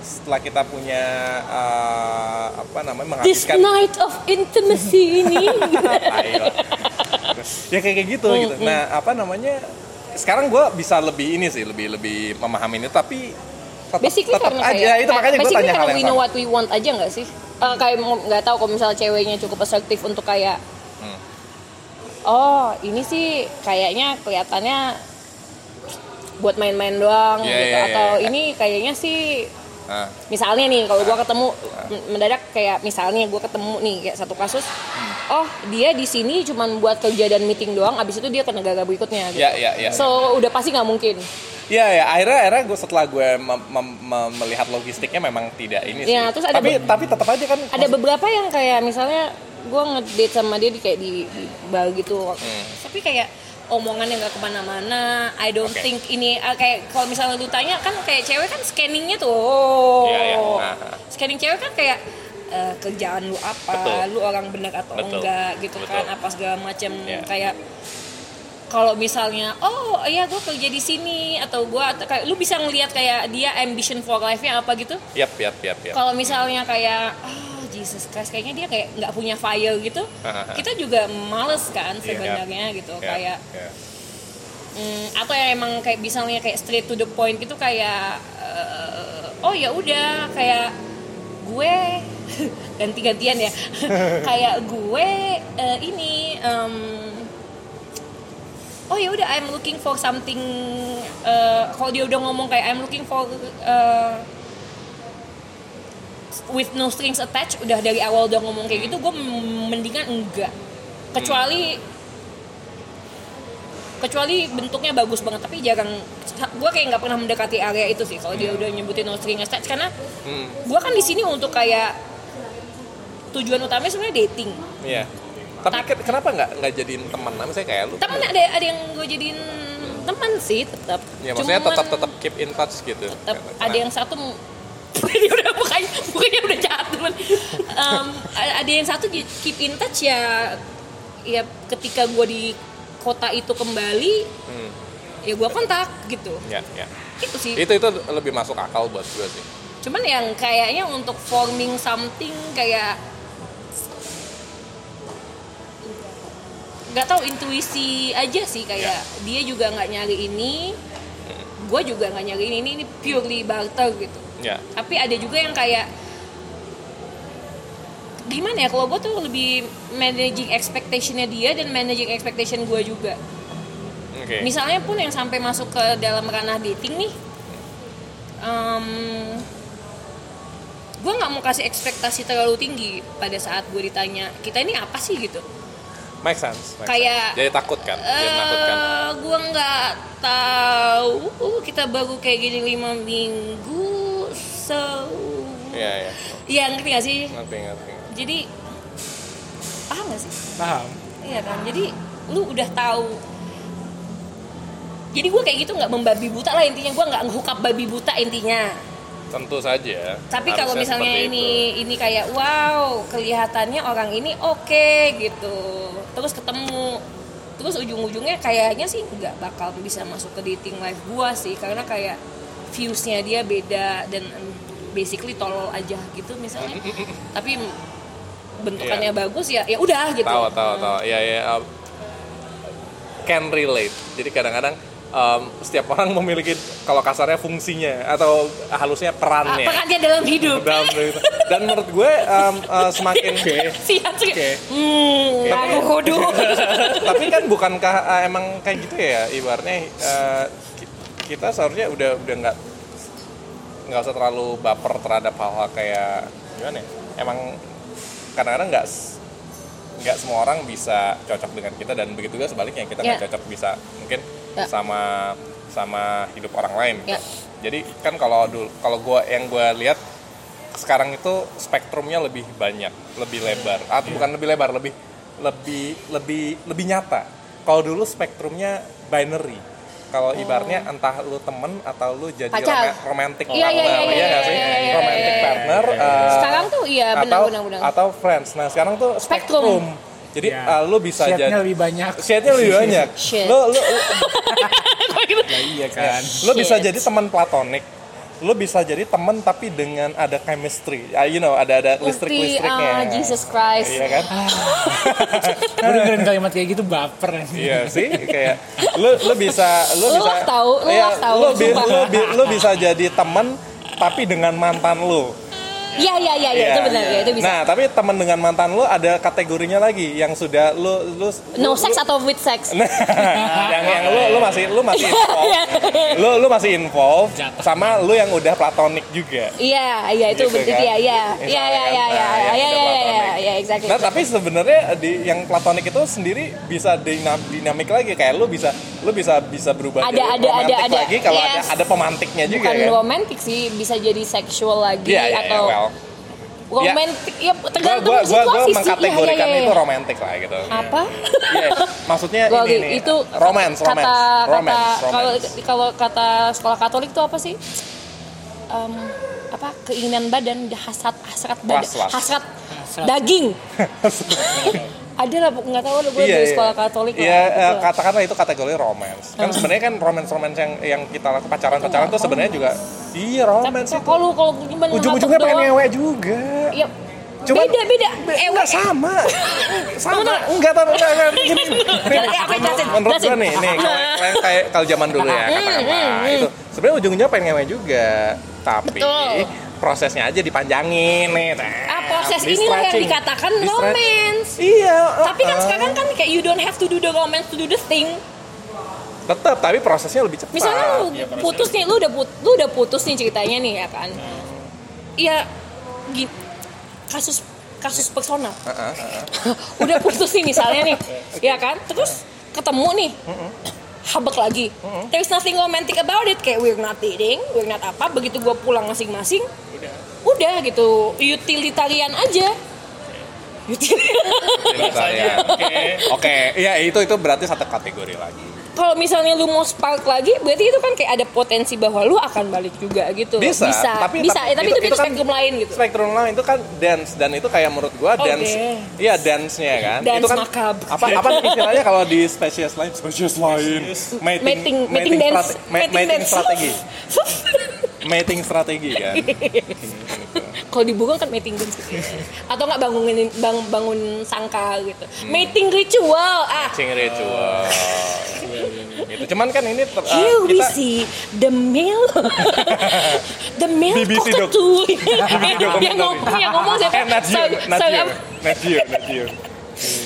Speaker 3: setelah kita punya eh, apa namanya
Speaker 1: this
Speaker 3: menghabiskan
Speaker 1: night of intimacy ini
Speaker 3: Ayo. ya kayak kayak gitu gitu. Nah apa namanya? Sekarang gue bisa lebih ini sih, lebih lebih memahami ini. Tapi tetap,
Speaker 1: basically
Speaker 3: tetap
Speaker 1: karena
Speaker 3: aja
Speaker 1: kayak
Speaker 3: itu makanya gue
Speaker 1: basically
Speaker 3: tanya hal
Speaker 1: karena
Speaker 3: yang
Speaker 1: we know
Speaker 3: sama.
Speaker 1: what we want aja nggak sih Eh, kayak mau- nggak tahu kalau misalnya ceweknya cukup asertif untuk kayak
Speaker 3: Hmm.
Speaker 1: oh ini sih kayaknya kelihatannya buat main-main doang
Speaker 3: Iya,
Speaker 1: gitu
Speaker 3: iya, iya,
Speaker 1: atau
Speaker 3: iya.
Speaker 1: ini kayaknya sih
Speaker 3: Ah,
Speaker 1: misalnya nih kalau gua ketemu
Speaker 3: Hmm.
Speaker 1: m- mendadak kayak misalnya gua ketemu nih kayak satu kasus
Speaker 3: Hmm.
Speaker 1: oh dia di sini cuman buat kerja dan meeting doang abis itu dia ke negara berikutnya gitu.
Speaker 3: Ya, ya, ya.
Speaker 1: so udah pasti nggak mungkin
Speaker 3: Iya ya, akhirnya akhirnya gue setelah gue mem- mem- mem- melihat logistiknya memang tidak ini sih.
Speaker 1: Iya, terus ada be-
Speaker 3: tapi tapi tetap aja kan
Speaker 1: ada beberapa yang kayak misalnya gua ngedate sama dia di kayak di, di bar gitu
Speaker 3: Hmm.
Speaker 1: tapi kayak omongan yang nggak kemana-mana I don't
Speaker 3: Oke.
Speaker 1: think ini ah, kayak kalau misalnya lu tanya kan kayak cewek kan scanningnya tuh oh.
Speaker 3: Iya, iya. Nah.
Speaker 1: scanning cewek kan kayak eh, kerjaan lu apa
Speaker 3: Betul.
Speaker 1: lu orang benar atau
Speaker 3: Betul.
Speaker 1: enggak gitu
Speaker 3: Betul.
Speaker 1: kan apa segala macam
Speaker 3: Iya.
Speaker 1: kayak kalau misalnya oh iya gue kerja di sini atau gue kayak lu bisa ngelihat kayak dia ambition for life-nya apa gitu
Speaker 3: Yap, yap, yap, yap.
Speaker 1: kalau misalnya kayak ah Jesus Christ kayaknya dia kayak nggak punya fire gitu
Speaker 3: Hahaha. Iya.
Speaker 1: kita juga males kan sebenarnya gitu
Speaker 3: Yap,
Speaker 1: kayak
Speaker 3: yap.
Speaker 1: mm, atau yang emang kayak misalnya kayak straight to the point gitu kayak eh, oh ya udah kayak gue ganti-gantian ya kayak gue eh, ini em, oh ya udah I'm looking for something eh, kalau dia udah ngomong kayak I'm looking for eh, with no strings attached udah dari awal udah ngomong kayak gitu gue m- mendingan enggak kecuali kecuali bentuknya bagus banget tapi jarang gue kayak nggak pernah mendekati area itu sih kalau dia
Speaker 3: Hmm.
Speaker 1: udah nyebutin no string attached karena gue kan di sini untuk kayak tujuan utamanya sebenarnya dating
Speaker 3: Iya. Tapi ke- kenapa nggak nggak jadiin teman? Nah, Misalnya kayak lu.
Speaker 1: teman ada ada yang gue jadiin teman sih tetap
Speaker 3: Ya maksudnya
Speaker 1: Cuman
Speaker 3: tetap tetap keep in touch gitu.
Speaker 1: tetap
Speaker 3: Kenapa?
Speaker 1: ada yang satu dia udah bukannya bukannya udah jahat teman Em, a- ada yang satu di- keep in touch ya ya ketika gue di kota itu kembali
Speaker 3: Hmm.
Speaker 1: ya gue kontak gitu
Speaker 3: Ya, ya.
Speaker 1: itu sih
Speaker 3: Itu itu lebih masuk akal buat gue sih.
Speaker 1: cuman yang kayaknya untuk forming something kayak nggak tahu intuisi aja sih kayak dia juga nggak nyari ini gue juga nggak nyari ini ini, ini purely barter gitu
Speaker 3: Ya.
Speaker 1: tapi ada juga yang kayak gimana ya kalau gue tuh lebih managing expectationnya dia dan managing expectation gue juga
Speaker 3: Oke.
Speaker 1: misalnya pun yang sampai masuk ke dalam ranah dating nih gue nggak mau kasih ekspektasi terlalu tinggi pada saat gue ditanya kita ini apa sih gitu
Speaker 3: Make sense. make
Speaker 1: Kayak-
Speaker 3: sense. Jadi takut kan? Jadi takut kan?
Speaker 1: eh gue nggak tahu "Uh, kita baru kayak gini lima minggu so
Speaker 3: Iya, iya.
Speaker 1: ya ngerti gak sih
Speaker 3: Ngerti, ngerti.
Speaker 1: jadi paham gak sih
Speaker 2: paham
Speaker 1: Iya kan, jadi lu udah tahu. Jadi gue kayak gitu nggak membabi buta lah intinya, gue nggak ngehukap babi buta intinya.
Speaker 3: Tentu saja.
Speaker 1: Tapi kalau
Speaker 3: harusnya
Speaker 1: misalnya
Speaker 3: seperti
Speaker 1: ini ini kayak wow kelihatannya orang ini oke gitu, terus ketemu, terus ujung-ujungnya kayaknya sih nggak bakal bisa masuk ke dating life gue sih, karena kayak viewsnya dia beda dan basically tolol aja gitu misalnya. Tapi bentukannya bagus ya, ya udah gitu.
Speaker 3: Iya. tahu tahu tahu ya ya um, can relate jadi kadang-kadang um, setiap orang memiliki kalau kasarnya fungsinya atau halusnya perannya
Speaker 1: Ah, Apa aja dalam hidup?
Speaker 3: Dalam cerita. dan menurut gue um, uh, semakin
Speaker 1: Siap sih.
Speaker 3: Oke.
Speaker 1: Hmm, aku kudu.
Speaker 3: tapi kan bukankah uh, emang kayak gitu ya ibaratnya uh, ki- kita seharusnya udah udah nggak nggak usah terlalu baper terhadap hal-hal kayak gimana ya emang kadang-kadang nggak s- nggak semua orang bisa cocok dengan kita dan begitu juga sebaliknya kita nggak
Speaker 1: Ya.
Speaker 3: cocok bisa mungkin
Speaker 1: Ya.
Speaker 3: sama sama hidup orang lain
Speaker 1: Ya.
Speaker 3: jadi kan kalau dulu kalau gua yang gua lihat sekarang itu spektrumnya lebih banyak, lebih lebar. Atau bukan lebih lebar, lebih lebih lebih lebih nyata. Kalau dulu spektrumnya binary. Kalau ibarnya entah lu temen atau lu jadi
Speaker 1: Oh. Pacar.
Speaker 3: rome- romantic
Speaker 1: Iya,
Speaker 3: partner, ya
Speaker 1: iya, iya, iya,
Speaker 3: nggak sih?
Speaker 1: iya, iya, iya,
Speaker 3: romantic
Speaker 1: iya, iya.
Speaker 3: partner. eh,
Speaker 1: Sekarang tuh iya
Speaker 3: atau
Speaker 1: benar-benar.
Speaker 3: atau friends. Nah, sekarang tuh
Speaker 1: Spektrum.
Speaker 3: spektrum. Jadi
Speaker 2: Ya.
Speaker 3: eh, lu bisa
Speaker 2: Shade-nya
Speaker 3: jadi
Speaker 2: lebih banyak
Speaker 3: shade-nya lebih banyak.
Speaker 1: Shit.
Speaker 3: Lu lu lu-
Speaker 2: ya iya kan
Speaker 3: Lo bisa
Speaker 1: Shit.
Speaker 3: jadi teman platonik. Lo bisa jadi teman tapi dengan ada chemistry. Ah, you know, ada ada
Speaker 1: Mesti ah,
Speaker 3: listrik-listriknya.
Speaker 1: Jesus Christ.
Speaker 3: Iya kan?
Speaker 2: gue dengerin kalimat kayak gitu baper
Speaker 3: Iya sih, kayak lo lo bisa lo
Speaker 1: Lu
Speaker 3: bisa
Speaker 1: lah tahu, lu
Speaker 3: Iya,
Speaker 1: lah tahu,
Speaker 3: lo bi-
Speaker 1: sumpah.
Speaker 3: lo bi- lo bisa jadi teman tapi dengan mantan lo.
Speaker 1: Iya, iya, iya, iya,
Speaker 3: Iya.
Speaker 1: itu benar ya, itu bisa.
Speaker 3: Nah, tapi teman dengan mantan lo ada kategorinya lagi yang sudah lo lo
Speaker 1: no sex atau with sex.
Speaker 3: Nah, yang yang lu lu masih lu masih involved.
Speaker 1: Iya,
Speaker 3: lu lu masih involved
Speaker 2: Jatuh.
Speaker 3: sama lu yang udah platonik juga.
Speaker 1: Iya, iya itu
Speaker 3: Gitu
Speaker 1: betul
Speaker 3: kan?
Speaker 1: iya, iya. Iya, iya, iya, iya, iya,
Speaker 3: Nah,
Speaker 1: iya,
Speaker 3: yang udah
Speaker 1: iya, iya,
Speaker 3: platonik.
Speaker 1: iya, exactly.
Speaker 3: Nah, tapi sebenarnya di yang platonik itu sendiri bisa dinam- dinamik lagi kayak lu bisa lu bisa bisa berubah
Speaker 1: Ada-
Speaker 3: jadi
Speaker 1: ada- ada-
Speaker 3: romantik
Speaker 1: ada.
Speaker 3: lagi kalau ada
Speaker 1: Yes.
Speaker 3: ada pemantiknya juga
Speaker 1: Bukan
Speaker 3: kan.
Speaker 1: romantic sih, bisa jadi seksual lagi
Speaker 3: Iya, iya, iya,
Speaker 1: atau
Speaker 3: well.
Speaker 1: romantic. Ya,
Speaker 3: Gua
Speaker 1: tergantung
Speaker 3: gua
Speaker 1: situasi
Speaker 3: gua, gua
Speaker 1: sih. Iya, iya,
Speaker 3: mengkategorikan
Speaker 1: iya,
Speaker 3: itu
Speaker 1: iya.
Speaker 3: romantik lah gitu.
Speaker 1: Apa?
Speaker 3: Iya, maksudnya
Speaker 1: Gua
Speaker 3: ini
Speaker 1: lagi-
Speaker 3: nih.
Speaker 1: itu
Speaker 3: romance,
Speaker 1: kata
Speaker 3: romance, romance,
Speaker 1: kata kalau
Speaker 3: romance.
Speaker 1: kalau kata sekolah Katolik tuh apa sih? Em, apa keinginan badan, hasrat hasrat badan,
Speaker 3: Was-was.
Speaker 1: hasrat
Speaker 2: Hasrat.
Speaker 1: daging. ada lah bu- nggak tahu lah gue di sekolah Katolik lah,
Speaker 3: Iya,
Speaker 1: gitu
Speaker 3: eh,
Speaker 1: lah.
Speaker 3: katakanlah itu kategori romance. Kan sebenarnya kan romance-romance yang yang kita lakukan pacaran-pacaran tuh sebenarnya juga iya
Speaker 1: tapi
Speaker 3: romance. itu.
Speaker 1: kalau lu kalau cuma
Speaker 3: Ujung-ujungnya pengen
Speaker 1: ngebatok
Speaker 3: ngewe juga.
Speaker 1: doang, iya
Speaker 3: Cuman-
Speaker 1: beda beda Eh, ewe
Speaker 3: Enggak sama. sama.
Speaker 1: Tunggu, tunggu.
Speaker 3: Enggak tahu enggak enggak. gini.
Speaker 1: Jangan, eh, apa, jelasin,
Speaker 3: Menurut gue
Speaker 1: jelasin. Hmm,
Speaker 3: nih, nih kalau
Speaker 1: Nah.
Speaker 3: kayak- kayak kalau zaman dulu ya katakanlah itu sebenarnya ujung-ujungnya pengen ngewe juga, tapi
Speaker 1: Betul.
Speaker 3: prosesnya aja dipanjangin nih.
Speaker 1: ah proses inilah yang dikatakan romance
Speaker 3: Iya.
Speaker 1: tapi kan
Speaker 3: uh-uh.
Speaker 1: sekarang kan kayak you don't have to do the romance to do the thing
Speaker 3: tetap tapi prosesnya lebih cepat.
Speaker 1: misalnya lu putus nih lu udah put, lu udah putus nih ceritanya nih ya kan
Speaker 3: Nah.
Speaker 1: Iya gi- kasus kasus personal
Speaker 3: Heeh, heeh.
Speaker 1: udah putus nih misalnya nih ya kan terus ketemu nih habek lagi there's nothing romantic about it kayak we're not dating we're not apa begitu gua pulang masing-masing udah gitu utilitarian aja Util-
Speaker 3: Gitu, Misalnya. Oke, iya itu itu berarti satu kategori lagi.
Speaker 1: kalau misalnya lu mau spark lagi berarti itu kan kayak ada potensi bahwa lu akan balik juga gitu
Speaker 3: Bisa,
Speaker 1: bisa
Speaker 3: tapi-
Speaker 1: bisa ya,
Speaker 3: tapi
Speaker 1: tapi
Speaker 3: itu-
Speaker 1: itu,
Speaker 3: itu
Speaker 1: beda
Speaker 3: kan-
Speaker 1: spektrum lain gitu
Speaker 3: Spektrum lain itu kan dance dan itu kayak menurut gua
Speaker 1: Oh,
Speaker 3: dance.
Speaker 1: dance.
Speaker 3: Iya, dance-nya kan.
Speaker 1: Dance
Speaker 3: itu kan
Speaker 1: macabre.
Speaker 3: apa apa istilahnya kalau di spesies lain? Spesies lain. Mating
Speaker 1: mating mating dance
Speaker 3: strate- ma- mating
Speaker 1: dance.
Speaker 3: strategi. Mating strategi kan.
Speaker 1: Iya. kalau di Google kan mating dance atau nggak bangunin bang, bangun sangka gitu
Speaker 3: Hmm.
Speaker 1: mating ritual ah
Speaker 3: Matching ritual. iya, gitu. Cuman kan ini ter- eh,
Speaker 1: Here we
Speaker 3: kita
Speaker 1: see the male, the male
Speaker 3: BBC dok.
Speaker 1: cockatoo. yang ngomong, yang ngomong siapa?
Speaker 3: eh, Nat Geo,
Speaker 1: Sir-
Speaker 3: Nat
Speaker 1: Sir
Speaker 3: Geo,
Speaker 1: apa?
Speaker 3: Nat Geo, Nat Geo.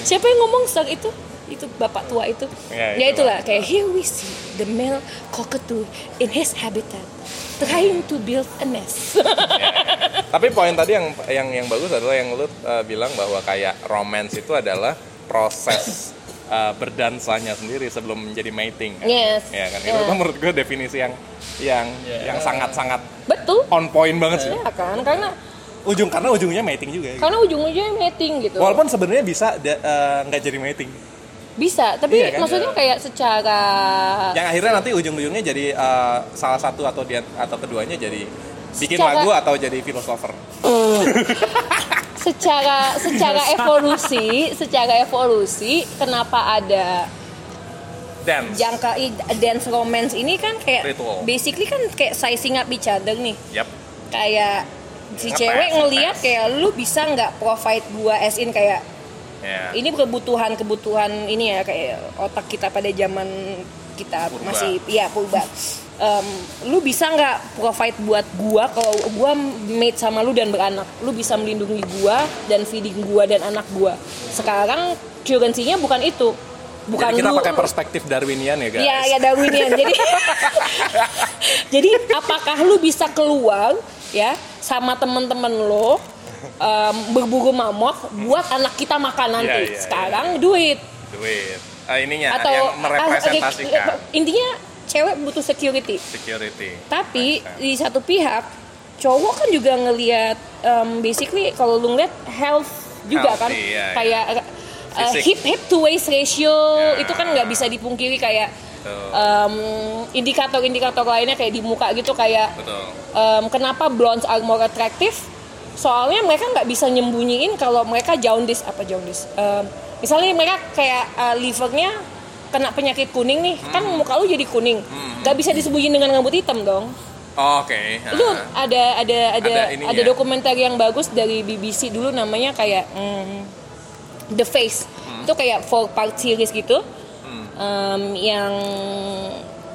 Speaker 1: siapa yang ngomong sir itu itu bapak tua itu
Speaker 3: Ya,
Speaker 1: ya,
Speaker 3: itulah.
Speaker 1: itulah kayak here we see the male cockatoo in his habitat trying to build a nest
Speaker 3: Tapi poin tadi yang yang yang bagus adalah yang lu uh, bilang bahwa kayak romance itu adalah proses uh, berdansanya sendiri sebelum menjadi mating. Kan?
Speaker 1: Yes.
Speaker 3: Ya kan.
Speaker 1: Yeah.
Speaker 3: Itu tuh menurut gue definisi yang yang yang sangat-sangat
Speaker 1: betul
Speaker 3: on point banget sih.
Speaker 1: ya kan karena
Speaker 3: Ujung karena ujungnya mating juga. gitu.
Speaker 1: karena ujung-ujungnya mating gitu
Speaker 3: Walaupun sebenarnya bisa da- uh, nggak jadi mating.
Speaker 1: bisa tapi
Speaker 3: Iya kan? Ya.
Speaker 1: maksudnya kayak secara
Speaker 3: Yang akhirnya nanti ujung-ujungnya jadi uh, salah satu atau dia atau keduanya jadi bikin
Speaker 1: Secara-
Speaker 3: lagu atau jadi filosofer.
Speaker 1: secara secara
Speaker 3: Iya.
Speaker 1: evolusi secara evolusi kenapa ada
Speaker 3: Dance.
Speaker 1: jangka i- dance romance ini kan kayak
Speaker 3: Ritual.
Speaker 1: basically kan kayak sizing up each other nih
Speaker 3: Yap.
Speaker 1: kayak si
Speaker 3: Ngepes,
Speaker 1: cewek ngeliat
Speaker 3: ngepes.
Speaker 1: kayak lu bisa nggak provide gua as in kayak
Speaker 3: Ya.
Speaker 1: ini kebutuhan kebutuhan ini ya kayak otak kita pada zaman kita
Speaker 3: Purba.
Speaker 1: masih ya purba Em, lu bisa nggak provide buat gua kalau gua mate sama lu dan beranak lu bisa melindungi gua dan feeding gua dan anak gua sekarang currency-nya bukan itu bukan
Speaker 3: Jadi kita
Speaker 1: lu
Speaker 3: pakai perspektif Darwinian ya guys.
Speaker 1: Iya, ya Darwinian. Jadi Jadi apakah lu bisa keluar ya sama temen-temen lo em, berburu mamok buat anak kita makan nanti.
Speaker 3: Iya, iya, iya.
Speaker 1: Sekarang duit
Speaker 3: duit Ah, ininya
Speaker 1: atau
Speaker 3: yang
Speaker 1: ah,
Speaker 3: merepresentasikan
Speaker 1: oke, intinya cewek butuh security.
Speaker 3: security
Speaker 1: Tapi di satu pihak cowok kan juga ngelihat em, basically kalau lu ngeliat health juga kan
Speaker 3: Healthy, iya, iya.
Speaker 1: kayak eh,
Speaker 3: Fisik.
Speaker 1: hip hip to waist ratio
Speaker 3: Ya.
Speaker 1: itu kan nggak bisa dipungkiri kayak
Speaker 3: Betul.
Speaker 1: em, indikator-indikator lainnya kayak di muka gitu kayak
Speaker 3: betul
Speaker 1: em, kenapa blondes are more attractive soalnya mereka nggak bisa nyembunyiin kalau mereka jaundice apa jaundice Em, misalnya mereka kayak eh, livernya kena penyakit kuning nih kan
Speaker 3: Hmm.
Speaker 1: muka lu jadi kuning nggak bisa disembunyiin dengan rambut hitam dong
Speaker 3: oke ah.
Speaker 1: itu ada ada ada
Speaker 3: Iya. Ada
Speaker 1: ada,
Speaker 3: ininya.
Speaker 1: dokumenter yang bagus dari BBC dulu namanya kayak mm, The Face itu kayak four part series gitu Em, yang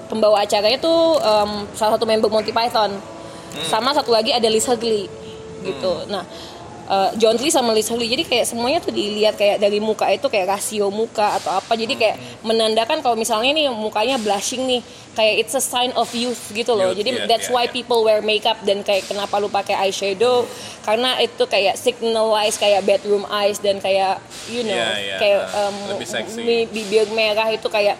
Speaker 1: pembawa acaranya tuh em, salah satu member Monty Python
Speaker 3: Hmm.
Speaker 1: sama satu lagi ada Liz Hurley gitu nah eh, John Lee sama Liz Hurley jadi kayak semuanya tuh dilihat kayak dari muka itu kayak rasio muka atau apa jadi kayak
Speaker 3: Hmm.
Speaker 1: menandakan kalau misalnya nih mukanya blushing nih kayak it's a sign of youth gitu loh
Speaker 3: Youth,
Speaker 1: jadi
Speaker 3: iya,
Speaker 1: that's
Speaker 3: iya,
Speaker 1: why
Speaker 3: iya.
Speaker 1: people wear makeup dan kayak kenapa lu pakai eyeshadow karena itu kayak signalize kayak bedroom eyes dan kayak you know
Speaker 3: Iya, iya,
Speaker 1: kayak
Speaker 3: uh,
Speaker 1: um,
Speaker 3: lebih seksi.
Speaker 1: mi- bibir merah itu kayak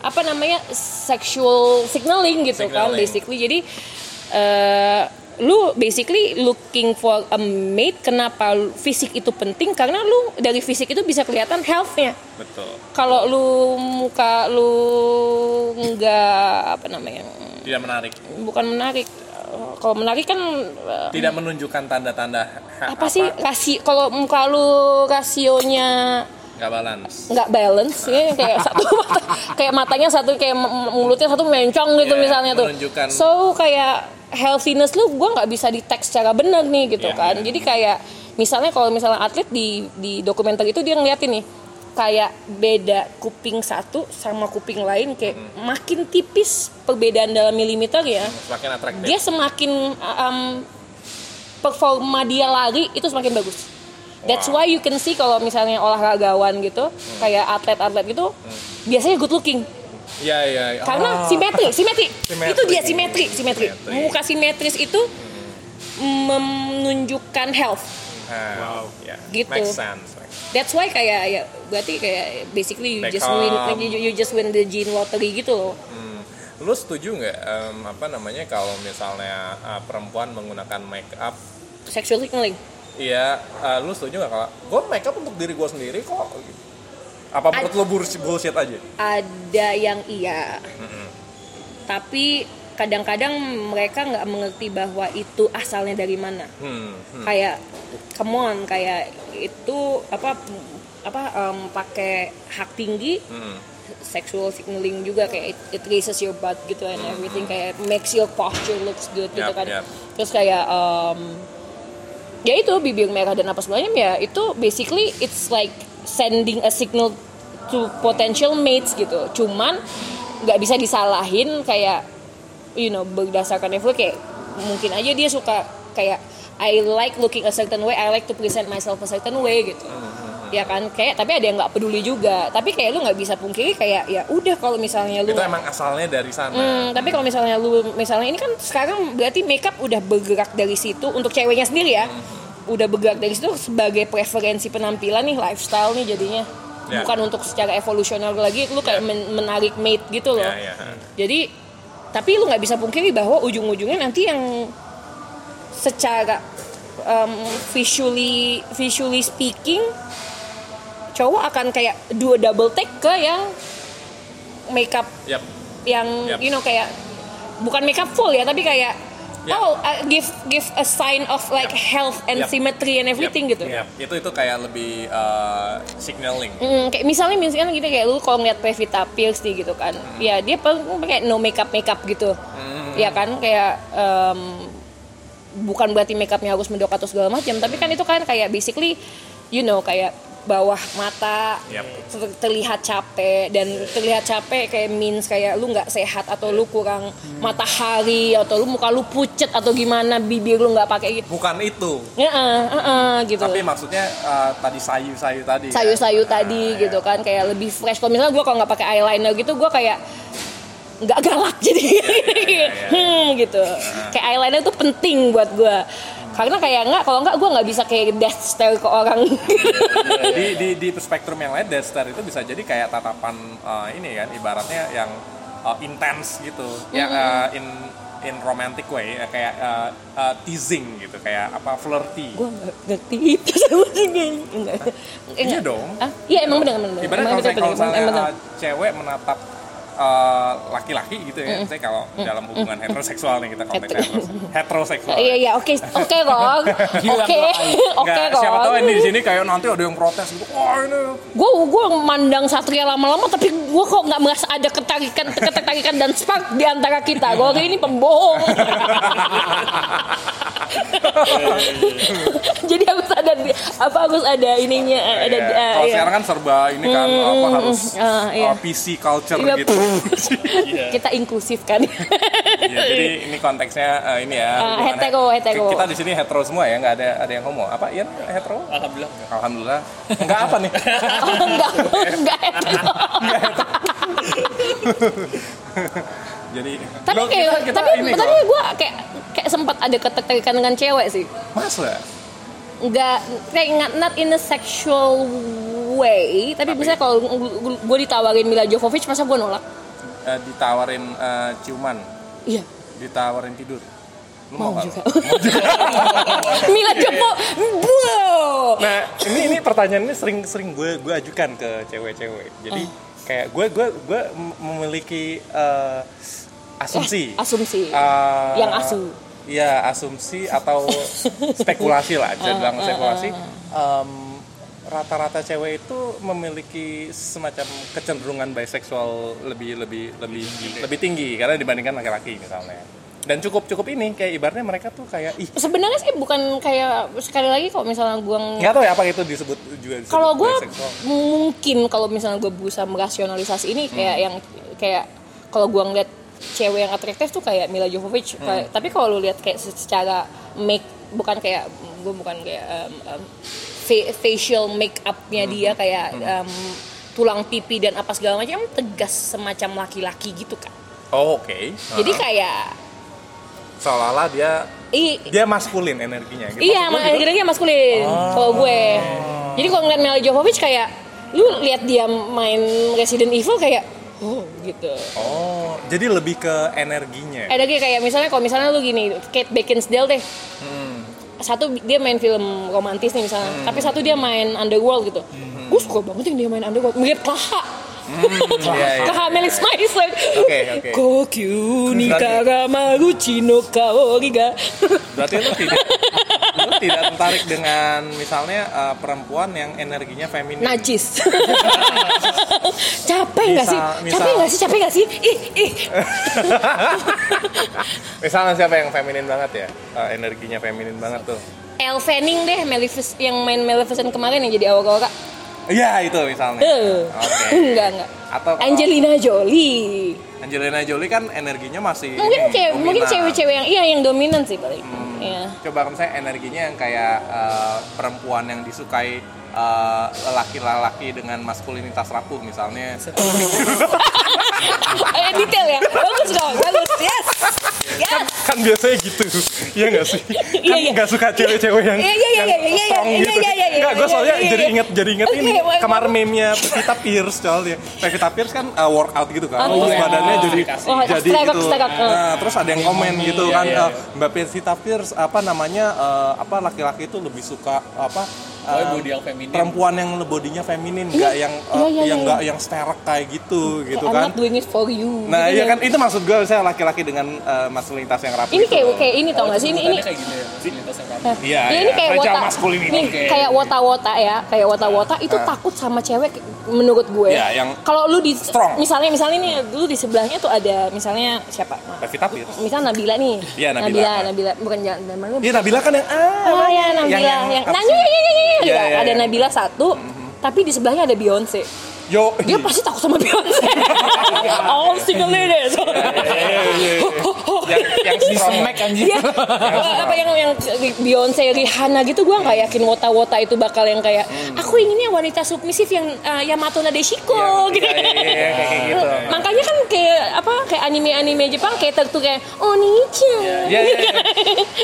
Speaker 1: apa namanya sexual signaling gitu kan
Speaker 3: Signaling.
Speaker 1: basically jadi eh, lu basically looking for a mate kenapa lu- fisik itu penting karena lu dari fisik itu bisa kelihatan healthnya
Speaker 3: betul
Speaker 1: kalau lu muka lu nggak apa namanya
Speaker 3: tidak menarik
Speaker 1: bukan menarik Eh, kalau menarik kan eh,
Speaker 3: tidak menunjukkan tanda-tanda ha-
Speaker 1: apa sih rasio kalau muka lu rasionya
Speaker 3: nggak balance
Speaker 1: nggak balance ya kayak satu mata, kayak matanya satu kayak m- mulutnya satu mencong gitu
Speaker 3: Iya,
Speaker 1: misalnya tuh
Speaker 3: menunjukkan.
Speaker 1: so kayak healthiness lu gue nggak bisa di tag secara benar nih gitu
Speaker 5: Iya,
Speaker 1: kan jadi kayak misalnya kalau misalnya atlet di di dokumenter itu dia ngeliatin nih kayak beda kuping satu sama kuping lain kayak makin tipis perbedaan dalam milimeter ya
Speaker 3: semakin atraktif
Speaker 1: dia semakin um, performa dia lari itu semakin bagus. That's why you can see kalau misalnya olahragawan gitu,
Speaker 3: Hmm.
Speaker 1: kayak atlet-atlet gitu, biasanya good looking.
Speaker 3: iya iya iya.
Speaker 1: Karena
Speaker 3: Oh.
Speaker 1: simetri, simetri.
Speaker 3: Simetri.
Speaker 1: Itu dia simetri, simetri.
Speaker 3: Simetri.
Speaker 1: Muka simetris itu menunjukkan health.
Speaker 3: Ah, iya.
Speaker 1: Gitu.
Speaker 3: makes sense makes sense.
Speaker 1: That's why kayak ya berarti kayak basically you just win
Speaker 3: Beckham.
Speaker 1: you, you just win the gene lottery gitu loh.
Speaker 3: lu setuju nggak em, apa namanya kalau misalnya eh, perempuan menggunakan make up
Speaker 1: Sexual signaling.
Speaker 3: Iya, eh, lu setuju gak kalau gue make up untuk diri gue sendiri kok? gitu. Apa menurut lu bullshit, bullshit aja?
Speaker 1: ada yang iya tapi kadang-kadang mereka nggak mengerti bahwa itu asalnya dari mana
Speaker 3: Hmm, hmm.
Speaker 1: kayak come on kayak itu apa apa em, pakai hak tinggi
Speaker 3: Hmm.
Speaker 1: sexual signaling juga kayak it, it raises your butt gitu and everything kayak makes your posture looks good gitu
Speaker 3: Yap,
Speaker 1: kan
Speaker 3: yap.
Speaker 1: terus kayak em, ya itu bibir merah dan apa semuanya ya itu basically it's like sending a signal to potential mates gitu cuman nggak bisa disalahin kayak you know berdasarkan level kayak mungkin aja dia suka kayak I like looking a certain way I like to present myself a certain way gitu ya kan kayak tapi ada yang nggak peduli juga tapi kayak lu nggak bisa pungkiri kayak ya udah kalau misalnya lu
Speaker 3: Itu emang asalnya dari sana.
Speaker 1: Hmm, tapi kalau misalnya lu misalnya ini kan sekarang berarti makeup udah bergerak dari situ untuk ceweknya sendiri ya. Udah bergerak dari situ sebagai preferensi penampilan nih, lifestyle nih jadinya.
Speaker 3: Ya.
Speaker 1: Bukan untuk secara evolusioner lagi lu kayak men- menarik mate gitu loh.
Speaker 3: Ya, ya.
Speaker 1: Jadi tapi lu nggak bisa pungkiri bahwa ujung-ujungnya nanti yang secara um, visually visually speaking cowok akan kayak dua double take ke yang makeup
Speaker 3: Yap.
Speaker 1: yang
Speaker 3: Yap.
Speaker 1: you know kayak bukan makeup full ya tapi kayak
Speaker 3: Yap.
Speaker 1: oh uh, give give a sign of like health and
Speaker 3: Yap.
Speaker 1: symmetry and everything
Speaker 3: Yap,
Speaker 1: gitu.
Speaker 3: yap. Itu itu kayak lebih eh, signaling.
Speaker 1: Mm, kayak misalnya misalnya gini kayak lu kalau ngeliat Pevita Pierce nih gitu kan,
Speaker 3: Hmm.
Speaker 1: ya dia paling kayak no makeup makeup gitu, ya kan kayak em, bukan berarti makeupnya harus mendok atau segala macam, tapi kan itu kan kayak basically you know kayak bawah mata
Speaker 3: Yap.
Speaker 1: ter- terlihat capek dan terlihat capek kayak means kayak lu nggak sehat atau lu kurang
Speaker 3: Hmm.
Speaker 1: matahari atau lu muka lu pucet atau gimana bibir lu nggak pakai gitu,
Speaker 3: Bukan itu.
Speaker 1: Heeh, heeh, gitu
Speaker 3: Tapi maksudnya eh, tadi sayu-sayu tadi. kan?
Speaker 1: sayu-sayu
Speaker 3: Ah,
Speaker 1: tadi
Speaker 3: ya.
Speaker 1: gitu kan kayak lebih fresh kalau misalnya gue kalau nggak pakai eyeliner gitu gue kayak nggak galak jadi
Speaker 3: Iya,
Speaker 1: hmm gitu
Speaker 3: Nah.
Speaker 1: kayak eyeliner tuh penting buat gue karena kayak nggak kalau nggak gue nggak bisa kayak death stare ke orang Iya,
Speaker 3: di di di spektrum yang lain Death Star itu bisa jadi kayak tatapan eh, ini kan ibaratnya yang eh, intense gitu yang eh, in in romantic way eh, kayak eh, eh, teasing gitu kayak apa flirty
Speaker 1: gue nggak ngerti itu sama sekali Enggak.
Speaker 3: iya
Speaker 1: Enggak.
Speaker 3: dong
Speaker 1: Ah, iya emang bener bener
Speaker 3: ibarat
Speaker 1: Emang
Speaker 3: kalau
Speaker 1: bener,
Speaker 3: saya kalau
Speaker 1: bener, emang
Speaker 3: misalnya
Speaker 1: bener.
Speaker 3: eh, cewek menatap eh, laki-laki gitu ya saya kalau dalam hubungan heteroseksual nih kita konteks
Speaker 1: Hetero-
Speaker 3: heteroseksual, heteroseksual.
Speaker 1: iya iya oke oke Rong oke oke
Speaker 3: Nggak, siapa tahu ini
Speaker 1: Rong
Speaker 3: di sini kayak nanti ada yang protes gitu wah ini
Speaker 1: gue gue mandang satria lama-lama tapi gue kok nggak merasa ada ketarikan ketertarikan dan spark di antara kita gue ini pembohong jadi harus ada di- apa harus ada ininya ada
Speaker 3: Iya,
Speaker 1: eh,
Speaker 3: kalau
Speaker 1: iya.
Speaker 3: sekarang kan serba ini kan
Speaker 1: Hmm,
Speaker 3: apa
Speaker 1: hmm,
Speaker 3: harus
Speaker 1: ah, iya.
Speaker 3: uh, PC culture
Speaker 1: Iya,
Speaker 3: gitu.
Speaker 1: kita inklusif kan
Speaker 3: Iya, jadi ini konteksnya uh, ini ya.
Speaker 1: Ah,
Speaker 3: hubungan-
Speaker 1: hetero, hetero.
Speaker 3: Kita di sini hetero semua ya, nggak ada ada yang homo. Apa Ian hetero?
Speaker 4: Alhamdulillah.
Speaker 3: Alhamdulillah. Enggak apa nih?
Speaker 1: oh, enggak enggak
Speaker 3: jadi
Speaker 1: tapi
Speaker 3: Loh,
Speaker 1: kayak
Speaker 3: kita- kita
Speaker 1: tapi
Speaker 3: ini
Speaker 1: tapi
Speaker 3: kok.
Speaker 1: gue kayak kayak sempat ada ketertarikan dengan cewek sih
Speaker 3: masa?
Speaker 1: nggak kayak nggak not in a sexual way tapi, misalnya kalau gue ditawarin Mila Jovovich masa gue nolak
Speaker 3: Eh, ditawarin eh, ciuman,
Speaker 1: iya
Speaker 3: ditawarin tidur. Lu
Speaker 1: mau
Speaker 3: nggak?
Speaker 1: juga Mila Jovo wow
Speaker 3: Nah, ini ini pertanyaan ini sering-sering gue gue ajukan ke cewek-cewek. Jadi
Speaker 1: Ah.
Speaker 3: kayak gue gue gue mem- memiliki eh, asumsi.
Speaker 1: Eh, asumsi.
Speaker 3: Eh,
Speaker 1: Yang asu. Ah,
Speaker 3: Iya, asumsi atau spekulasi lah, bisa bilang spekulasi. Em, rata-rata cewek itu memiliki semacam kecenderungan biseksual lebih lebih lebih lebih tinggi karena dibandingkan laki-laki misalnya. Dan cukup cukup ini kayak ibaratnya mereka tuh kayak ih
Speaker 1: Sebenarnya sih bukan kayak sekali lagi kalau misalnya gue ng-
Speaker 3: nggak tahu ya apa itu disebut juga disebut
Speaker 1: kalau gue
Speaker 3: biseksual.
Speaker 1: mungkin kalau misalnya gue berusaha merasionalisasi ini kayak yang kayak kalau gue ngeliat cewek yang atraktif tuh kayak Mila Jovovich Kayak- tapi kalau lu lihat kayak se- secara make bukan kayak gue bukan kayak um, um, fa- facial make upnya dia kayak um, tulang pipi dan apa segala macam tegas semacam laki-laki gitu kan
Speaker 3: Oh, oke.
Speaker 1: jadi kayak
Speaker 3: seolah-olah dia
Speaker 1: i,
Speaker 3: dia maskulin energinya gitu.
Speaker 1: Iya,
Speaker 3: Maksud
Speaker 1: ma-
Speaker 3: lo gitu?
Speaker 1: akhirnya maskulin kalau gue. Jadi kalau ngeliat Mila Jovovich kayak lu lihat dia main Resident Evil kayak oh gitu.
Speaker 3: Oh, jadi lebih ke energinya.
Speaker 1: Ada lagi kayak misalnya kalau misalnya lu gini Kate Beckinsale deh.
Speaker 3: Hmm.
Speaker 1: Satu dia main film romantis nih misalnya, tapi satu dia main Underworld gitu.
Speaker 3: Hmm.
Speaker 1: Gue suka banget yang dia main Underworld, mirip Klaha.
Speaker 3: iya, iya.
Speaker 1: Klaha Melis Maison.
Speaker 3: Oke, oke.
Speaker 1: Kokyu ni karamaru chino kaori ga.
Speaker 3: Berarti lu tidak lu tidak tertarik dengan misalnya eh, perempuan yang energinya feminin.
Speaker 1: najis capek nggak sih
Speaker 3: Misal-
Speaker 1: capek
Speaker 3: misal-
Speaker 1: nggak sih capek nggak sih ih ih
Speaker 3: misalnya siapa yang feminin banget ya? Eh, energinya feminin banget tuh.
Speaker 1: Elle Fanning deh Malefic- yang main Maleficent kemarin yang jadi awak-awak
Speaker 3: Iya, itu misalnya.
Speaker 1: eh
Speaker 3: Oke.
Speaker 1: enggak enggak
Speaker 3: Atau kalau-
Speaker 1: Angelina Jolie
Speaker 3: Angelina Jolie kan energinya masih
Speaker 1: mungkin
Speaker 3: ini,
Speaker 1: cewek mungkin
Speaker 3: dominan.
Speaker 1: cewek-cewek yang iya yang dominan sih paling
Speaker 3: Hmm.
Speaker 1: Iya.
Speaker 3: Coba kalau misalnya energinya yang kayak eh, perempuan yang disukai eh, lelaki-lelaki dengan maskulinitas rapuh misalnya.
Speaker 1: Eh, detail ya bagus dong bagus yes yes
Speaker 5: kan biasanya gitu iya nggak sih
Speaker 1: Iya,
Speaker 5: kan
Speaker 1: iya.
Speaker 5: nggak suka cewek-cewek yang
Speaker 1: Iya, iya, iya,
Speaker 5: yang
Speaker 1: iya, iya, iya,
Speaker 5: strong
Speaker 1: iya,
Speaker 5: gitu
Speaker 1: iya, iya, iya,
Speaker 5: nggak gue
Speaker 1: iya,
Speaker 5: soalnya
Speaker 1: iya, iya.
Speaker 5: jadi inget jadi inget
Speaker 1: Oke,
Speaker 5: ini
Speaker 1: baik,
Speaker 5: kemarin meme-nya Pevita Pierce soalnya Pevita Pierce kan uh, workout gitu kan
Speaker 1: Oh,
Speaker 5: terus
Speaker 1: iya.
Speaker 5: badannya jadi
Speaker 1: Oh,
Speaker 5: jadi
Speaker 1: stegak,
Speaker 5: gitu
Speaker 1: stegak.
Speaker 5: Nah,
Speaker 3: Nah, terus ada yang komen gitu
Speaker 5: Iya,
Speaker 3: kan
Speaker 5: iya,
Speaker 3: eh, Mbak Pevita Pierce apa namanya
Speaker 5: uh,
Speaker 3: eh, apa laki-laki itu lebih suka apa eh,
Speaker 5: Oh, body yang feminin.
Speaker 3: perempuan yang bodinya feminin nggak yang eh,
Speaker 5: uh,
Speaker 1: iya, iya,
Speaker 3: yang
Speaker 1: iya.
Speaker 3: nggak yang sterek kayak gitu
Speaker 1: Kayak,
Speaker 3: gitu
Speaker 1: I'm
Speaker 3: kan
Speaker 1: not doing it for you
Speaker 3: nah
Speaker 1: Gitu
Speaker 3: iya
Speaker 1: ya.
Speaker 3: kan itu maksud gue saya laki-laki dengan eh, maskulinitas yang rapuh
Speaker 1: ini
Speaker 3: gitu
Speaker 1: kayak
Speaker 3: loh.
Speaker 1: kayak ini tau gak sih ini ini
Speaker 5: kayak gitu ya fasilitas yang rapuh.
Speaker 3: Iya,
Speaker 1: Ya,
Speaker 3: iya.
Speaker 1: ini kayak
Speaker 3: Fragile
Speaker 1: wota,
Speaker 3: masculinity.
Speaker 1: nih,
Speaker 5: Oke.
Speaker 1: kayak wota-wota ya, kayak wota-wota itu takut sama cewek menurut gue.
Speaker 3: Ya, Nah. yang
Speaker 1: Kalau lu di
Speaker 3: strong.
Speaker 1: misalnya misalnya nih lu di sebelahnya tuh ada misalnya siapa?
Speaker 3: Pevita Pierce
Speaker 1: Misalnya Nabila nih.
Speaker 3: Iya, Nabila.
Speaker 1: Nabila, Nabila. bukan jangan nama lu.
Speaker 3: Iya, Nabila kan yang ah,
Speaker 1: Oh ya Nabila yang,
Speaker 3: yang-
Speaker 1: yang,
Speaker 3: apa
Speaker 1: nah,
Speaker 3: sih?
Speaker 1: iya, iya, iya, iya, iya.
Speaker 3: Iya, iya,
Speaker 1: ada
Speaker 3: iya.
Speaker 1: Nabila satu, tapi di sebelahnya ada Beyonce.
Speaker 3: yo
Speaker 1: Dia pasti takut sama Beyonce. All single ladies.
Speaker 3: Iya,
Speaker 1: Oh,
Speaker 3: yang yang
Speaker 2: Di
Speaker 3: strong.
Speaker 2: semek anjir.
Speaker 1: Iya. apa yang yang Beyonce, Rihanna gitu gue nggak yakin wota-wota itu bakal yang kayak aku inginnya wanita submisif yang eh, Yamato Nadeshiko gitu.
Speaker 3: Hmm. Iya, iya, iya, iya, kayak gitu.
Speaker 1: Makanya kan kayak apa kayak anime-anime Jepang kayak tertu kayak Oni-chan.
Speaker 3: Iya, iya, iya.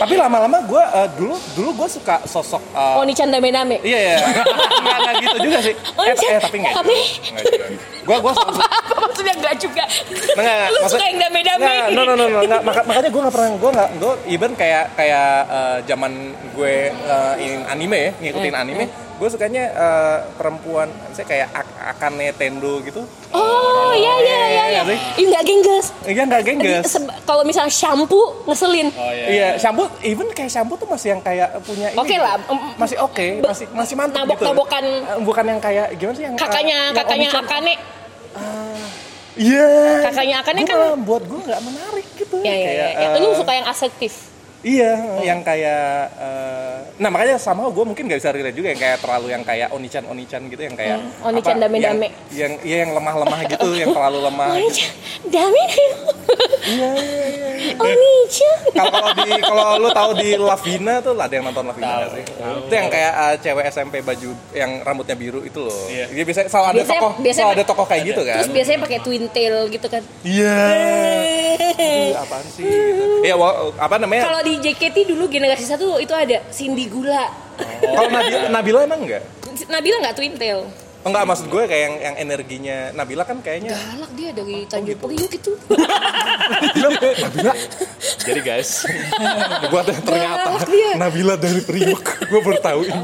Speaker 3: Tapi lama-lama gue dulu dulu gue suka sosok eh,
Speaker 1: Oni-chan dame-dame.
Speaker 3: Iya iya. Enggak enggak gitu juga sih.
Speaker 1: Oh,
Speaker 3: eh,
Speaker 1: iya.
Speaker 3: eh, tapi enggak.
Speaker 1: Tapi-
Speaker 3: Enggak juga. Gua gua selalu
Speaker 1: Apa, apa maksudnya enggak juga.
Speaker 3: enggak, enggak.
Speaker 1: Lu suka
Speaker 3: Maksudnya-
Speaker 1: yang dame-dame.
Speaker 3: Enggak, no no no no enggak. Maka- makanya gue nggak pernah gue nggak gue even kayak kayak eh, zaman gue eh, in anime ya ngikutin
Speaker 1: Hmm.
Speaker 3: anime gue sukanya eh, perempuan saya kayak Ak- Akane Tendo gitu
Speaker 1: Oh, iya iya iya iya.
Speaker 3: Iya,
Speaker 1: Ih, Enggak gengges.
Speaker 3: iya nggak gengges
Speaker 1: Seb- Kalau misalnya shampoo ngeselin.
Speaker 3: Iya, shampoo even kayak shampoo tuh masih yang kayak punya ini.
Speaker 1: Oke
Speaker 3: gitu.
Speaker 1: lah, em-
Speaker 3: Masih oke, masih masih mantap gitu.
Speaker 1: Nabok-nabokan.
Speaker 3: Eh, Bukan yang kayak gimana sih yang eh,
Speaker 1: Kakaknya
Speaker 3: yang
Speaker 1: kakaknya
Speaker 3: Oni-chan.
Speaker 1: Akane.
Speaker 3: Iya.
Speaker 1: Kakaknya Akane
Speaker 3: Gua
Speaker 1: kan-
Speaker 3: malah buat gue nggak menarik gitu.
Speaker 1: Ya ya ya.
Speaker 3: Kayak,
Speaker 1: ya. Lu
Speaker 3: eh,
Speaker 1: suka yang asertif.
Speaker 3: Iya, yang kayak. eh, nah makanya sama gue mungkin nggak bisa relate juga yang kayak terlalu yang kayak onichan onichan gitu yang kayak.
Speaker 1: Hmm, Oni-chan
Speaker 3: apa,
Speaker 1: dame-dame.
Speaker 3: Yang, yang iya yang lemah-lemah gitu, yang terlalu lemah. gitu.
Speaker 1: Oni-chan, dame
Speaker 3: Iya iya iya.
Speaker 1: Oh, Oni-chan.
Speaker 3: Kalau kalau di kalau lu tahu kan? di Lavina tuh ada yang nonton Lavina nggak sih. Itu yang kayak eh, cewek SMP baju yang rambutnya biru itu loh. Dia biasanya selalu ada
Speaker 1: Biasanya-
Speaker 3: tokoh,
Speaker 1: biasanya-
Speaker 3: selalu ada tokoh kayak gitu kan.
Speaker 1: Terus biasanya pakai twin tail gitu kan.
Speaker 3: Iya. Aduh, Apaan sih? Gitu. Iya, wa- apa namanya?
Speaker 1: Kalau di JKT dulu generasi satu itu ada Cindy Gula.
Speaker 3: Kalau Nabila, Nabila emang enggak?
Speaker 1: Nabila nggak twin tail.
Speaker 3: Enggak, maksud gue kayak yang, yang energinya Nabila kan kayaknya
Speaker 1: Galak dia dari Tanjung
Speaker 3: gitu.
Speaker 1: Priuk itu.
Speaker 3: Nabila
Speaker 5: jadi guys
Speaker 3: buat yang ternyata
Speaker 1: Galak Iya, dia.
Speaker 3: Nabila dari Priuk gue baru tahu ini.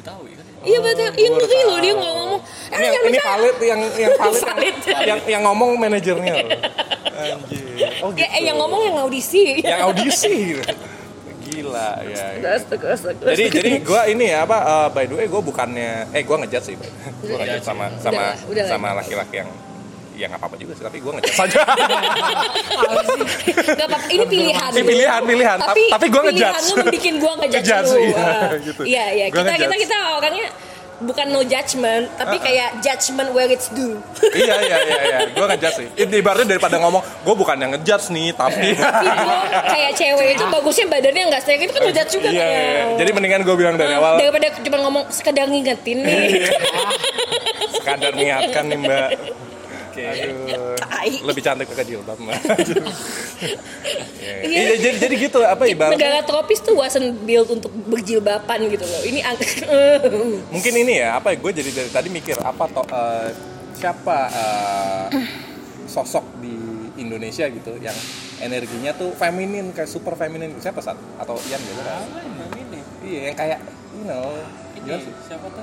Speaker 5: Betawi kan
Speaker 1: Iya betul. Iya ngeri loh dia nggak ngomong.
Speaker 3: Ini yang ini valid yang yang valid, yang-
Speaker 1: Valid.
Speaker 3: Yang, yang ngomong manajernya loh. Anjir. Oh
Speaker 1: Ya, eh, yang ngomong yang audisi.
Speaker 3: Yang audisi gitu. Gila. gila ya. ya.
Speaker 1: Astaga, astaga,
Speaker 3: Jadi
Speaker 1: astaga.
Speaker 3: jadi gue ini ya apa eh, by the way gue bukannya eh gue ngejat sih. Gue ngejat sama
Speaker 1: Udah
Speaker 3: sama
Speaker 1: lah, udah lah.
Speaker 3: sama laki-laki yang yang apa apa juga sih tapi gue ngejat saja.
Speaker 1: Gak apa-apa, ini pilihan.
Speaker 3: Ini pilihan, pilihan. Tap-
Speaker 1: Tapi,
Speaker 3: tapi gua ngejudge.
Speaker 1: Pilihan lu bikin gua ngejudge
Speaker 3: Ngejudge,
Speaker 1: lu.
Speaker 3: iya,
Speaker 1: Wah.
Speaker 3: gitu.
Speaker 1: Iya, iya.
Speaker 3: Gua
Speaker 1: Kita, kita,
Speaker 3: ngejudge.
Speaker 1: kita orangnya bukan no judgment, tapi kayak judgment where it's due.
Speaker 3: iya iya iya iya. Gue ngejat sih. Ini ibaratnya daripada ngomong gue bukan yang ngejat nih tapi.
Speaker 1: Tapi gua kayak cewek itu bagusnya badannya nggak straight itu kan ngejudge juga
Speaker 3: Iya,
Speaker 1: kan.
Speaker 3: iya, iya. Jadi mendingan gue bilang dari
Speaker 1: Nah,
Speaker 3: awal Iya.
Speaker 1: daripada cuma ngomong sekedar ngingetin nih.
Speaker 3: kadar niatkan nih mbak. Aduh,
Speaker 1: Tai.
Speaker 3: lebih cantik pakai jilbab mbak.
Speaker 1: Iya.
Speaker 3: Iya, jadi jadi gitu apa ibaratnya?
Speaker 1: Negara tropis tuh wasn't built untuk berjilbaban gitu loh. Ini ang-
Speaker 3: Mungkin ini ya apa? Gue jadi dari tadi mikir apa to, eh, siapa eh, sosok di Indonesia gitu yang energinya tuh feminin kayak super feminin siapa saat atau Ian gitu kan?
Speaker 4: ini
Speaker 3: Iya yang kayak you know gimana sih?
Speaker 4: siapa tuh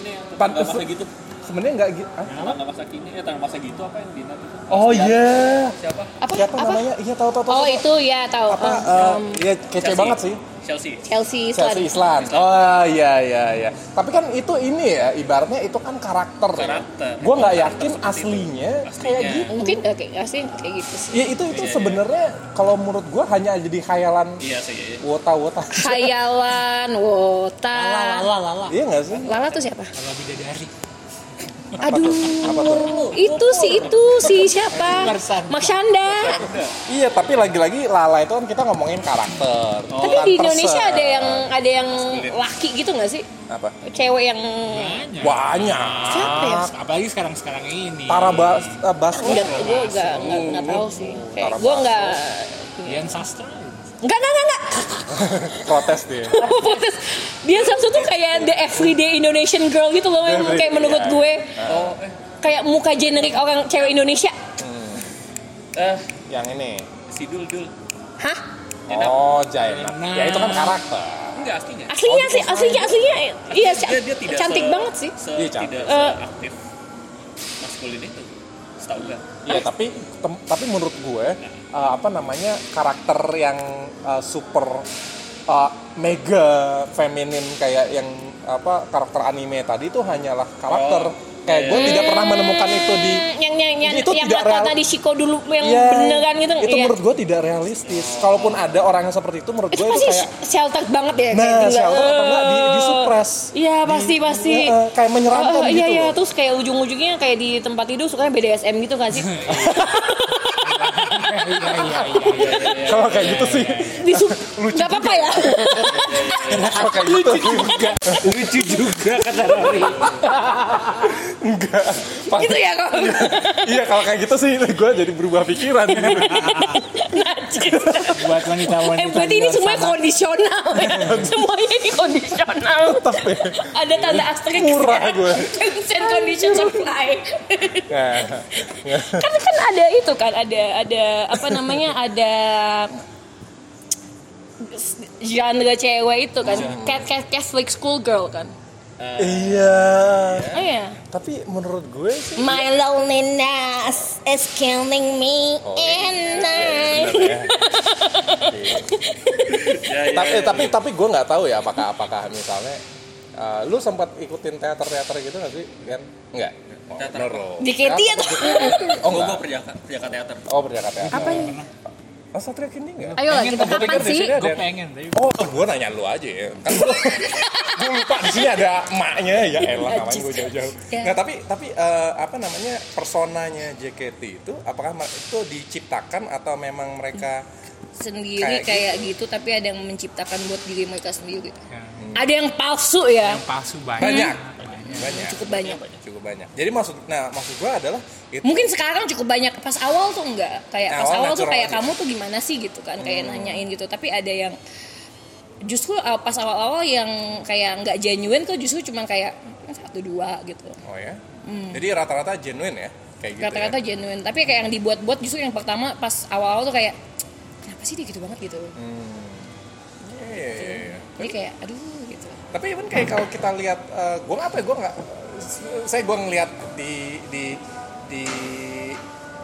Speaker 4: ini yang
Speaker 3: Iya. Pan-
Speaker 4: tetangga masa gitu
Speaker 3: Sebenarnya nggak gitu. ah?
Speaker 4: tetangga masa kini eh tetangga masa gitu apa yang dina itu
Speaker 3: Oh iya.
Speaker 4: siapa
Speaker 1: apa?
Speaker 3: Siapa
Speaker 1: apa?
Speaker 3: namanya? Iya tahu tahu tahu.
Speaker 1: Oh itu ya tahu.
Speaker 3: apa?
Speaker 1: Um,
Speaker 3: eh,
Speaker 1: um,
Speaker 3: Iya kece
Speaker 4: Chelsea.
Speaker 3: banget sih.
Speaker 4: Chelsea
Speaker 1: Chelsea Island.
Speaker 3: Chelsea Island. Oh iya iya iya. Tapi kan itu ini ya, ibaratnya itu kan karakter. ya.
Speaker 4: Karakter.
Speaker 3: Gua nggak
Speaker 4: Karakter
Speaker 3: yakin
Speaker 4: seperti
Speaker 3: aslinya,
Speaker 4: itu.
Speaker 3: kayak
Speaker 4: Aslinya.
Speaker 3: gitu.
Speaker 1: Mungkin nggak kayak nggak sih kayak gitu sih.
Speaker 3: Ya itu itu sebenarnya kalau menurut gua hanya jadi khayalan
Speaker 4: iya sih iya.
Speaker 3: wota-wota.
Speaker 1: Khayalan, wota. Lala,
Speaker 3: Iya nggak sih?
Speaker 1: tuh siapa?
Speaker 2: Kalau bidadari.
Speaker 1: Aduh,
Speaker 3: Apa tuh?
Speaker 1: itu si itu si siapa? Maksyanda.
Speaker 3: Iya, tapi lagi-lagi Lala itu kan kita ngomongin karakter.
Speaker 1: Tapi di Indonesia ada yang ada yang laki gitu nggak sih?
Speaker 3: apa?
Speaker 1: Cewek yang
Speaker 3: Iya.
Speaker 2: Banyak.
Speaker 3: Banyak.
Speaker 1: siapa ya?
Speaker 2: Ah, Apalagi sekarang-sekarang ini.
Speaker 3: Tara Bas eh, Basro.
Speaker 1: Enggak, gue nggak nggak nggak tahu sih. Kayak
Speaker 3: Tara
Speaker 1: gue nggak
Speaker 2: Dian Sastra.
Speaker 1: nggak nggak nggak nggak.
Speaker 3: protes dia.
Speaker 1: Fokus. Dia Samsu tuh kayak the everyday Indonesian girl gitu loh yang
Speaker 3: Everyday,
Speaker 1: kayak menurut
Speaker 3: iya.
Speaker 1: gue
Speaker 4: Oh,
Speaker 1: kayak muka generik orang cewek Indonesia.
Speaker 4: eh
Speaker 3: yang ini.
Speaker 4: si dul dul
Speaker 1: Hah?
Speaker 4: Jenap.
Speaker 3: Oh, Jainab.
Speaker 2: Jainab.
Speaker 3: Ya itu kan karakter.
Speaker 4: enggak aslinya
Speaker 1: Aslinya sih, aslinya aslinya iya
Speaker 4: Dia- dia tidak
Speaker 1: cantik
Speaker 4: se-
Speaker 1: banget sih.
Speaker 4: se
Speaker 3: Iya, cantik.
Speaker 4: tidak
Speaker 1: Eh.
Speaker 4: aktif maskulin itu setahu gak
Speaker 3: Iya, tapi tem- tapi menurut gue uh, apa namanya karakter yang uh, super uh, mega feminin kayak yang apa karakter anime tadi itu hanyalah karakter
Speaker 4: Oh,
Speaker 3: kayak gue
Speaker 4: iya.
Speaker 3: tidak pernah menemukan itu di
Speaker 1: Hmm, yang yang yang,
Speaker 3: Itu
Speaker 1: yang
Speaker 3: tidak
Speaker 1: kata
Speaker 3: real-
Speaker 1: tadi Shiko dulu yang
Speaker 3: Iya,
Speaker 1: beneran gitu.
Speaker 3: Itu
Speaker 1: iya.
Speaker 3: menurut gue tidak realistis. Kalaupun ada orang yang seperti itu menurut
Speaker 1: itu
Speaker 3: gue itu
Speaker 1: pasti
Speaker 3: kayak
Speaker 1: sheltered banget ya
Speaker 3: nah,
Speaker 1: kayak gila.
Speaker 3: siapa atau enggak di, di supres.
Speaker 1: Iya, pasti pasti.
Speaker 3: Ya, eh, kayak menyeramkan
Speaker 1: Oh,
Speaker 3: gitu.
Speaker 1: iya iya
Speaker 3: loh.
Speaker 1: terus kayak ujung-ujungnya kayak di tempat tidur sukanya BDSM gitu kan sih.
Speaker 2: Iya, iya, iya, iya.
Speaker 3: Kalau kayak gitu sih.
Speaker 1: Di sup- nggak apa-apa ya.
Speaker 3: Kalau kayak gitu
Speaker 4: lucu juga kata Rory
Speaker 3: enggak.
Speaker 1: gitu ya kok.
Speaker 3: Iya, kalau kayak gitu sih gue jadi berubah pikiran. gitu.
Speaker 1: Najis.
Speaker 2: Buat wanita-wanita.
Speaker 1: Eh berarti ini
Speaker 2: luar
Speaker 1: semuanya
Speaker 2: sana.
Speaker 1: kondisional ya. Semuanya ini kondisional.
Speaker 3: Tetap ya.
Speaker 1: Ada tanda asterisk. Kan?
Speaker 3: Murah gue.
Speaker 1: Terms and conditions apply.
Speaker 3: Nah,
Speaker 1: kan kan ada itu kan ada ada apa namanya ada genre cewek itu kan cat cat Catholic school girl kan
Speaker 3: iya.
Speaker 1: oh iya
Speaker 3: Tapi menurut gue sih
Speaker 1: my loneliness is killing me and I
Speaker 3: tapi eh, tapi tapi gue nggak tahu ya apakah apakah misalnya eh, lu sempat ikutin teater teater gitu nggak sih kan nggak oh,
Speaker 4: Teater
Speaker 3: bener
Speaker 4: apa?
Speaker 3: loh.
Speaker 1: JKT atau
Speaker 3: oh
Speaker 4: gue
Speaker 3: enggak
Speaker 4: gue perjaka perjaka teater
Speaker 3: oh perjaka teater
Speaker 1: apa ini
Speaker 3: oh satria kini nggak
Speaker 1: ayo lah
Speaker 2: Pengen
Speaker 1: kita
Speaker 2: tapi
Speaker 1: kapan
Speaker 3: di
Speaker 1: sih
Speaker 3: sini ada
Speaker 2: Gue pengen. Tapi
Speaker 3: oh gue nanya lu aja ya kan gue lupa di sini ada emaknya ya elah
Speaker 1: Iya,
Speaker 3: ngapain gue jauh-jauh
Speaker 1: Ya.
Speaker 3: nggak tapi tapi eh, apa namanya personanya JKT itu apakah ma- itu diciptakan atau memang mereka
Speaker 1: sendiri
Speaker 3: Kayak
Speaker 1: kayak gitu tapi ada yang menciptakan buat diri mereka sendiri
Speaker 3: Ya.
Speaker 1: ada yang palsu ya
Speaker 2: palsu banyak.
Speaker 3: banyak banyak
Speaker 1: cukup banyak
Speaker 3: cukup banyak jadi maksud nah maksud gue adalah itu
Speaker 1: mungkin sekarang cukup banyak pas awal tuh enggak kayak pas
Speaker 3: Awal
Speaker 1: awal tuh
Speaker 3: natural
Speaker 1: kayak
Speaker 3: aja. Hmm.
Speaker 1: kamu tuh gimana sih gitu kan kayak nanyain gitu tapi ada yang justru uh, pas awal-awal yang kayak nggak genuine tuh justru cuman kayak "Hmm, satu dua gitu
Speaker 3: oh ya jadi rata-rata genuine ya kayak gitu
Speaker 1: rata-rata genuine tapi kayak yang dibuat-buat justru yang pertama pas awal-awal tuh kayak kenapa sih dia gitu banget gitu
Speaker 3: Hmm. ya. Iya, iya, iya, iya.
Speaker 1: jadi kayak aduh gitu
Speaker 3: tapi even kayak kalau kita lihat gue apa ya gue nggak saya gue ngelihat di di di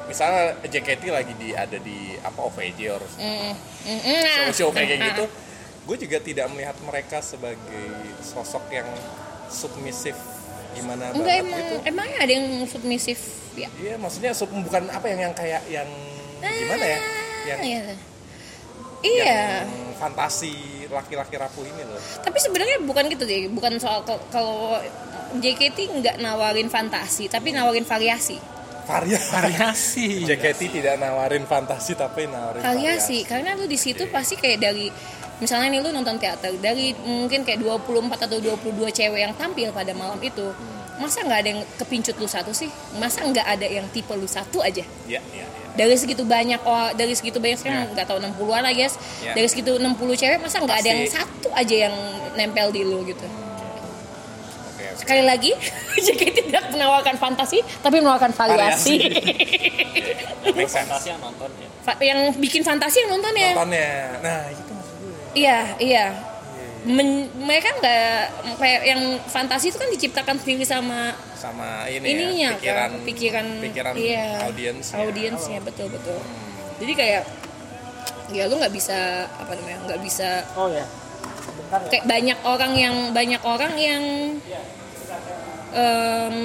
Speaker 3: misalnya JKT lagi di ada di apa OVJ or
Speaker 1: Mm, mm, mm, nah.
Speaker 3: show-show kayak
Speaker 1: Ah.
Speaker 3: gitu gue juga tidak melihat mereka sebagai sosok yang submisif gimana
Speaker 1: enggak
Speaker 3: banget
Speaker 1: emang
Speaker 3: gitu.
Speaker 1: emangnya ada yang submisif ya
Speaker 3: Iya, maksudnya sub, bukan apa yang yang kayak yang gimana ya? Yang
Speaker 1: Iya. Iya,
Speaker 3: yang fantasi laki-laki rapuh ini loh.
Speaker 1: tapi sebenarnya bukan gitu deh, bukan soal ke- kalau JKT nggak nawarin fantasi, tapi nawarin variasi.
Speaker 3: Variasi.
Speaker 2: variasi
Speaker 3: JKT tidak nawarin fantasi tapi nawarin
Speaker 1: Variasi, karena lu di situ pasti kayak dari misalnya nih lu nonton teater dari mungkin kayak 24 atau 22 cewek yang tampil pada malam itu. Masa nggak ada yang kepincut lu satu sih? Masa nggak ada yang tipe lu satu aja?
Speaker 3: Iya, iya, iya.
Speaker 1: dari segitu banyak oh dari segitu banyak sekarang nggak tahu 60-an lah guys
Speaker 3: Ya.
Speaker 1: dari segitu 60 cewek masa nggak ada
Speaker 3: Pasti.
Speaker 1: yang satu aja yang nempel di lu gitu
Speaker 3: Oke, oke.
Speaker 1: sekali lagi JKT tidak menawarkan fantasi tapi menawarkan variasi,
Speaker 3: Make sense.
Speaker 4: Fantasi yang nonton ya.
Speaker 1: Fa- yang bikin fantasi yang nonton ya
Speaker 3: Nontonnya. Nah, itu maksud gue.
Speaker 1: iya iya Men- mereka nggak kayak yang fantasi itu kan diciptakan sendiri sama
Speaker 3: sama ini
Speaker 1: ininya
Speaker 3: ya, pikiran
Speaker 1: kan pikiran
Speaker 3: pikiran
Speaker 1: iya,
Speaker 3: audiens ya.
Speaker 1: audiensnya betul betul jadi kayak ya lu nggak bisa apa namanya nggak bisa
Speaker 2: oh ya bentar
Speaker 1: kayak banyak orang yang banyak orang yang em,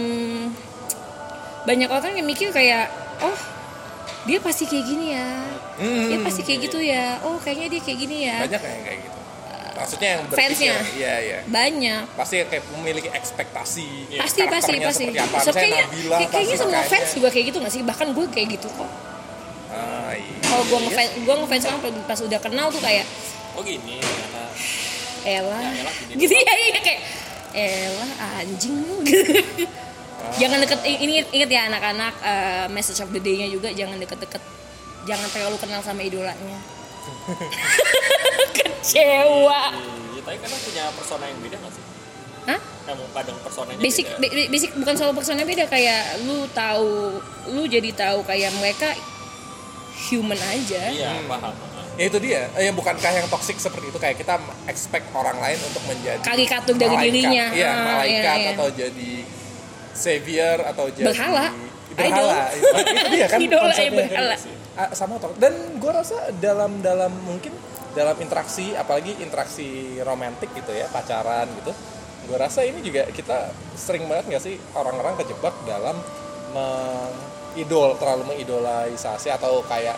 Speaker 1: banyak orang yang mikir kayak oh dia pasti kayak gini ya dia pasti kayak gitu ya oh kayaknya dia kayak gini ya
Speaker 3: Hmm. banyak yang kayak gitu maksudnya yang berpikir
Speaker 1: fansnya.
Speaker 3: iya iya
Speaker 1: banyak
Speaker 3: pasti kayak memiliki ekspektasi Iya,
Speaker 1: pasti pasti
Speaker 3: karakternya
Speaker 1: pasti
Speaker 3: seperti apa.
Speaker 1: So,
Speaker 3: Misalnya
Speaker 1: kayaknya
Speaker 3: Nabila
Speaker 1: kayak- kayaknya
Speaker 3: pasti
Speaker 1: semua
Speaker 3: kayaknya-
Speaker 1: fans juga kayak gitu nggak sih bahkan gue kayak gitu kok
Speaker 3: Ah, iya.
Speaker 1: kalau gue ngefans gue ngefans orang pas udah kenal tuh kayak
Speaker 4: Oh gini, ternyata.
Speaker 1: Ella
Speaker 4: Ya, elah, gini
Speaker 1: gitu ya iya kayak Ella anjing lu gitu.
Speaker 3: Ah.
Speaker 1: jangan deket ini inget ya anak-anak eh, message of the day-nya juga jangan deket-deket jangan terlalu kenal sama idolanya kecewa
Speaker 4: Iya, tapi karena punya persona yang beda nggak sih?
Speaker 1: Hah?
Speaker 4: Kamu padang personanya
Speaker 1: basic
Speaker 3: iya.
Speaker 4: beda.
Speaker 1: ba- basic bukan soal personnya beda kayak lu tahu lu jadi tahu kayak mereka human aja
Speaker 4: Iya, paham.
Speaker 3: ya itu dia Eh, ya bukankah yang toksik seperti itu kayak kita expect orang lain untuk menjadi
Speaker 1: Karikatur dari
Speaker 3: malaikat.
Speaker 1: dirinya.
Speaker 3: iya
Speaker 1: Ah,
Speaker 3: malaikat
Speaker 1: iya, iya.
Speaker 3: atau jadi savior atau jadi
Speaker 1: Berhala.
Speaker 3: berhala
Speaker 1: Idol.
Speaker 3: itu dia kan
Speaker 1: Idola,
Speaker 3: konsepnya.
Speaker 1: iya, berhala.
Speaker 3: Ah, sama tok dan gue rasa dalam dalam mungkin dalam interaksi apalagi interaksi romantik gitu ya pacaran gitu gue rasa ini juga kita sering banget nggak sih orang-orang kejebak dalam mengidol terlalu mengidolaisasi atau kayak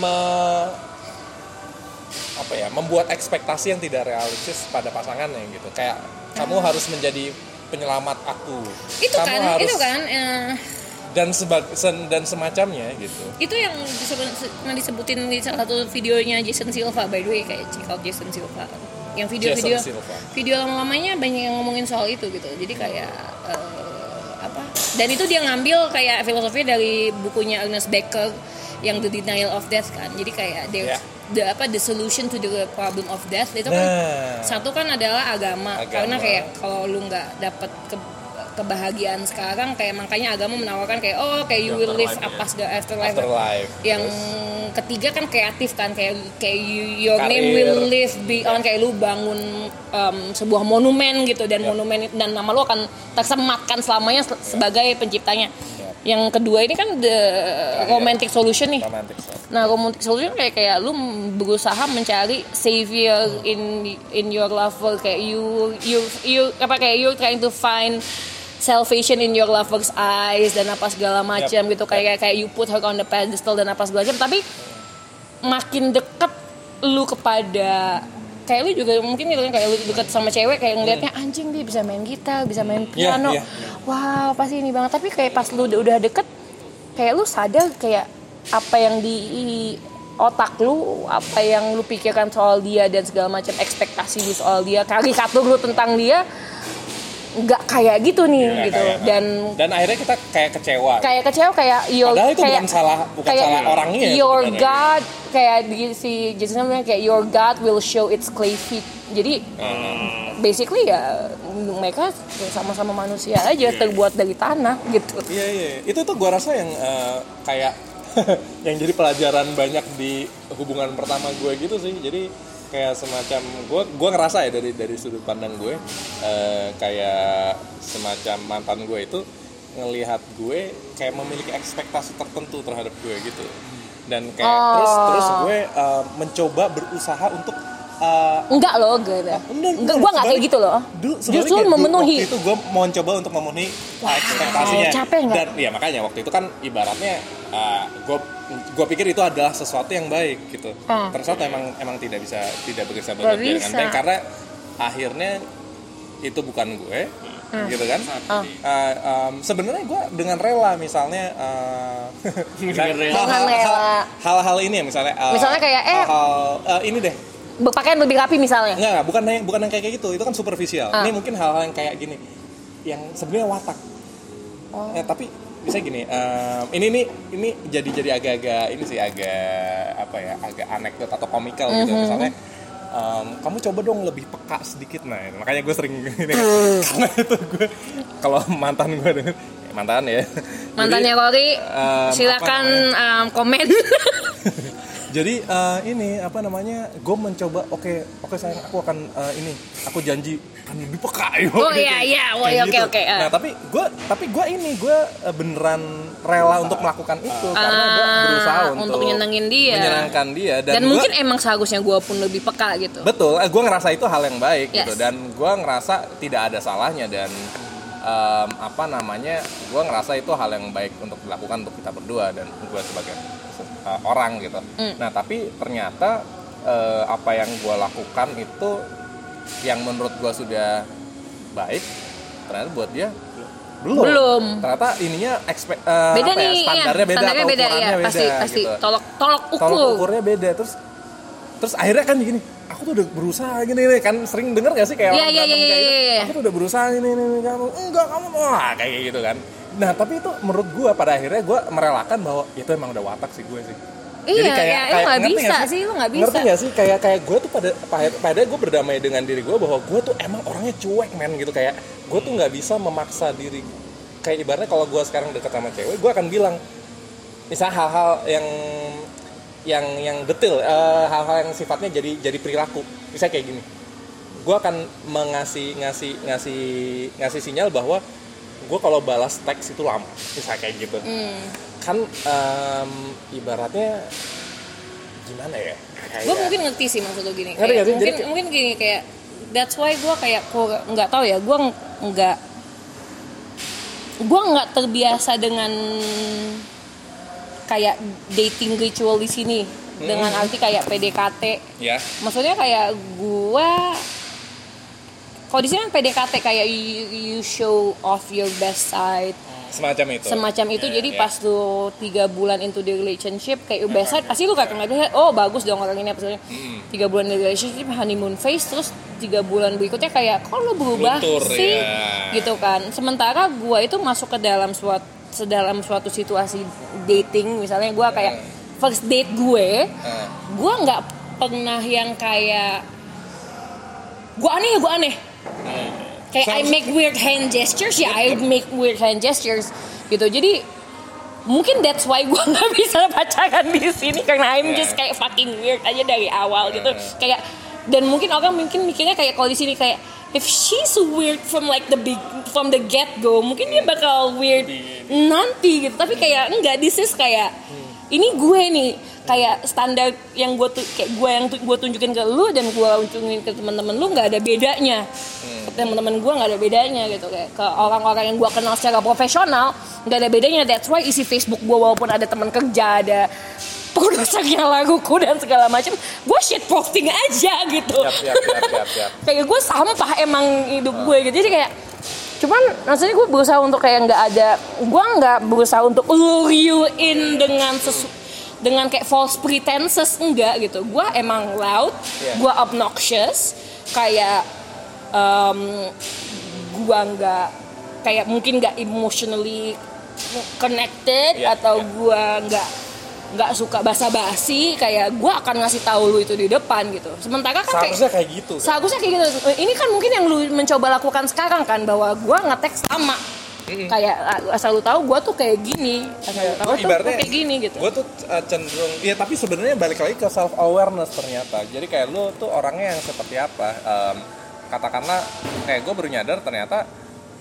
Speaker 3: me- apa ya membuat ekspektasi yang tidak realistis pada pasangannya gitu kayak kamu harus menjadi penyelamat aku
Speaker 1: Ah. itu
Speaker 3: kamu
Speaker 1: kan
Speaker 3: harus
Speaker 1: itu kan eh,
Speaker 3: dan sebag sen- dan semacamnya gitu
Speaker 1: itu yang disebut- yang disebutin di salah satu videonya Jason Silva by the way kayak check out Jason Silva yang video-video
Speaker 3: Jason Silva.
Speaker 1: video lama-lamanya banyak yang ngomongin soal itu gitu jadi kayak eh, apa dan itu dia ngambil kayak filosofi dari bukunya Ernest Becker yang The Denial of Death kan jadi kayak there's-
Speaker 3: Ya.
Speaker 1: the apa the solution to the problem of death itu kan
Speaker 3: Nah.
Speaker 1: satu kan adalah agama,
Speaker 3: Agama.
Speaker 1: karena kayak kalau lu nggak dapat ke- kebahagiaan sekarang kayak makanya agama menawarkan kayak oh kayak you will live
Speaker 4: Afterlife,
Speaker 1: apa the afterlife
Speaker 3: afterlife
Speaker 1: yang
Speaker 3: Terus,
Speaker 1: ketiga kan kreatif kan kayak kayak you- your name
Speaker 3: Karir.
Speaker 1: will live beyond kayak lu bangun um, sebuah monumen gitu dan monumen dan nama lu akan tersematkan selamanya se- sebagai penciptanya. Yang kedua ini kan the romantic solution nih.
Speaker 3: romantic stuff.
Speaker 1: Nah, romantic solution kayak kayak lu berusaha mencari savior in in your lover kayak you you you apa kayak you trying to find salvation in your lover's eyes dan apa segala macam gitu kayak kayak you put her on the pedestal dan apa segala macam tapi makin deket lu kepada kayak lu juga mungkin gitu kan kayak lu deket sama cewek kayak ngelihatnya anjing dia bisa main gitar bisa main piano
Speaker 3: Hmm. iya,
Speaker 1: wow pasti ini banget tapi kayak pas lu udah udah deket kayak lu sadar kayak apa yang di otak lu apa yang lu pikirkan soal dia dan segala macam ekspektasi lu soal dia karikatur lu tentang dia nggak kayak gitu nih
Speaker 3: Iya, Nggak
Speaker 1: gitu
Speaker 3: kayak.
Speaker 1: dan
Speaker 3: dan akhirnya kita kayak kecewa
Speaker 1: kayak kecewa kayak your
Speaker 3: padahal itu
Speaker 1: kayak
Speaker 3: bukan salah bukan salah orangnya ya
Speaker 1: your
Speaker 3: sebenarnya.
Speaker 1: God kayak di si Jason bilang kayak your God will show its clay feet jadi
Speaker 3: Hmm.
Speaker 1: basically ya mereka sama-sama manusia aja terbuat dari tanah gitu
Speaker 3: Iya iya, itu tuh gua rasa yang eh, kayak yang jadi pelajaran banyak di hubungan pertama gue gitu sih. Jadi kayak semacam gue gua ngerasa ya dari dari sudut pandang gue eh, kayak semacam mantan gue itu ngelihat gue kayak memiliki ekspektasi tertentu terhadap gue gitu. Dan kayak terus terus gue eh, mencoba berusaha untuk
Speaker 5: eh,
Speaker 1: Enggak loh, gue.
Speaker 5: bener,
Speaker 1: Enggak, gue nggak kayak
Speaker 5: Sebalik-
Speaker 1: gitu loh.
Speaker 5: Du- sebaliknya,
Speaker 1: Justru
Speaker 5: du-
Speaker 1: memenuhi.
Speaker 5: Waktu itu gue mau coba untuk memenuhi ekspektasinya.
Speaker 1: capek nggak?
Speaker 5: Dan ya makanya waktu itu kan ibaratnya gue gue pikir itu adalah sesuatu yang baik gitu.
Speaker 1: Ah.
Speaker 5: Ternyata emang emang tidak bisa tidak bisa
Speaker 1: Nggak
Speaker 5: bekerja dengan
Speaker 1: bisa.
Speaker 5: baik karena akhirnya itu bukan gue, gitu kan?
Speaker 1: Ah.
Speaker 5: Eh, em, Sebenarnya gue dengan rela misalnya eh,
Speaker 4: Dengan rela.
Speaker 5: hal-hal-
Speaker 1: Dengan rela.
Speaker 5: hal-hal ini ya misalnya. eh,
Speaker 1: Misalnya kayak, eh.
Speaker 5: hal-hal, eh, ini deh
Speaker 1: Berpakaian lebih rapi misalnya.
Speaker 5: Enggak, enggak, bukan yang bukan yang kayak gitu. Itu kan superficial.
Speaker 1: Ah.
Speaker 5: Ini mungkin hal-hal yang kayak gini. Yang sebenarnya watak.
Speaker 1: Oh.
Speaker 5: Ya, tapi bisa gini, em, ini ini ini jadi jadi agak-agak ini sih agak apa ya, agak anekdot atau komikal gitu
Speaker 1: Mm-hmm.
Speaker 5: misalnya. em, kamu coba dong lebih peka sedikit nah makanya gue sering ini karena itu gue kalau mantan gue denger mantan ya Jadi, eh,
Speaker 1: Mantannya Rory,
Speaker 5: apa
Speaker 1: silakan
Speaker 5: ya.
Speaker 1: em, komen.
Speaker 5: jadi eh, ini apa namanya? Gue mencoba. Oke, oke sayang, aku akan eh, ini. Aku janji "Kan akan lebih peka. yo.
Speaker 1: Oh,
Speaker 5: Gitu.
Speaker 1: iya, iya. Oh,
Speaker 5: Kayak
Speaker 1: iya, oke,
Speaker 5: gitu.
Speaker 1: oke, eh.
Speaker 5: Nah tapi gue tapi gue ini gue eh, beneran rela untuk melakukan itu karena gue
Speaker 1: Ah,
Speaker 5: berusaha untuk,
Speaker 1: untuk nyenengin dia.
Speaker 5: menyenangkan dia dan,
Speaker 1: Dan,
Speaker 5: gua-
Speaker 1: mungkin emang seharusnya gue pun lebih peka gitu.
Speaker 5: betul. gue ngerasa itu hal yang baik
Speaker 1: Yes.
Speaker 5: gitu dan gue ngerasa tidak ada salahnya dan em, apa namanya? Gue ngerasa itu hal yang baik untuk dilakukan untuk kita berdua dan gue sebagai eh, orang gitu.
Speaker 1: Mm.
Speaker 5: Nah tapi ternyata eh, apa yang gue lakukan itu yang menurut gue sudah baik ternyata buat dia belum.
Speaker 1: Belum.
Speaker 5: Ternyata ininya ekspe- eh,
Speaker 1: beda
Speaker 5: apa ya,
Speaker 1: nih, iya.
Speaker 5: standarnya beda,
Speaker 1: standarnya
Speaker 5: atau
Speaker 1: beda, ya.
Speaker 5: ukurannya beda,
Speaker 1: Pasti, pasti.
Speaker 5: gitu
Speaker 1: Tolok, tolok ukur.
Speaker 5: tolak ukurnya beda terus terus akhirnya kan gini aku tuh udah berusaha gini nih kan sering denger gak sih kayak
Speaker 1: Iya,
Speaker 5: orang
Speaker 1: iya,
Speaker 5: berantem
Speaker 1: iya,
Speaker 5: kayak
Speaker 1: iya,
Speaker 5: gitu,
Speaker 1: iya.
Speaker 5: aku tuh udah berusaha ini ini ini, kamu enggak kamu wah kayak gitu kan nah tapi itu menurut gua pada akhirnya gua merelakan bahwa itu emang udah watak sih gue sih
Speaker 1: Iya, ya, lu nggak
Speaker 5: ngerti
Speaker 1: bisa sih, lu nggak bisa.
Speaker 5: Ngerti nggak sih, kayak kayak gue tuh pada pada- pada gue berdamai dengan diri gue bahwa gue tuh emang orangnya cuek men gitu kayak gue tuh nggak bisa memaksa diri. Kayak ibaratnya kalau gue sekarang deket sama cewek, gue akan bilang misalnya hal-hal yang yang yang detail, eh, hal-hal yang sifatnya jadi jadi perilaku. Misalnya kayak gini, gue akan mengasih ngasih ngasih ngasih sinyal bahwa gue kalau balas teks itu lama, misalnya kayak gitu
Speaker 1: Hmm.
Speaker 5: kan em, ibaratnya gimana ya? Kayak-
Speaker 1: gue mungkin ngerti sih maksud lo gini
Speaker 5: Ngerti
Speaker 1: Kayak
Speaker 5: nggak sih?
Speaker 1: mungkin
Speaker 5: Jadi-
Speaker 1: mungkin gini kayak that's why gue kayak gue nggak tahu ya gue nggak gue nggak terbiasa dengan kayak dating ritual di sini dengan
Speaker 5: Hmm.
Speaker 1: arti kayak PDKT
Speaker 5: ya
Speaker 1: maksudnya kayak gue kalau di sini kan PDKT kayak you, you show off your best side
Speaker 5: semacam itu.
Speaker 1: semacam itu
Speaker 5: Ya,
Speaker 1: jadi
Speaker 5: ya.
Speaker 1: pas lu tiga bulan into the relationship kayak best side pasti lu kayak ngeliat oh bagus dong orang ini apa segala. tiga bulan di relationship honeymoon phase terus tiga bulan berikutnya kayak kok lu berubah
Speaker 5: Luntur,
Speaker 1: sih
Speaker 5: ya.
Speaker 1: gitu kan sementara gua itu masuk ke dalam suatu sedalam suatu situasi dating misalnya gua kayak first date gue
Speaker 5: Eh,
Speaker 1: gua nggak pernah yang kayak gua aneh ya gua aneh kayak I make weird hand gestures ya I make weird hand gestures gitu jadi mungkin that's why gua nggak bisa pacaran di sini karena I'm just kayak fucking weird aja dari awal gitu kayak dan mungkin orang mungkin mikirnya kayak kalau di sini kayak if she's weird from like the big from the get go mungkin dia bakal weird nanti gitu tapi kayak enggak this is kayak ini gue nih kayak standar yang gue tuh kayak gue yang tu- gue tunjukin ke lu dan gue tunjukin ke teman-teman lu nggak ada bedanya
Speaker 5: Hmm.
Speaker 1: ke teman-teman gue nggak ada bedanya gitu kayak ke orang-orang yang gue kenal secara profesional nggak ada bedanya that's why isi Facebook gue walaupun ada teman kerja ada produsernya laguku dan segala macam gue shit posting aja gitu
Speaker 5: Yap, yap, yap, yap, yap.
Speaker 1: kayak gue sampah emang hidup gue gitu jadi kayak cuman maksudnya gue berusaha untuk kayak nggak ada gue nggak berusaha untuk lure you in dengan sesu dengan kayak false pretenses enggak gitu gue emang loud
Speaker 5: Iya.
Speaker 1: gue obnoxious kayak em, gue nggak kayak mungkin nggak emotionally connected
Speaker 5: Iya,
Speaker 1: atau
Speaker 5: iya.
Speaker 1: gue nggak nggak suka basa-basi kayak gue akan ngasih tahu lu itu di depan gitu sementara kan kayak-
Speaker 5: seharusnya kayak gitu. kan?
Speaker 1: Seharusnya kayak gitu. Ini kan mungkin yang lu mencoba lakukan sekarang kan bahwa gua ngetek sama. Kayak asal lu tahu gua tuh kayak gini, asal lu tahu
Speaker 5: Gua
Speaker 1: tuh gua
Speaker 5: ibaratnya
Speaker 1: kayak gini gitu.
Speaker 5: Gue tuh eh, cenderung ya tapi sebenarnya balik lagi ke self awareness ternyata. Jadi kayak lu tuh orangnya yang seperti apa? Em, katakanlah kayak gue baru nyadar ternyata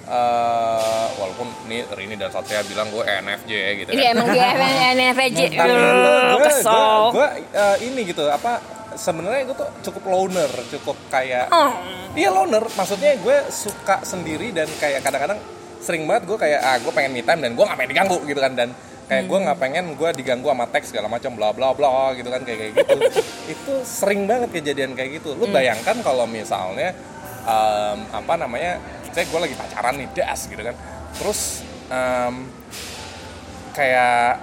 Speaker 5: eh, walaupun ini Rini dan Satya bilang gue ENFJ gitu.
Speaker 1: Iya emang dia NFJ.
Speaker 5: Tapi gue- gue-
Speaker 1: kesel.
Speaker 5: gue, eh, ini gitu apa
Speaker 3: sebenarnya gue tuh cukup loner cukup kayak
Speaker 1: Oh.
Speaker 3: iya loner maksudnya gue suka sendiri dan kayak kadang-kadang sering banget gue kayak ah gue pengen me time dan gue nggak pengen diganggu gitu kan dan kayak gue nggak pengen gue diganggu sama teks segala macam bla bla bla gitu kan kayak kayak gitu itu sering banget kejadian kayak gitu lu bayangkan kalau misalnya em, apa namanya saya gue lagi pacaran nih das gitu kan terus em, kayak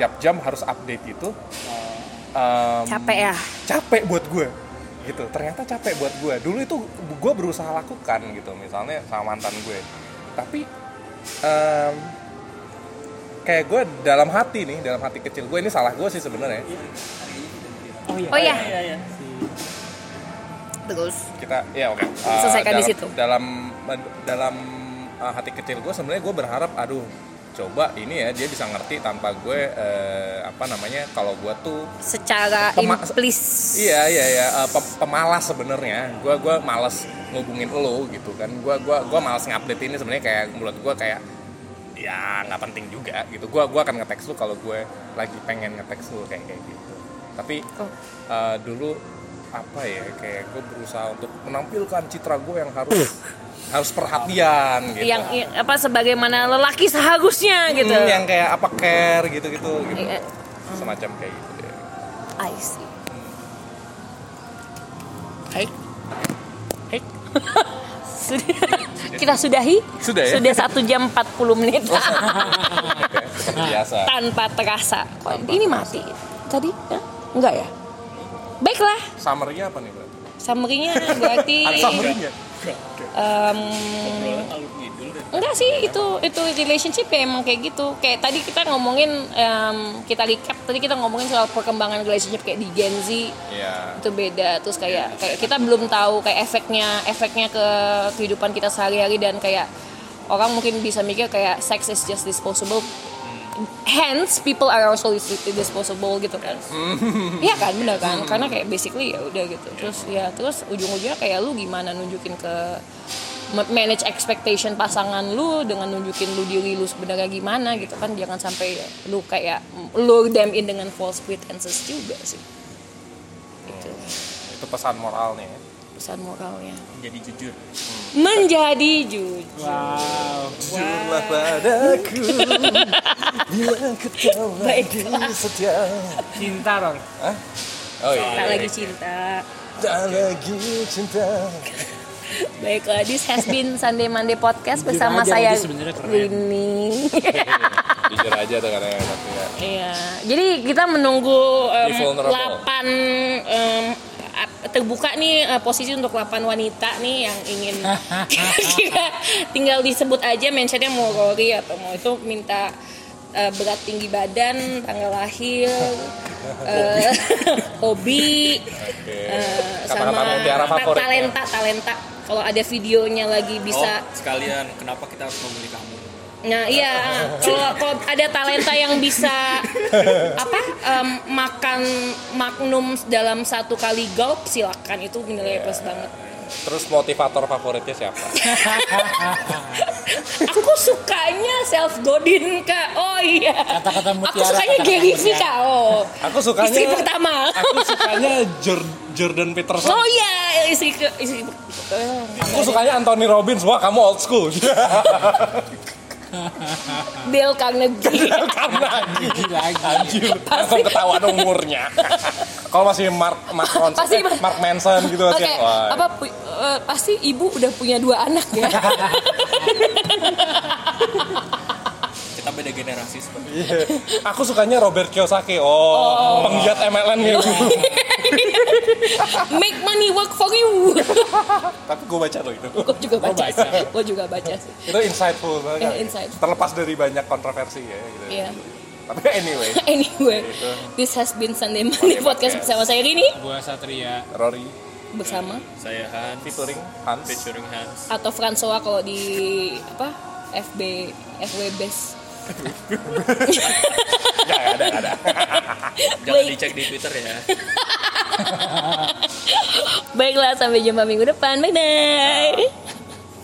Speaker 3: tiap jam harus update itu em,
Speaker 1: capek ya
Speaker 3: capek buat gue gitu ternyata capek buat gue dulu itu gue berusaha lakukan gitu misalnya sama mantan gue tapi em, kayak gue dalam hati nih dalam hati kecil gue ini salah gue sih sebenarnya
Speaker 1: oh ya terus
Speaker 3: kita ya oke Eh,
Speaker 1: Selesaikan di
Speaker 3: dalam-
Speaker 1: situ.
Speaker 3: dalam dalam eh, hati kecil gue sebenarnya gue berharap aduh coba ini ya dia bisa ngerti tanpa gue eh, apa namanya kalau gue tuh
Speaker 1: secara
Speaker 3: Pema-
Speaker 1: implis
Speaker 3: Iya iya iya eh, pe- pemalas sebenarnya. Gua gua malas ngubungin lo gitu kan. Gua gua gua malas ngupdate ini sebenarnya kayak menurut gua kayak ya nggak penting juga gitu. Gua gua akan ngeteks lu kalau gue lagi pengen ngeteks lu kayak kayak gitu. Tapi
Speaker 1: Oh.
Speaker 3: eh, dulu apa ya kayak gue berusaha untuk menampilkan citra gue yang harus harus perhatian gitu.
Speaker 1: yang, yang apa sebagaimana lelaki seharusnya gitu
Speaker 3: Hmm, yang kayak apa care gitu-gitu gitu.
Speaker 1: Iya.
Speaker 3: Semacam kayak gitu deh.
Speaker 1: I see.
Speaker 2: Hai. Hai.
Speaker 1: Sudah. Kita sudahi?
Speaker 3: Sudah ya?
Speaker 1: Sudah 1 jam 40 menit.
Speaker 3: Oke, seperti biasa.
Speaker 1: Tanpa terasa. Kok ini mati? Tadi? ya? Enggak ya? Baiklah.
Speaker 3: Summary-nya apa nih, berarti?
Speaker 1: Summary-nya berarti
Speaker 3: Summary-nya.
Speaker 1: em,
Speaker 5: Kalau ngidul deh.
Speaker 1: enggak sih itu itu relationship ya emang kayak gitu. Kayak tadi kita ngomongin em, kita recap tadi kita ngomongin soal perkembangan relationship kayak di Gen Z
Speaker 3: Iya.
Speaker 1: itu beda terus kayak kayak kita belum tahu kayak efeknya efeknya ke kehidupan kita sehari-hari dan kayak orang mungkin bisa mikir kayak sex is just disposable hence people are also dis- disposable gitu kan iya kan bener kan karena kayak basically ya udah gitu terus ya terus ujung-ujungnya kayak lu gimana nunjukin ke ma- manage expectation pasangan lu dengan nunjukin lu diri lu sebenarnya gimana gitu kan jangan sampai lu kayak lure them in dengan false pretenses juga sih gitu
Speaker 3: itu pesan moralnya ya.
Speaker 1: pesan moralnya
Speaker 5: Jadi jujur.
Speaker 1: menjadi jujur
Speaker 2: Wow.
Speaker 3: Jujurlah padaku Bila ketawa
Speaker 1: Baiklah.
Speaker 3: setia
Speaker 2: Cinta Ror.
Speaker 3: Oh iya
Speaker 1: tak lagi cinta
Speaker 3: Tak lagi cinta
Speaker 1: baiklah this has been Sunday Monday podcast
Speaker 2: Jujur
Speaker 1: bersama
Speaker 2: aja,
Speaker 1: saya
Speaker 2: Odi sebenarnya keren.
Speaker 1: Rini
Speaker 3: Jujur aja tuh kadang enak ya
Speaker 1: Iya, jadi kita menunggu em,
Speaker 3: Be vulnerable.
Speaker 1: 8 em, ap- terbuka nih eh, posisi untuk 8 wanita nih yang ingin Kira-kira tinggal disebut aja mentionnya mau Rory atau mau itu minta eh, berat tinggi badan, tanggal lahir, eh, hobi, eh,
Speaker 3: Kata-kata mutiara
Speaker 1: ta-
Speaker 3: favorit ya.
Speaker 1: talenta, talenta. Kalau ada videonya lagi bisa
Speaker 5: Oh, sekalian kenapa kita harus memilih kamu?
Speaker 1: Nah iya, kalau kalau ada talenta yang bisa apa em, makan magnum dalam satu kali gulp silakan itu nilai plus banget.
Speaker 3: Terus motivator favoritnya siapa?
Speaker 1: Aku sukanya self godin kak. Oh iya.
Speaker 2: Kata-kata
Speaker 1: Aku
Speaker 2: mutiara,
Speaker 1: sukanya
Speaker 2: kata-kata
Speaker 1: Gary V
Speaker 2: mutiara.
Speaker 1: kak. Oh.
Speaker 3: Aku sukanya-
Speaker 1: istri pertama.
Speaker 3: Aku sukanya Jor- Jordan Peterson
Speaker 1: Oh iya istri ke istri eh,
Speaker 3: Aku sukanya Anthony Robbins Wah kamu old school
Speaker 1: Dale Carnegie.
Speaker 3: Karena
Speaker 2: Lagi lagi.
Speaker 3: Anjir Langsung ketahuan umurnya Kalau masih Mark Mark, Ronson,
Speaker 1: Pasti-
Speaker 3: eh, Mark Manson gitu
Speaker 1: Oke,
Speaker 3: masih, wah.
Speaker 1: apa pu- eh, pasti ibu udah punya dua anak ya.
Speaker 5: Kita beda generasi seperti itu.
Speaker 3: Iya. Aku sukanya Robert Kiyosaki. Oh, penggiat MLM gitu.
Speaker 1: Make money work for you.
Speaker 3: Tapi gue baca loh itu.
Speaker 1: gue juga baca,
Speaker 2: baca.
Speaker 1: sih gue juga baca sih
Speaker 3: Itu insightful banget.
Speaker 1: Eh, insightful.
Speaker 3: Terlepas dari banyak kontroversi ya gitu.
Speaker 1: Iya.
Speaker 3: Tapi anyway,
Speaker 1: anyway this has been Sunday Monday podcast bersama saya Rini
Speaker 2: Gua Satria.
Speaker 3: Rory
Speaker 1: bersama
Speaker 5: Saya Hans.
Speaker 3: featuring Hans.
Speaker 5: Featuring Hans.
Speaker 1: atau Fransoa kalau di apa FB FW base
Speaker 3: Nggak, ada ada.
Speaker 5: Jangan
Speaker 1: Wait.
Speaker 5: dicek di Twitter ya.
Speaker 1: baiklah sampai jumpa minggu depan bye bye